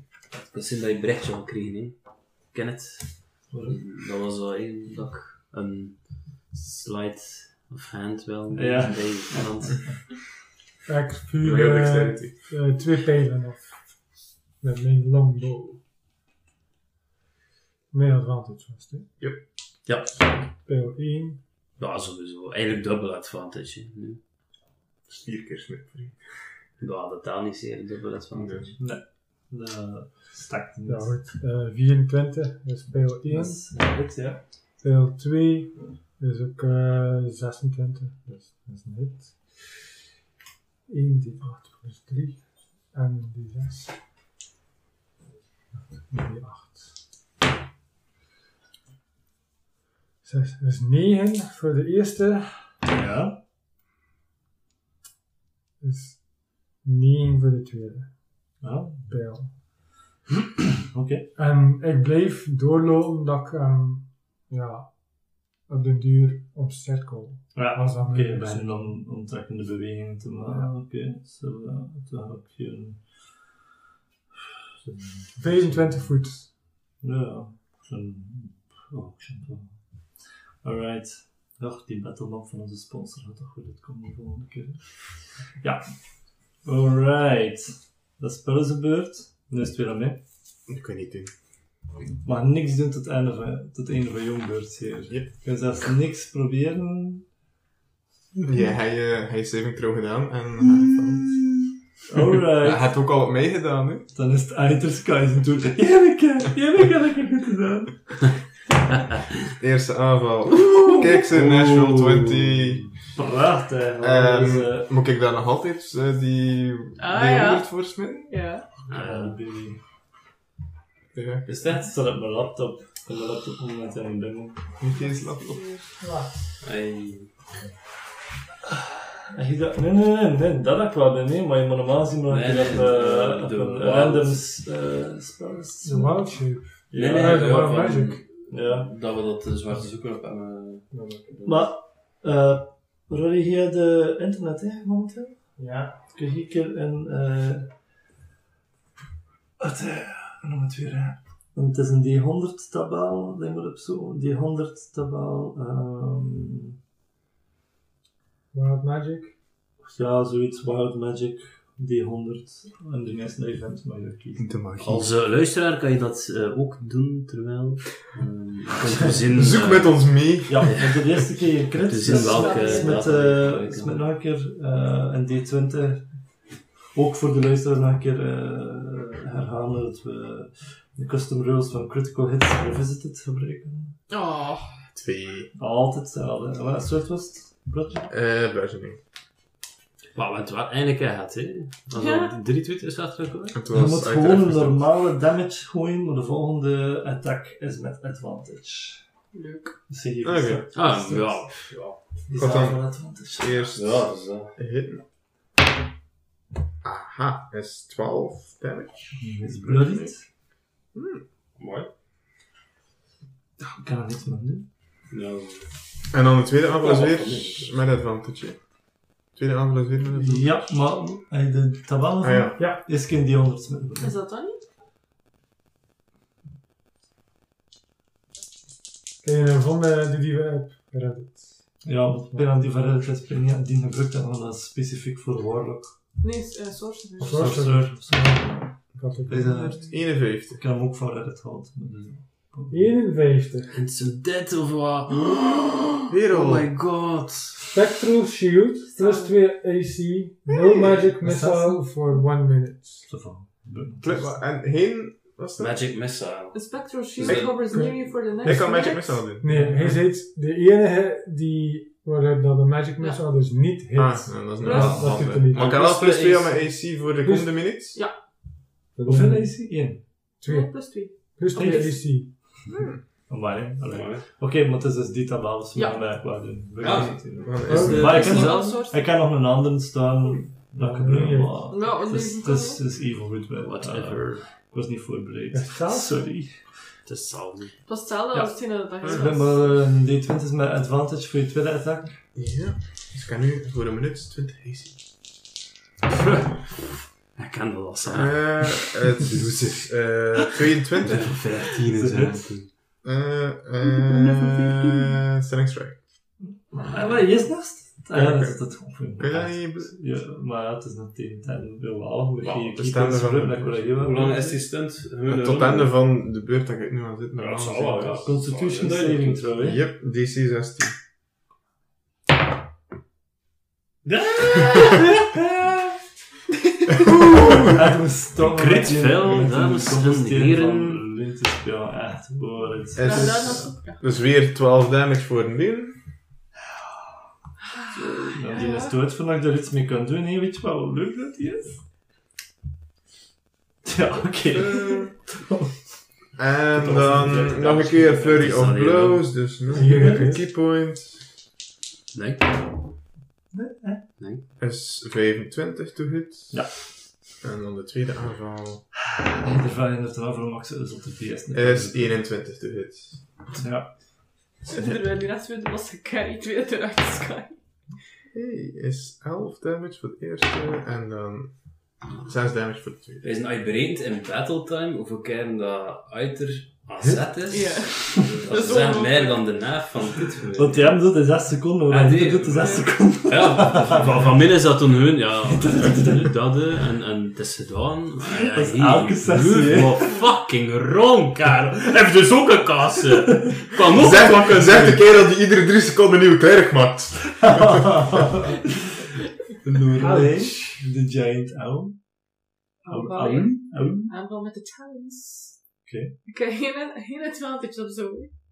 Speaker 4: kan zien dat je Brechtje al kreeg, hè. Ik ken het. Dat was wel één dat ik een slide of hand wel
Speaker 6: Ja.
Speaker 4: bij iemand.
Speaker 3: Ik
Speaker 5: Heel
Speaker 3: vuur
Speaker 5: veel
Speaker 3: eh,
Speaker 5: dexterity.
Speaker 3: eh, twee pijlen af. Met mijn longbow. Mijn advantage was het, hè.
Speaker 4: Ja.
Speaker 3: Pijl 1.
Speaker 4: ja, sowieso. Eigenlijk dubbel advantage. hè, nu.
Speaker 5: Vier keer snip voor je.
Speaker 4: Ja, dat taal niet zeer dubbel advantage.
Speaker 6: Dat stakt niet.
Speaker 3: Ja, goed. Eh, 24 is pijl 1.
Speaker 6: Dat is goed, ja.
Speaker 3: Pijl 2 is ook eh 26, dus dat is een hit. 1 die 8 plus 3 en die 6. En die 8. 6 is 9 dus voor de eerste,
Speaker 6: Ja.
Speaker 3: is 9 voor de tweede
Speaker 6: Ja,
Speaker 3: pijl.
Speaker 6: oké.
Speaker 3: En ik bleef doorlopen dat ik ehm, ja, op de duur omcirkel.
Speaker 6: Ja,
Speaker 3: Als dat
Speaker 6: oké,
Speaker 3: moeilijk
Speaker 6: je
Speaker 3: is.
Speaker 6: begint dan omtrekkende bewegingen te maken.
Speaker 3: Ja.
Speaker 6: Oké, zo ja, dan heb je een...
Speaker 3: 25 voet.
Speaker 6: Ja, zo'n... Oh, ik vind het wel. Alright. Ach, die battleband van onze sponsor gaat toch goed uitkomen de volgende keer. Ja. Alright. Dat spel is gebeurd. Nu is het weer aan mij.
Speaker 5: Dat kan je niet doen.
Speaker 6: mag niks doen tot het einde van, tot het einde van jouw beurt hier.
Speaker 5: Yep.
Speaker 6: Je kan zelfs niks proberen.
Speaker 5: Ja, hij, eh, hij heeft saving throw gedaan en hij valt. Ja,
Speaker 6: Alright.
Speaker 5: Hij heeft ook al op mij gedaan, hè.
Speaker 6: Dan is het Eiter Sky zijn [LAUGHS] toer. Janneke, Janneke had ik er goed gedaan.
Speaker 5: Eerste aanval. Kijk, zijn Nashville 20.
Speaker 6: Prachtig.
Speaker 5: Ehm,
Speaker 6: Dus, eh,
Speaker 5: moet ik daar nog altijd eh, die,
Speaker 7: Ah,
Speaker 5: die
Speaker 7: ja.
Speaker 5: 100 voor smitten?
Speaker 7: Ja.
Speaker 6: ja, baby.
Speaker 5: Ja,
Speaker 6: eh, Is dat? Het staat op mijn laptop. Ik heb mijn laptop moment aan mijn bengel.
Speaker 5: niet eens lachen op.
Speaker 4: Hey.
Speaker 6: En je dacht, nee, nee, nee, nee, dat heb ik wel bij mee, maar je moet normaal zien maar
Speaker 4: Nee,
Speaker 6: je dat
Speaker 4: nee,
Speaker 6: eh,
Speaker 4: de-
Speaker 6: op
Speaker 4: de
Speaker 6: een
Speaker 4: wild.
Speaker 6: random s- eh, spel is.
Speaker 3: De wild shape.
Speaker 4: Nee,
Speaker 6: Ja,
Speaker 4: nee,
Speaker 3: Ja,
Speaker 4: nee,
Speaker 3: de
Speaker 4: ja,
Speaker 3: Wild
Speaker 4: van-
Speaker 3: Magic.
Speaker 6: Ja.
Speaker 4: Dat we dat de zwarte zoeker op hebben.
Speaker 6: Maar, eh, Rory, hier de internet, hè, momenteel?
Speaker 3: Ja.
Speaker 6: Kijk, hier keer een. eh wat, eh, hoe noem het weer? hè? Want het is een D100-tabel, denk maar op zo. D100-tabel. ehm
Speaker 3: Wild Magic.
Speaker 6: ja, zoiets, Wild Magic, D100. En de eerste event mag je kiezen.
Speaker 5: De magie.
Speaker 4: Als eh, luisteraar kan je dat eh, ook doen, terwijl... ehm, je kunt [LAUGHS] voorzien,
Speaker 5: Zoek
Speaker 4: eh,
Speaker 5: met ons mee.
Speaker 6: Ja, want de eerste keer
Speaker 4: [LAUGHS]
Speaker 6: je crit.
Speaker 4: Te zien
Speaker 6: is
Speaker 4: Dus welke
Speaker 6: met- is met,
Speaker 4: data je
Speaker 6: eh,
Speaker 4: gebruikt,
Speaker 6: is
Speaker 4: ja.
Speaker 6: met nog een keer eh, een D20. Ook voor de luisteraars nog een keer eh, herhalen dat we de custom rules van Critical Hits Revisited gebruiken.
Speaker 7: Oh.
Speaker 5: Twee.
Speaker 6: Altijd hetzelfde. Wat soort was het? Brotje?
Speaker 5: Eh, Burgeoning.
Speaker 4: Maar we hebben het wel eindelijk gehad, hè. Dat is
Speaker 7: Ja.
Speaker 4: al drie tweets staat er ook hoor.
Speaker 5: Het
Speaker 6: Je moet
Speaker 5: uit
Speaker 6: gewoon een
Speaker 5: de-
Speaker 6: normale damage gooien, maar de volgende attack is met advantage.
Speaker 7: Leuk.
Speaker 6: Dus zie je
Speaker 5: Oké.
Speaker 6: straks.
Speaker 4: Ah,
Speaker 6: Dus
Speaker 4: ja.
Speaker 6: Die
Speaker 5: Wat
Speaker 6: staan
Speaker 5: dan?
Speaker 6: met advantage.
Speaker 5: Eerst
Speaker 4: Ja, dat is, eh,
Speaker 5: hitten. Ah, Ha, is 12 damage.
Speaker 6: Is bloodied.
Speaker 5: Hmm,
Speaker 4: Mooi.
Speaker 6: Ik kan er niks meer aan doen.
Speaker 4: Nou,
Speaker 5: En dan de tweede aanval is
Speaker 4: Ja,
Speaker 5: weer
Speaker 4: dat is
Speaker 5: met advantage. hè. Tweede aanval is weer met advantage.
Speaker 6: Ja, maar eh, de tabellen
Speaker 5: Ah ja.
Speaker 3: Ja,
Speaker 6: is geen die 100 meer.
Speaker 7: Is dat dan niet?
Speaker 3: ken je een vonden die die we hebben gered?
Speaker 6: Ja, want penalty van Reddit is Penia, die gebruikt dat wel als specifiek voor Warlock.
Speaker 7: Nee, is, eh, sorcerer.
Speaker 3: Of zo?
Speaker 6: Sorcerer of zo.
Speaker 3: Ik had het
Speaker 6: Is dat-
Speaker 5: 51.
Speaker 6: Ik kan hem ook van Reddit houden. maar dus-
Speaker 3: 51.
Speaker 8: En zo dead of wat? Oh
Speaker 5: Weer al.
Speaker 8: my god.
Speaker 3: Spectral Shield, plus 2 AC, no magic missile for 1 minute.
Speaker 6: Zo van. de-
Speaker 5: Klik, wa- En geen... Wat is dat?
Speaker 4: Magic Missile.
Speaker 7: A spectral shield
Speaker 5: Ik-
Speaker 7: hovers near you for the next
Speaker 5: Ik kan magic
Speaker 7: minute.
Speaker 5: missile doen.
Speaker 3: Nee, hij is iets- de enige die, waaruit dat de magic missile dus niet hit.
Speaker 5: Ah, en dat is een
Speaker 7: Ja,
Speaker 5: ja,
Speaker 3: dat doet er niet.
Speaker 5: Maar ik kan
Speaker 4: Plus
Speaker 5: wel plus 2 aan
Speaker 4: is-
Speaker 5: mijn AC voor de
Speaker 3: Plus-
Speaker 5: komende minuut.
Speaker 6: Hoeveel is hij? 1.
Speaker 7: Nee,
Speaker 3: 2.
Speaker 7: plus 2.
Speaker 3: Plus 2
Speaker 6: Oh,
Speaker 3: AC.
Speaker 6: Maar hè? Allee.
Speaker 4: Mooi.
Speaker 6: Oké, maar het is dus die tabel, dus we
Speaker 7: Ja.
Speaker 6: gaan dat wel doen. We
Speaker 8: Ja.
Speaker 6: gaan het doen.
Speaker 3: Oh.
Speaker 5: Dan is de...
Speaker 6: Maar ik
Speaker 7: Is
Speaker 6: heb,
Speaker 7: die
Speaker 6: nog,
Speaker 7: wel sorcerer?
Speaker 6: ik heb nog een andere staan dat ik gebruik,
Speaker 3: Ja.
Speaker 6: maar...
Speaker 7: Ja,
Speaker 6: het is,
Speaker 7: nee,
Speaker 6: het is, het is even goed bij.
Speaker 4: Whatever.
Speaker 6: Eh, ik was niet voorbereid.
Speaker 3: Echt zelf?
Speaker 6: Sorry.
Speaker 4: Uh, Het is hetzelfde.
Speaker 7: Het was hetzelfde
Speaker 6: Ja.
Speaker 7: als hetgeen dat dat
Speaker 6: Ik
Speaker 7: gezegd
Speaker 6: ben
Speaker 7: was.
Speaker 6: maar eh, een D20 is met advantage voor je tweede attack.
Speaker 5: Ja. Dus ik kan nu voor een minuut 20 AC.
Speaker 8: Ik kan dat al zijn.
Speaker 5: Eh, het [LAUGHS] is eh, 22.
Speaker 8: 13
Speaker 4: [LAUGHS]
Speaker 6: Is
Speaker 8: is
Speaker 6: het?
Speaker 8: het.
Speaker 5: Eh, eh, Stelling strike.
Speaker 6: Ah, maar je snapt het. Ah, ja, dat is dat gewoon voor
Speaker 5: Kun je dat niet...
Speaker 6: Ja, maar ja, het is nog tegen tijd. Wel wel, we
Speaker 4: Ja,
Speaker 6: gaan je
Speaker 5: we staan
Speaker 6: keepers
Speaker 5: ervan.
Speaker 6: gebruiken, dat kan je wel.
Speaker 4: Hoe lang is die stunt?
Speaker 5: Eh, Tot het einde van de beurt dat ik nu aan zit. maar
Speaker 4: Ja, dat
Speaker 5: anders
Speaker 4: zal wel,
Speaker 5: zit
Speaker 4: ja.
Speaker 5: het.
Speaker 6: Oh, Constitution
Speaker 4: Ja,
Speaker 6: saving throw, hè?
Speaker 5: Yep, DC 16.
Speaker 6: Echt een stomme
Speaker 4: Crit
Speaker 6: manier om
Speaker 4: fail,
Speaker 6: te
Speaker 4: dames en
Speaker 6: composteren van
Speaker 4: heren.
Speaker 6: lint te spelen. Echt, wow, het is-
Speaker 4: Eh,
Speaker 5: Het
Speaker 7: Ja,
Speaker 5: is-
Speaker 7: daar nog- ja.
Speaker 5: Dus weer 12 damage voor een leeuw.
Speaker 6: Ja, die is dood voordat ik er iets mee kan doen. hè. weet je wel hoe leuk dat die is? Ja, oké.
Speaker 5: Eh,
Speaker 4: Eh.
Speaker 5: En dan nog een keer Flurry of Blows. Dus nog een keypoint.
Speaker 8: Nee.
Speaker 5: Is 25 to hit.
Speaker 6: Ja.
Speaker 5: En dan de tweede aanval.
Speaker 6: Ieder van je het erover om ze zo te feesten.
Speaker 4: Eh.
Speaker 5: Is 21 to hit.
Speaker 6: Ja.
Speaker 7: [LAUGHS] Terwijl die rest weer was gecarried, weer eruit sky.
Speaker 5: Hey, is 11 damage voor de eerste. En dan 6 damage voor de tweede.
Speaker 4: Wij zijn uitbereid in battletime hoeveel keer dat uiter aan zet is.
Speaker 7: Ja.
Speaker 4: [LAUGHS] Dat is echt
Speaker 7: is ongelooflijk.
Speaker 4: meer dan de naaf van dit geweest.
Speaker 6: Want jij hem doet in 6 seconden, maar
Speaker 4: Ah,
Speaker 6: hij
Speaker 4: nee.
Speaker 6: doet in 6 seconden.
Speaker 4: [LAUGHS] Ja, van, van min is dat toen hun, ja, dat hè, en, en het is gedaan. Maar ja,
Speaker 6: Dat is
Speaker 4: hier,
Speaker 6: elke sessie,
Speaker 4: broer,
Speaker 6: hè.
Speaker 4: maar fucking rond, Karel. Heb dus ook een kassen? Kan
Speaker 5: Oh,
Speaker 4: ook pakken.
Speaker 5: de kerel die iedere 3 seconden nieuw klerk maakt.
Speaker 6: Noorwegen, de giant owl. Owl,
Speaker 7: Owl.
Speaker 6: owl, owl.
Speaker 7: Aanval met de talons.
Speaker 6: Oké.
Speaker 7: Ik heb geen, geen advantage op zo.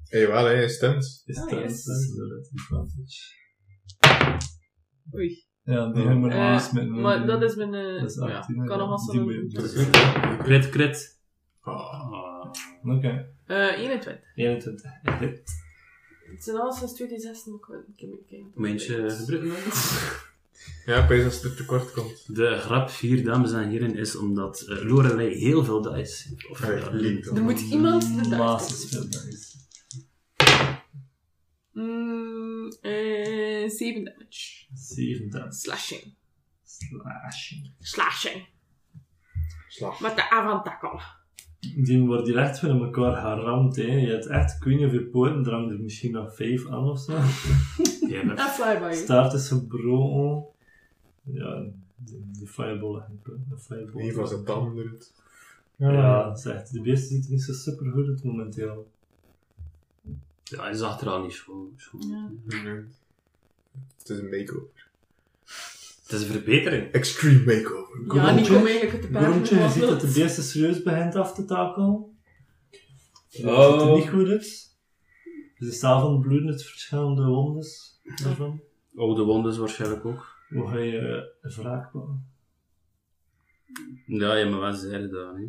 Speaker 7: hè.
Speaker 5: Jawel, hij is stunt.
Speaker 6: Is
Speaker 7: Ah,
Speaker 6: dat
Speaker 7: yes.
Speaker 6: inderdaad advantage?
Speaker 7: Oei.
Speaker 6: Ja, die hebben we nog
Speaker 7: Eh,
Speaker 6: eens met
Speaker 7: maar dat is mijn... eh,
Speaker 6: Dat is
Speaker 7: ja,
Speaker 6: 18,
Speaker 7: ik kan nog wel
Speaker 6: die
Speaker 7: zo'n...
Speaker 6: moet je-
Speaker 4: Crit, crit.
Speaker 6: Oké.
Speaker 7: Eh, 21.
Speaker 6: 21.
Speaker 7: Het zijn alles sinds 2016, maar ik wil- ik heb het geen...
Speaker 4: Momentje eh, gebruiken we dat?
Speaker 5: Ja, ik weet als het tekort komt.
Speaker 4: [LAUGHS] De grap hier, dames en heren, is omdat eh, Lorelei heel veel dice heeft. Of eh,
Speaker 5: Allee,
Speaker 4: ja,
Speaker 5: link
Speaker 7: Er
Speaker 5: dan.
Speaker 7: moet iemand
Speaker 6: Mm,
Speaker 7: de dag
Speaker 6: Master speel dice.
Speaker 7: Mm, eh, 7 damage.
Speaker 6: 7 damage.
Speaker 7: Slashing.
Speaker 6: Slashing.
Speaker 7: Slashing.
Speaker 5: Slag.
Speaker 7: Met de avanttakkel.
Speaker 6: Die wordt hier echt van elkaar geramd, hè. Je hebt echt, ik weet niet of je poten drang er misschien nog 5 aan of zo.
Speaker 4: ja, maar-
Speaker 7: En flyby.
Speaker 6: Staart is gebroken. Ja, die, die fireball heb ik, hè. De fireball.
Speaker 5: Die van zijn tanden doet.
Speaker 3: Ja,
Speaker 6: Ja, dat is echt, de beesten ziet er niet zo super goed uit momenteel.
Speaker 4: ja, hij zag er al niet schoon. schoon.
Speaker 7: Ja.
Speaker 5: Nee. Het is een makeover.
Speaker 4: Het is een verbetering.
Speaker 5: Extreme makeover.
Speaker 7: Ja,
Speaker 6: Groentje.
Speaker 7: niet kom eigenlijk het te
Speaker 6: Groentje, je
Speaker 7: paard.
Speaker 6: ziet dat de beesten serieus begint af te takelen. Dat
Speaker 4: Oh.
Speaker 6: ziet er niet goed uit. Ze staan van bloeden uit verschillende wondes. Daarvan.
Speaker 4: Oude wondes waarschijnlijk ook.
Speaker 6: Hoe ga je uh, wraak pakken?
Speaker 4: Ja, je maar wel zeiden dat, hè.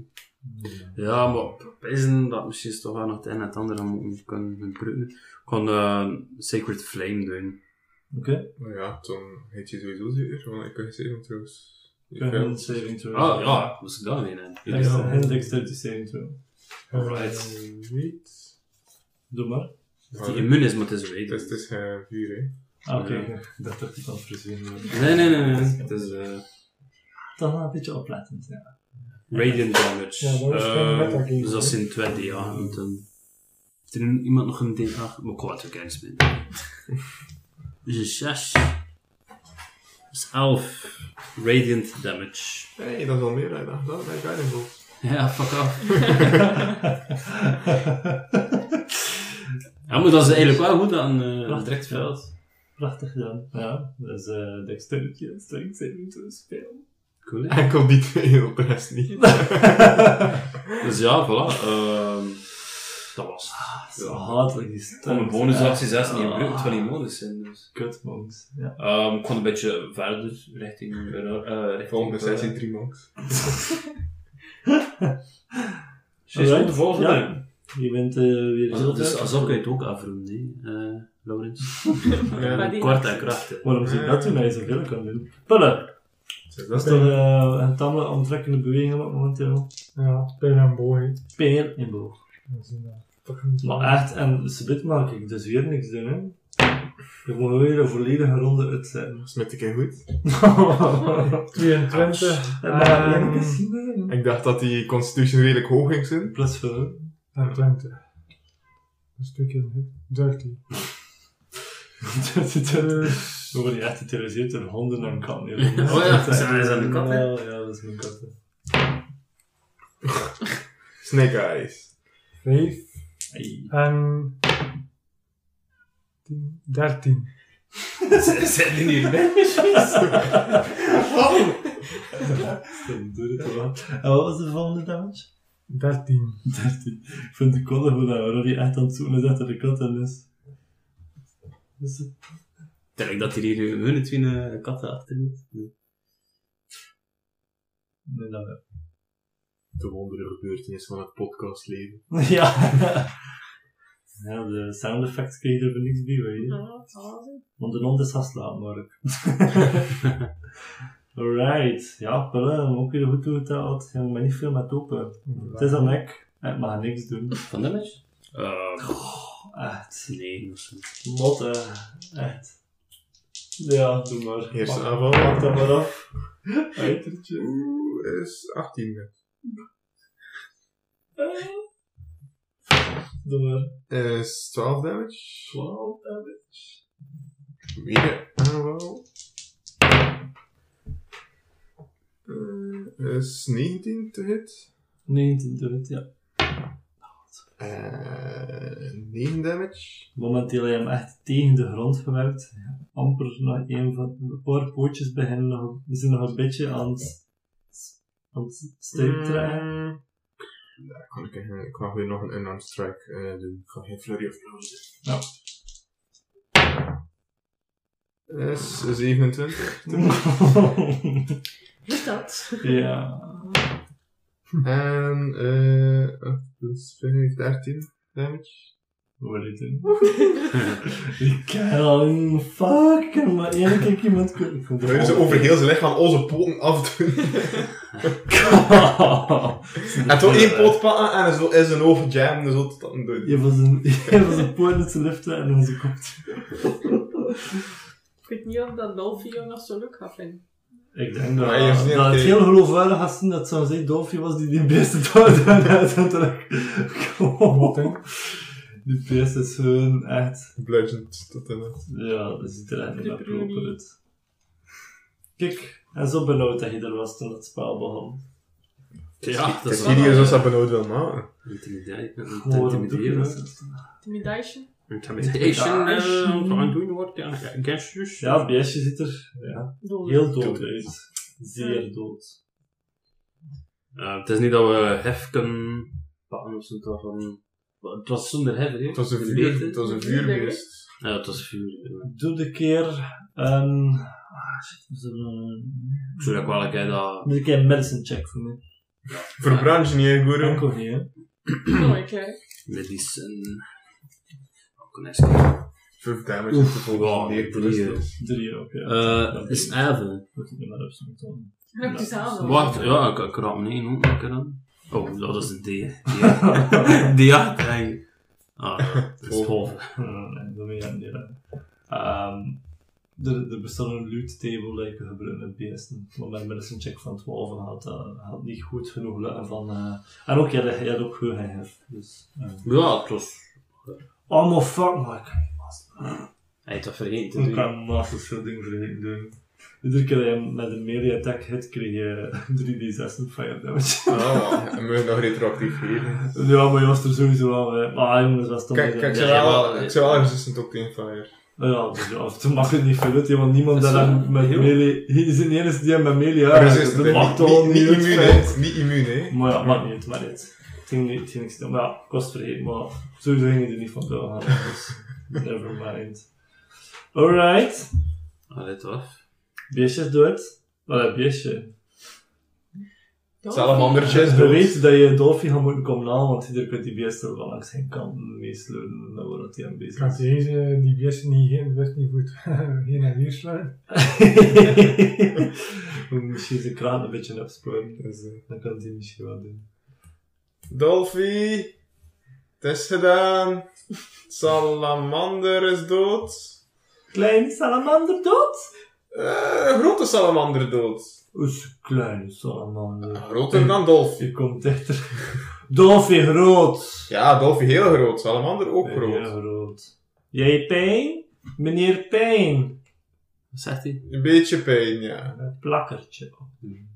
Speaker 4: Ja, maar pijzen dat misschien is toch wel nog het een en het ander moeten kunnen gebruiken. Ik kan eh, Sacred Flame doen.
Speaker 6: Oké.
Speaker 5: Nou ja, toen heet je sowieso zeker, want ik kan je zeven trouwens. Je
Speaker 6: Een
Speaker 5: kan-
Speaker 6: wild saving throw.
Speaker 4: Ah, ja. Moest ik dat weer hebben?
Speaker 6: Hij is een hand dexterity saving throw.
Speaker 4: Alright.
Speaker 3: Eh, weet.
Speaker 6: Doe maar.
Speaker 4: Dat die immuun is, maar het is
Speaker 5: Het is, het
Speaker 4: weten.
Speaker 5: is geen vuur, [LAUGHS] hè.
Speaker 6: Ah, oké.
Speaker 4: Ja.
Speaker 6: Ik dacht dat ik al frustreerde.
Speaker 4: Nee, nee, nee, nee. Het is eh,
Speaker 6: Toch wel een beetje oplettend,
Speaker 4: [LAUGHS]
Speaker 6: ja.
Speaker 4: radiant damage.
Speaker 3: Ja, dat is geen
Speaker 4: Ehm,
Speaker 3: metagame,
Speaker 4: Dus dat
Speaker 3: hè?
Speaker 4: zijn 20, ja. En dan... Heeft er iemand nog een Oh, D8? Maar ik wou het ook eens mee. [LAUGHS] Dus een 6. Dus 11 radiant damage.
Speaker 5: Hey, dat is al meer dan ik dacht. Dat is Guiding Bolt.
Speaker 4: Ja, fuck off. ja, maar dat is eigenlijk wel goed aan eh
Speaker 6: Prachtig
Speaker 4: direct
Speaker 6: gedaan.
Speaker 4: veld.
Speaker 6: Prachtig gedaan. Ja, dat is eh dexterity en strength saving throw speel.
Speaker 4: Cool, hè?
Speaker 5: Enkel die twee, op de rest niet.
Speaker 4: Dus ja, voilà. ehm, dat was het.
Speaker 6: Ah, Zo hatelijk die stunt.
Speaker 4: Om een bonusactie zelfs niet gebruikt, terwijl die modus zijn. Dus.
Speaker 6: Kut, monks. Ja.
Speaker 4: Ah. Ehm, ik kon een beetje verder richting... eh eh, richting
Speaker 5: Volgende
Speaker 4: eh,
Speaker 5: sessie drie monks.
Speaker 4: She's
Speaker 6: Alright.
Speaker 4: goed, de volgende.
Speaker 6: Ja. Je bent eh, weer heel
Speaker 4: Dus, dus
Speaker 6: ver.
Speaker 4: alsof kun je het ook afronden, hè, eh, Laurens.
Speaker 5: Ja,
Speaker 7: Maar die-
Speaker 4: Kwart en [LAUGHS] krachten.
Speaker 6: Waarom zou ik dat doen? Hij zoveel kan doen. Pullen!
Speaker 5: dus
Speaker 6: Dat
Speaker 5: dat
Speaker 6: is toch eh, een tamelijk onttrekkende beweging op momenteel.
Speaker 3: Ja, pijn en boy.
Speaker 6: Peer in boog.
Speaker 3: We zien dat. Toch een- [LAUGHS]
Speaker 6: Maar echt, en subit maak ik dus weer niks doen, hè. Je moet weer een volledige ronde uitzetten.
Speaker 5: Smet ik hem goed?
Speaker 6: en
Speaker 4: Ah,
Speaker 3: 22
Speaker 6: maar
Speaker 3: Ehm,
Speaker 6: één keer zien, hè.
Speaker 5: Ik dacht dat die constitution redelijk hoog ging zijn.
Speaker 6: Plus veel.
Speaker 3: en 20. Ah, Een stukje hit. 13.
Speaker 6: We worden echt geterroriseerd door honden en katten. joh.
Speaker 4: Oh ja, zijn ze aan de kat, hè?
Speaker 6: Ja, ja, dat is mijn kat. hè.
Speaker 5: Snake Eyes.
Speaker 3: 5
Speaker 6: Ai.
Speaker 3: en 10, 13.
Speaker 4: Zijn die nu weg?
Speaker 6: Stel, doe het wel. En wat was de volgende damage?
Speaker 3: 13.
Speaker 6: 13. Ik vind de kolle hoe dat Rory echt aan het zoeken is achter de kat aan is. Dus
Speaker 4: Terwijl dat hier hier hun twee eh, katten achter zit.
Speaker 6: Nee, dat wel.
Speaker 5: De wondere gebeurtenis van het podcastleven.
Speaker 6: Ja. Ja, de sound effects kreeg je er voor niks bij, weet je.
Speaker 7: Ja, het zal wel zijn.
Speaker 6: Want de hond is gaan slapen, hoor
Speaker 4: [LAUGHS]
Speaker 6: ik. Alright. Ja, Pelle, ook weer goed toegetaald. Je maar niet veel met open. Het is aan ik. Ik mag niks doen.
Speaker 4: Van damage? Eh
Speaker 6: Echt.
Speaker 4: nee, dat is niet.
Speaker 6: Motte. Echt. Ja, doe maar.
Speaker 5: Eerste
Speaker 6: Pak-
Speaker 5: aanval.
Speaker 6: Pak dat maar
Speaker 5: [LAUGHS]
Speaker 6: af. Uit.
Speaker 5: Eitertje Oeh, is 18.
Speaker 6: Doe maar.
Speaker 5: Eh, Is 12 damage.
Speaker 6: 12 damage.
Speaker 5: Weer een aanval. Eh, is 19 te hit.
Speaker 6: 19 doet het, ja.
Speaker 5: Eh 9 damage.
Speaker 6: Momenteel heb je hem echt tegen de grond gewerkt. Amper nog een van een paar pootjes beginnen nog, we zijn nog een beetje aan het, aan het stuipdraaien.
Speaker 5: Mm. Daar kan ik, eh, ik mag weer nog een unarmed strike eh, doen. Ik ga geen flurry of blows Nou.
Speaker 6: Ja.
Speaker 5: doen. Is 27.
Speaker 4: [LAUGHS]
Speaker 7: Doet dat?
Speaker 6: ja.
Speaker 5: en eh 8 plus 5, 13 damage.
Speaker 6: Wat dit doen? Ik kan fucking maar één keer iemand kunnen. Ik vond het
Speaker 5: Terwijl ze over
Speaker 6: [LAUGHS]
Speaker 5: heel zijn lichaam onze poten afdoen. [LAUGHS] en zo één poot pakken en zo is een hoofd jammen zo tot dat hem doet.
Speaker 6: Je was een, [LAUGHS] je was een poort met zijn liften en dan zijn kop.
Speaker 7: Ik weet niet of dat Dolphio nog zo leuk gaat vinden.
Speaker 6: Ik denk dat,
Speaker 5: Maar je hebt niet
Speaker 6: dat het
Speaker 5: oké.
Speaker 6: heel geloofwaardig was dat het zou zijn Dolfje was die die beesten dood [LAUGHS] en uiteindelijk
Speaker 3: Wat, hè?
Speaker 6: Die beest is gewoon echt...
Speaker 5: Bludgeoned tot in het.
Speaker 6: Ja, dat ziet er echt niet meer
Speaker 7: Pepperoni.
Speaker 6: proper uit. Kijk, en zo benauwd dat je er was toen het spel begon.
Speaker 4: Ja, dat
Speaker 5: Het
Speaker 4: is
Speaker 5: is
Speaker 4: wel... eh,
Speaker 5: niet zoals dat benauwd wil maken.
Speaker 4: Intimideren.
Speaker 7: Intimidation.
Speaker 4: Intimidation. eh, Wat aan het doen wordt, ja. Ja, Gestures.
Speaker 6: Ja, het beestje ziet er ja,
Speaker 7: Dood.
Speaker 6: heel dood uit. Zeer dood.
Speaker 4: Eh, Het is niet dat we hef kunnen pakken of zo. dat van- Het was zonder hef, hè?
Speaker 5: Het was een
Speaker 4: Een
Speaker 5: vuur,
Speaker 4: beetje.
Speaker 5: het was een vuurbeest.
Speaker 4: Ja, het was vuur. ja.
Speaker 6: Doe de keer... ehm ah, shit, we zullen...
Speaker 4: Ik zou dat wel een keer dat...
Speaker 6: Doe een keer een medicine check voor mij.
Speaker 5: Verbrand je niet, hè,
Speaker 6: Ik
Speaker 5: Guru?
Speaker 6: ook niet, hè.
Speaker 7: Mooi, kijk.
Speaker 4: medicijn... Ook een extra.
Speaker 5: 5 damage
Speaker 4: Oef,
Speaker 5: is te volgen.
Speaker 4: wow,
Speaker 5: Meer
Speaker 4: Oh, die, eh,
Speaker 5: plus.
Speaker 6: Drie ook, ja.
Speaker 4: Eh,
Speaker 6: Dat
Speaker 4: is even.
Speaker 6: Moet ik niet maar op zo'n toon.
Speaker 7: Heb je samen?
Speaker 8: Wacht, ja, ik, ik raak me niet ook een keer aan. Oh, dat is een D.
Speaker 6: [LAUGHS]
Speaker 8: D8. D8, hey. Ah, dat
Speaker 6: Oh.
Speaker 8: is half.
Speaker 6: Nee, dat weet ik niet. hè. Ehm, er, er bestaat een loot table dat je kunt gebruiken met beesten. Maar met medicine check van 12 had dat had niet goed genoeg lukken van... eh, En ook, jij had- jij had ook goed gehef. Dus... eh,
Speaker 8: Ja, het was...
Speaker 6: Oh my fuck, maar ik kan niet masteren.
Speaker 8: Hij heeft dat vergeten te
Speaker 6: Ik
Speaker 8: doen.
Speaker 6: kan masters veel dingen vergeten doen. Iedere keer dat je met een melee attack hit, kreeg je 3d6 fire damage. [LAUGHS]
Speaker 5: Ah, en moet je nog retroactief geven.
Speaker 6: Ja, maar je was er sowieso al. hè. Maar jongens, dat is toch...
Speaker 5: Kijk, kijk, ik
Speaker 8: Ja,
Speaker 5: zou wel-
Speaker 8: ja.
Speaker 5: ik zou wel resistant ook tegen fire.
Speaker 6: Ja, dus ja, het mag het niet veel uit, hè, want niemand
Speaker 8: Dat
Speaker 6: dat
Speaker 8: is
Speaker 6: hem
Speaker 8: wel
Speaker 6: met
Speaker 8: heel-
Speaker 6: melee... Hij is de enige die hem met melee aanraakt.
Speaker 5: Resistant,
Speaker 6: Dat
Speaker 5: hè.
Speaker 6: mag
Speaker 5: Niet-
Speaker 6: toch al
Speaker 5: niet-
Speaker 6: niet
Speaker 5: Niet immuun,
Speaker 6: uit.
Speaker 5: hè. Niet immuun, hè.
Speaker 6: Maar ja, maakt niet uit, maakt niet uit. Het ging niet, het ging niet snel. Maar ja, ik was het vergeten, maar sowieso ging je er niet van doorgaan. Dus, never mind. Alright.
Speaker 8: Allee, toch.
Speaker 6: Beestjes dood. Wat heb beestje?
Speaker 5: Salamandertjes,
Speaker 6: Je
Speaker 5: dood.
Speaker 6: weet dat je Dolphy gaat moeten komen halen, want ieder kunt die beesten wel langs zijn kant meesleuren naar waar dat hij aan
Speaker 3: Ik
Speaker 6: [LAUGHS] bezig
Speaker 3: had
Speaker 6: is.
Speaker 3: deze, die beesten niet, geen, best niet [LAUGHS] goed heen en weer slaan.
Speaker 6: We moeten misschien zijn kraan een beetje opsporen.
Speaker 5: Dus, eh,
Speaker 6: Dan kan hij misschien wel doen.
Speaker 5: Dolphy, het is gedaan. Salamander is dood.
Speaker 6: Kleine salamander dood?
Speaker 5: Eh, een grote salamander dood. Hmm.
Speaker 6: Oes, kleine salamander.
Speaker 5: Groter dan Dolphy.
Speaker 6: Je komt dichter. Dolfje groot.
Speaker 5: Ja, Dolphy heel groot. Salamander ook
Speaker 6: Heel
Speaker 5: groot.
Speaker 6: groot. Jij pijn? Meneer pijn.
Speaker 8: Wat zegt hij?
Speaker 5: Een beetje pijn, ja.
Speaker 6: Een plakkertje opdoen.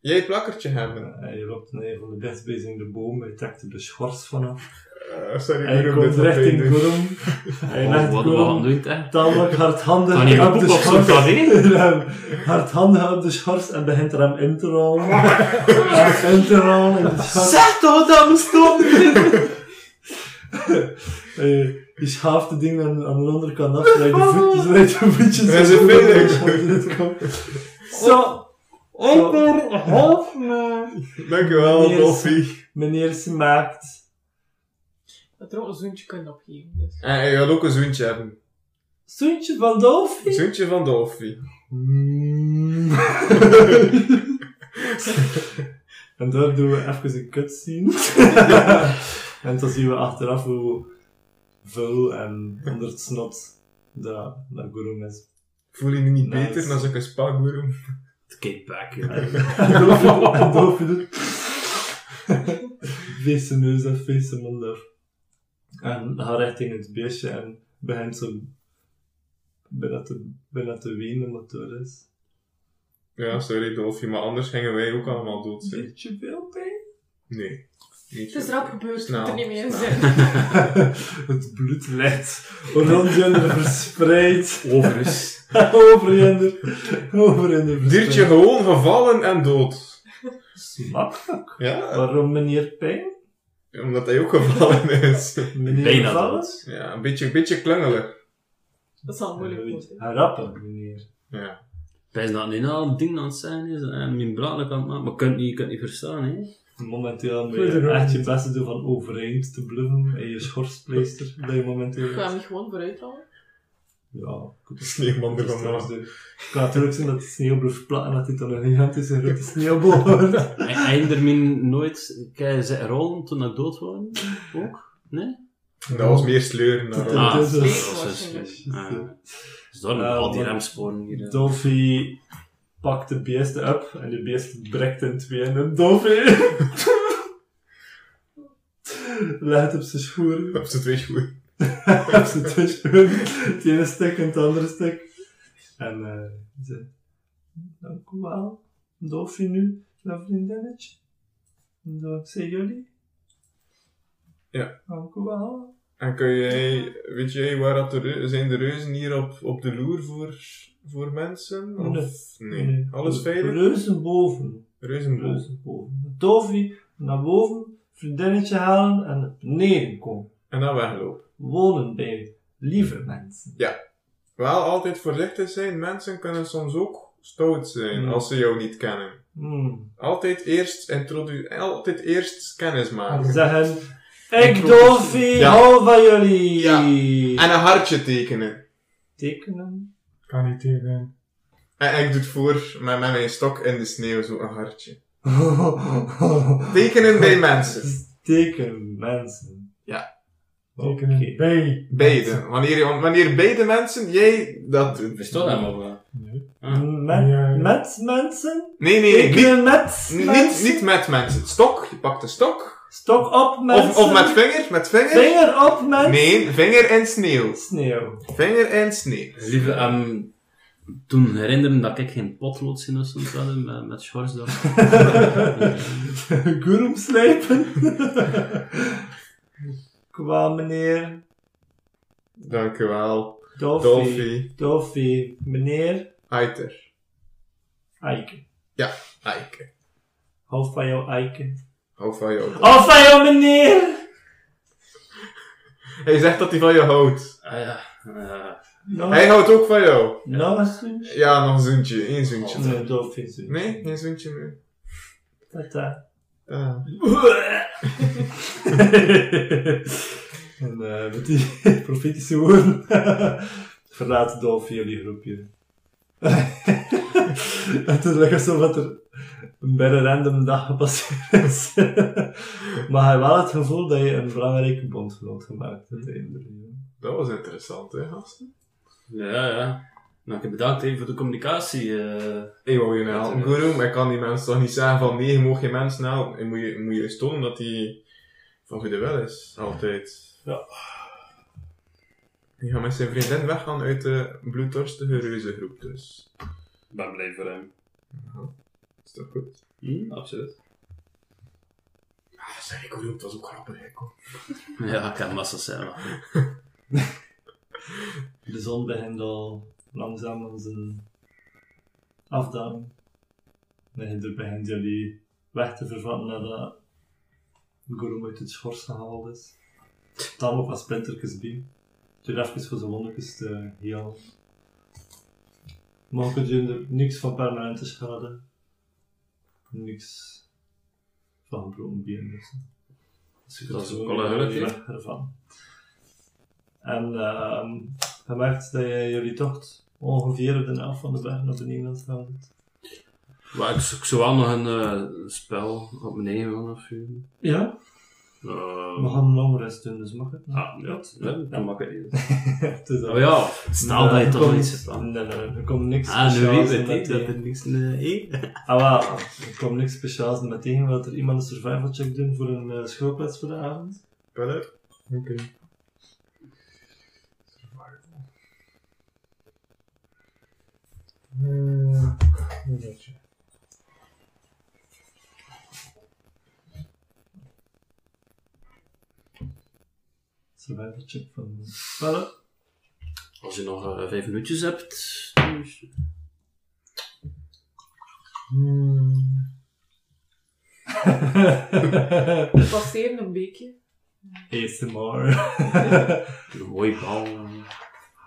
Speaker 5: Jij plakkertje hebben.
Speaker 6: Eh, je loopt naar een van de best bezingde bomen. Je trekt er de schors vanaf.
Speaker 5: Eh, sorry,
Speaker 6: En je
Speaker 5: Gurum, dit
Speaker 6: komt
Speaker 5: gaat
Speaker 6: recht in
Speaker 5: pijn dus. doen.
Speaker 6: Gorum. En je legt
Speaker 8: Oh, wat wat aan
Speaker 6: Gorum
Speaker 8: doet, hè?
Speaker 6: tamelijk hardhandig
Speaker 5: Ah,
Speaker 8: Kan je
Speaker 6: op de
Speaker 8: poep op zo'n
Speaker 6: schors. [LAUGHS]
Speaker 8: café?
Speaker 6: Hem hardhandig op de schors en begint er hem in te rollen. in te rollen in de schors.
Speaker 8: Zeg toch dat we stoppen!
Speaker 6: [LAUGHS] Eh, je schaaft de ding aan, aan de onderkant af, zodat je de voetjes, zodat je de voetjes
Speaker 5: Er is een
Speaker 6: Zo, Onder
Speaker 5: Dankjewel,
Speaker 6: Yes.
Speaker 5: Dolphy.
Speaker 6: meneer smaakt.
Speaker 7: Dat er ook een zoentje kunt opgeven. Dus.
Speaker 5: En Eh, je gaat ook een zoentje hebben.
Speaker 6: Zoentje van
Speaker 5: Een
Speaker 6: Dolfie.
Speaker 5: zoentje van Dolphy.
Speaker 6: Mm. [LAUGHS] en daar doen we even een cutscene. [LAUGHS] en dan zien we achteraf hoe vuil en onder het snot dat, dat Gurum [LAUGHS] is.
Speaker 5: Voel je je niet
Speaker 6: Nice.
Speaker 5: beter dan zo'n spa, Gurum?
Speaker 8: Kick back,
Speaker 6: En Dolfje- en Dolfje doet... Wees zijn neus en feest zijn mond af. En gaat richting het beestje en begint zo... Bijna te, bijna te wenen wat door is.
Speaker 5: Ja, sorry, Dolphy, maar anders gingen wij ook allemaal dood zijn.
Speaker 6: Beetje veel pijn.
Speaker 5: Nee. Niet
Speaker 7: Het is
Speaker 5: zo.
Speaker 7: rap gebeurd, je
Speaker 5: Snel.
Speaker 7: moet er niet meer in
Speaker 5: Snel.
Speaker 7: zijn.
Speaker 6: het bloed leidt rond jender verspreid. [LAUGHS]
Speaker 8: Overigens.
Speaker 6: Over jender. Over jender verspreid.
Speaker 5: Diertje gewoon gevallen en dood.
Speaker 6: Smakelijk.
Speaker 5: Ja,
Speaker 6: Waarom meneer pijn?
Speaker 5: omdat hij ook gevallen is.
Speaker 6: Meneer
Speaker 8: Bijna
Speaker 6: vallen?
Speaker 8: dood.
Speaker 5: Ja, een beetje, een beetje klungelig.
Speaker 7: [LAUGHS] Dat zal moeilijk
Speaker 6: Hij
Speaker 7: worden.
Speaker 6: Rappen, meneer.
Speaker 5: Ja.
Speaker 8: Bijna dat niet al een ding aan het zijn is en mijn braden aan het maken, maar je kunt niet, je kunt niet verstaan, hè?
Speaker 6: Momenteel moet
Speaker 3: Goed,
Speaker 6: je
Speaker 3: Ron.
Speaker 6: echt je best te doen van overeind te bluffen en je [LAUGHS] schorspleister dat je momenteel
Speaker 7: Ik ga hem gewoon vooruit rollen.
Speaker 6: Ja, goed.
Speaker 5: Sneeuwmander van
Speaker 6: Dat
Speaker 5: Maas.
Speaker 6: is de- Het kan natuurlijk zijn dat de sneeuw blijft platten en dat dit dan een gigantische [LAUGHS] grote sneeuwbol wordt.
Speaker 8: En Einder min nooit kei ze rollen toen ik dood was? Ook? Nee?
Speaker 5: Dat was meer sleuren.
Speaker 6: Dat-
Speaker 5: dan-
Speaker 6: dat-
Speaker 8: Ah,
Speaker 6: is een-
Speaker 8: dat is een- ah. Dus daar
Speaker 6: Eh,
Speaker 8: al die
Speaker 6: wat-
Speaker 8: remsporen hier.
Speaker 4: eh.
Speaker 8: hè.
Speaker 6: Dolphy pakt de beesten op en de beest brekt in tweeën en Dolphy [LAUGHS] legt op zijn schoen, [LAUGHS]
Speaker 5: Op z'n twee schoenen.
Speaker 6: op zijn tussen, het ene stuk en het andere stuk. En eh ze, dank u wel, Dolphy nu, mijn vriendinnetje. Dankzij jullie.
Speaker 5: Ja.
Speaker 6: Dank u wel.
Speaker 5: En kun jij, weet jij waar dat de reu- zijn de reuzen hier op, op de loer voor, voor mensen? Of, nee. Alles veilig?
Speaker 6: Reuzen boven.
Speaker 5: Reuzenbol.
Speaker 6: Reuzen boven. Dolphy naar boven, vriendinnetje halen en naar beneden komen.
Speaker 5: En dan weglopen.
Speaker 6: wonen bij lieve mensen.
Speaker 5: Wel altijd voorzichtig zijn, mensen kunnen soms ook stout zijn
Speaker 6: Hmm.
Speaker 5: als ze jou niet kennen.
Speaker 6: Hmm.
Speaker 5: Altijd eerst, introdu- altijd eerst kennis
Speaker 6: Ah,
Speaker 5: maken.
Speaker 6: Zeggen, ik Dolfie,
Speaker 5: Ja.
Speaker 6: hou van jullie.
Speaker 5: Ja. En een hartje tekenen.
Speaker 6: Tekenen. [LAUGHS]
Speaker 3: Kan niet tegen.
Speaker 5: En, en ik doe het voor met, met mijn stok in de sneeuw, zo een hartje. Tekenen bij mensen.
Speaker 6: Steken mensen.
Speaker 5: Ja.
Speaker 6: Oké.
Speaker 3: Tekenen bij.
Speaker 5: Beide. Wanneer, wanneer beide mensen jij dat doet.
Speaker 4: Bestond dat nog wel?
Speaker 3: Nee.
Speaker 6: Met,
Speaker 3: Ja, ja.
Speaker 6: met mensen?
Speaker 5: Nee, nee, nee.
Speaker 6: Ik
Speaker 5: Niet,
Speaker 6: wil met
Speaker 5: niet, niet,
Speaker 6: mensen.
Speaker 5: niet met mensen. Stok, je pakt de stok.
Speaker 6: Stok op mensen.
Speaker 5: Of, of met vinger, met vinger.
Speaker 6: Vinger op mensen.
Speaker 5: Nee, vinger en sneeuw.
Speaker 6: Sneeuw.
Speaker 5: Vinger en sneeuw.
Speaker 4: Lieve, ehm, toen herinneren dat ik geen potlood in of zoiets had met, met schors [LAUGHS] dan.
Speaker 6: Gurum slijpen. [LAUGHS] Qua meneer
Speaker 5: Dankjewel.
Speaker 6: Dolphy.
Speaker 5: Dolphy.
Speaker 6: Dolphy. Meneer
Speaker 5: Heiter.
Speaker 6: Eike.
Speaker 5: Eike.
Speaker 6: Hou van jou, Eike.
Speaker 5: Hou van jou.
Speaker 6: Hou van jou, meneer!
Speaker 5: [LAUGHS] Hij zegt dat hij van je houdt.
Speaker 4: Ah ja, eh,
Speaker 6: Nog,
Speaker 5: Hij houdt ook van jou. Oh.
Speaker 6: nog een zoentje?
Speaker 5: Oh. Ja, nog een zoentje. Eén zoentje.
Speaker 6: Nee, Dolphy is zoentje.
Speaker 5: Nee, geen zoentje meer.
Speaker 6: Tata.
Speaker 5: Ah.
Speaker 6: [LAUGHS] en eh met die profetische woorden [LAUGHS] verlaat Dolphy jullie groepje. [LAUGHS] het is lekker zo dat er een bijna random dag gepasseerd is. [LAUGHS] maar hij wel het gevoel dat je een belangrijke bondgenoot gemaakt hebt. eindelijk.
Speaker 5: Dat was interessant, hè, gasten?
Speaker 4: ja, ja. Nou, ik heb bedankt even voor de communicatie. eh.
Speaker 5: Ik wou je nou helpen, guru, maar ik kan die mensen toch niet zeggen van nee, je mag geen mensen helpen. En moet je, moet je eens tonen dat die van goede wel is, altijd.
Speaker 6: Ja.
Speaker 5: Die gaat met zijn vriendin weggaan uit de bloeddorstige reuzengroep, dus.
Speaker 4: Ik ben blij voor hem.
Speaker 5: Is dat goed?
Speaker 4: Hm, absoluut.
Speaker 5: Ah, zeg ik, guru, dat was ook grappig, hè, kom.
Speaker 4: Ja, ik heb massa zijn. maar goed.
Speaker 6: De zon begint al langzaam aan zijn afdaling. En er begint jullie weg te vervatten nadat Gorum uit het schors gehaald is. Dan nog wat splintertjes bij. Doe dat even voor zijn wondertjes te heel. Maar kun je er niks van permanente schade. Niks van gebroken benen. Dus. Dus je
Speaker 4: Dat is
Speaker 6: kunt
Speaker 4: ook
Speaker 6: gewoon
Speaker 4: wel een
Speaker 6: weer
Speaker 4: geluk,
Speaker 6: weg ervan. En ehm je merkt dat je jullie tocht ongeveer op de helft van de weg naar beneden aan het gaan bent.
Speaker 4: Maar ik, ik zou wel nog een eh, spel op mijn eigen man afvuren.
Speaker 6: Ja?
Speaker 4: Eh,
Speaker 6: We gaan lang rest doen, dus mag het?
Speaker 4: ah, ja, het- ja, dat maakt het niet.
Speaker 6: [LAUGHS] Het is al-
Speaker 4: Maar ja, stel dat je
Speaker 6: Er
Speaker 4: toch
Speaker 6: komt-
Speaker 4: nog iets hebt aan.
Speaker 6: Nee, nee, er komt niks
Speaker 4: Ah, nu
Speaker 6: speciaals
Speaker 4: weet ik
Speaker 6: in
Speaker 4: niet dat er
Speaker 6: meteen.
Speaker 4: niks in de
Speaker 6: Ah, wel, er komt niks speciaals in meteen, want er iemand een survival check doen voor een uh, schoolplaats voor de avond.
Speaker 5: Wel,
Speaker 3: Oké. Eh, dat is het.
Speaker 6: Survival check van Pelle.
Speaker 4: Als je nog eh, vijf minuutjes hebt, dan is-
Speaker 3: Hmm,
Speaker 7: Passeren een beekje.
Speaker 4: [LAUGHS]
Speaker 6: ASMR.
Speaker 4: een mooie bal. eh.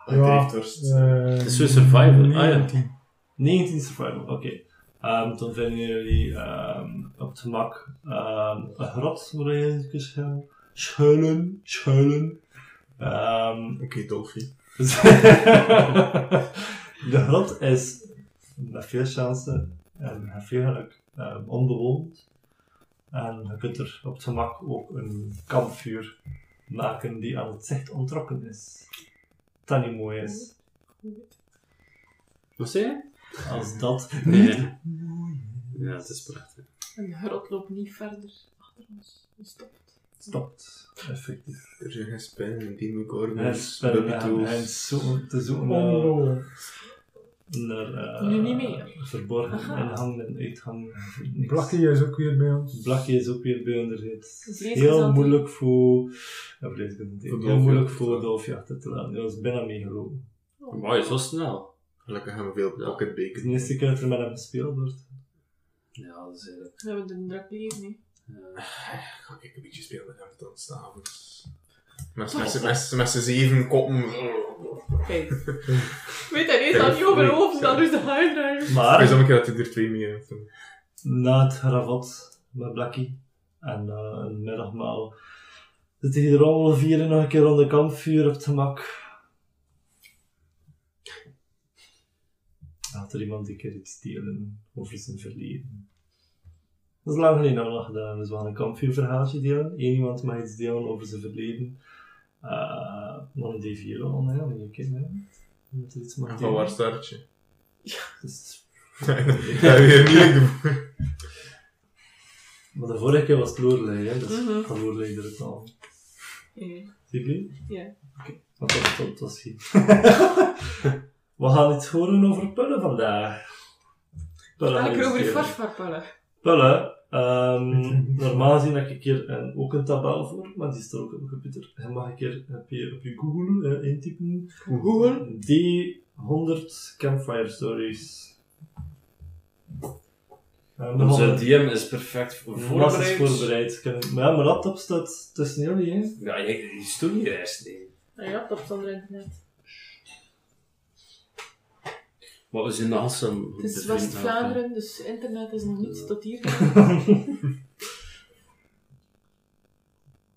Speaker 5: Hij
Speaker 3: Ja,
Speaker 5: heeft dorst.
Speaker 3: eh,
Speaker 4: Het is weer survival. Ah ja.
Speaker 3: 19.
Speaker 6: 19 survival, oké. Ehm, dan vinden jullie ehm, op het gemak ehm, een grot waar je kunt schuilen. Schuilen, schuilen. Ehm,
Speaker 5: Oké, Dolphy.
Speaker 6: Dus- [LAUGHS] de grot is met veel kansen en met veel geluk eh, onbewoond. En je kunt er op het gemak ook een kampvuur maken die aan het zicht ontrokken is. Dat niet mooi is.
Speaker 4: Wat zei je?
Speaker 6: Als dat
Speaker 4: Nee. Ja, het is prachtig.
Speaker 7: Een grot loopt niet verder achter ons. Dus Die stopt.
Speaker 6: stopt, effectief.
Speaker 5: Er zijn geen spinnen,
Speaker 6: En
Speaker 5: demogorgons,
Speaker 6: spellen aan hen
Speaker 5: bubbitoes.
Speaker 6: zoeken te
Speaker 3: Oh,
Speaker 6: zoeken naar,
Speaker 3: Ongelooflijk.
Speaker 6: naar eh,
Speaker 7: Nu niet meer.
Speaker 6: verborgen
Speaker 7: Aha.
Speaker 6: ingangen en uitgangen. Niks.
Speaker 3: Blakkie is ook weer bij ons.
Speaker 6: Blakje is ook weer bij onderheid.
Speaker 7: Vlees is
Speaker 6: Heel
Speaker 7: altijd-
Speaker 6: moeilijk voor. Ja, vlees is altijd-
Speaker 5: Voor
Speaker 6: heel
Speaker 5: Dolfje
Speaker 6: moeilijk
Speaker 5: achter te
Speaker 6: voor
Speaker 5: laten.
Speaker 6: Dolfje achter te laten. Dat is bijna meegelopen.
Speaker 4: Mooi, zo snel.
Speaker 5: Gelukkig hebben we veel
Speaker 4: Ja.
Speaker 6: Het is
Speaker 5: pocketbacon.
Speaker 6: de eerste keer dat er met hem gespeeld wordt.
Speaker 4: Ja, dat is eigenlijk.
Speaker 7: We hebben een druk leven, hè.
Speaker 5: Ga ik een beetje spelen met hem dan s'avonds. Met, met, met, met z'n zeven koppen.
Speaker 6: [LAUGHS]
Speaker 7: Kijk. Weet hij niet, dat niet over hoofd, dat is de huidruim.
Speaker 5: Ah,
Speaker 6: Maar
Speaker 5: is een keer dat hij er twee mee heeft.
Speaker 6: na het ravot met Blakkie en eh, een middagmaal zitten hier allemaal vieren nog een keer rond de kampvuur op het gemak. Laat er iemand een keer iets delen over zijn verleden. Dat is lang geleden dat we dat gedaan hebben. Dus we gaan een kampvuurverhaaltje delen. Eén iemand mag iets delen over zijn verleden. Eh dan een D4 al, hè, om je kind, hè. Dat er iets mag
Speaker 5: En van
Speaker 6: delen.
Speaker 5: waar start [LAUGHS] je?
Speaker 6: Dus-
Speaker 5: Ja, weer niet doen.
Speaker 6: maar de vorige keer was het Lorelei, hè. Dus
Speaker 7: Mhm.
Speaker 6: van Lorelei er het al.
Speaker 7: Ja.
Speaker 6: Zie je?
Speaker 7: Ja.
Speaker 6: Oké. Maar tot, tot, tot ziens. [LAUGHS] we gaan iets horen over pullen vandaag. Pullen
Speaker 7: Ga
Speaker 6: gaan
Speaker 7: Ah, ik
Speaker 6: we
Speaker 7: er over de
Speaker 6: iets delen.
Speaker 7: farfarpullen.
Speaker 6: Pullen. ehm, normaal gezien heb ik hier een, ook een tabel voor, maar die staat ook op mijn computer. Je mag een keer op je, op je Google eh, intypen.
Speaker 7: Google?
Speaker 6: D100 Campfire Stories. Eh, Um,
Speaker 4: Onze DM is perfect voor
Speaker 6: voorbereid.
Speaker 4: voorbereid.
Speaker 6: is voorbereid. Ik heb- Maar ja, mijn laptop staat tussen jullie, hè.
Speaker 4: Ja, je, je stoel hier eerst niet.
Speaker 7: Ah ja, dat zonder internet.
Speaker 4: Maar we zijn de Hassen.
Speaker 7: Het is West-Vlaanderen, dus internet is nog niet tot hier.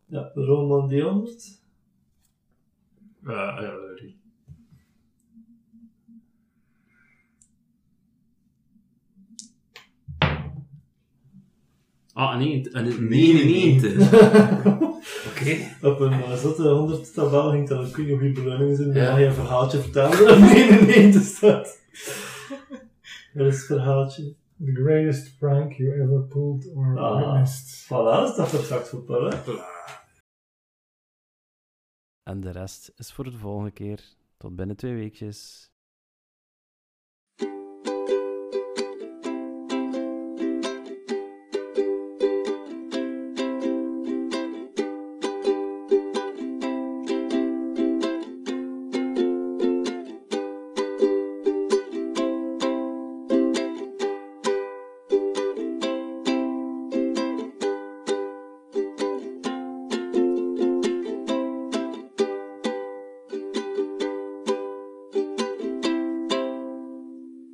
Speaker 6: Ja, Roman D100.
Speaker 8: ja, sorry. Ah, nee, een
Speaker 6: [LAUGHS]
Speaker 8: 99.
Speaker 4: Oké.
Speaker 6: [LAUGHS] Op een eh, zotte 100 tabel ging dan, ik weet niet of je beloning zijn, maar
Speaker 4: Ja.
Speaker 6: ja. je een verhaaltje vertellen. Of nee, nee, nee, dat staat. Er is het verhaaltje.
Speaker 3: The greatest prank you ever pulled or
Speaker 6: Ah.
Speaker 3: witnessed.
Speaker 6: Voilà, dat staat perfect voor pullen.
Speaker 2: En de rest is voor de volgende keer. Tot binnen twee weekjes.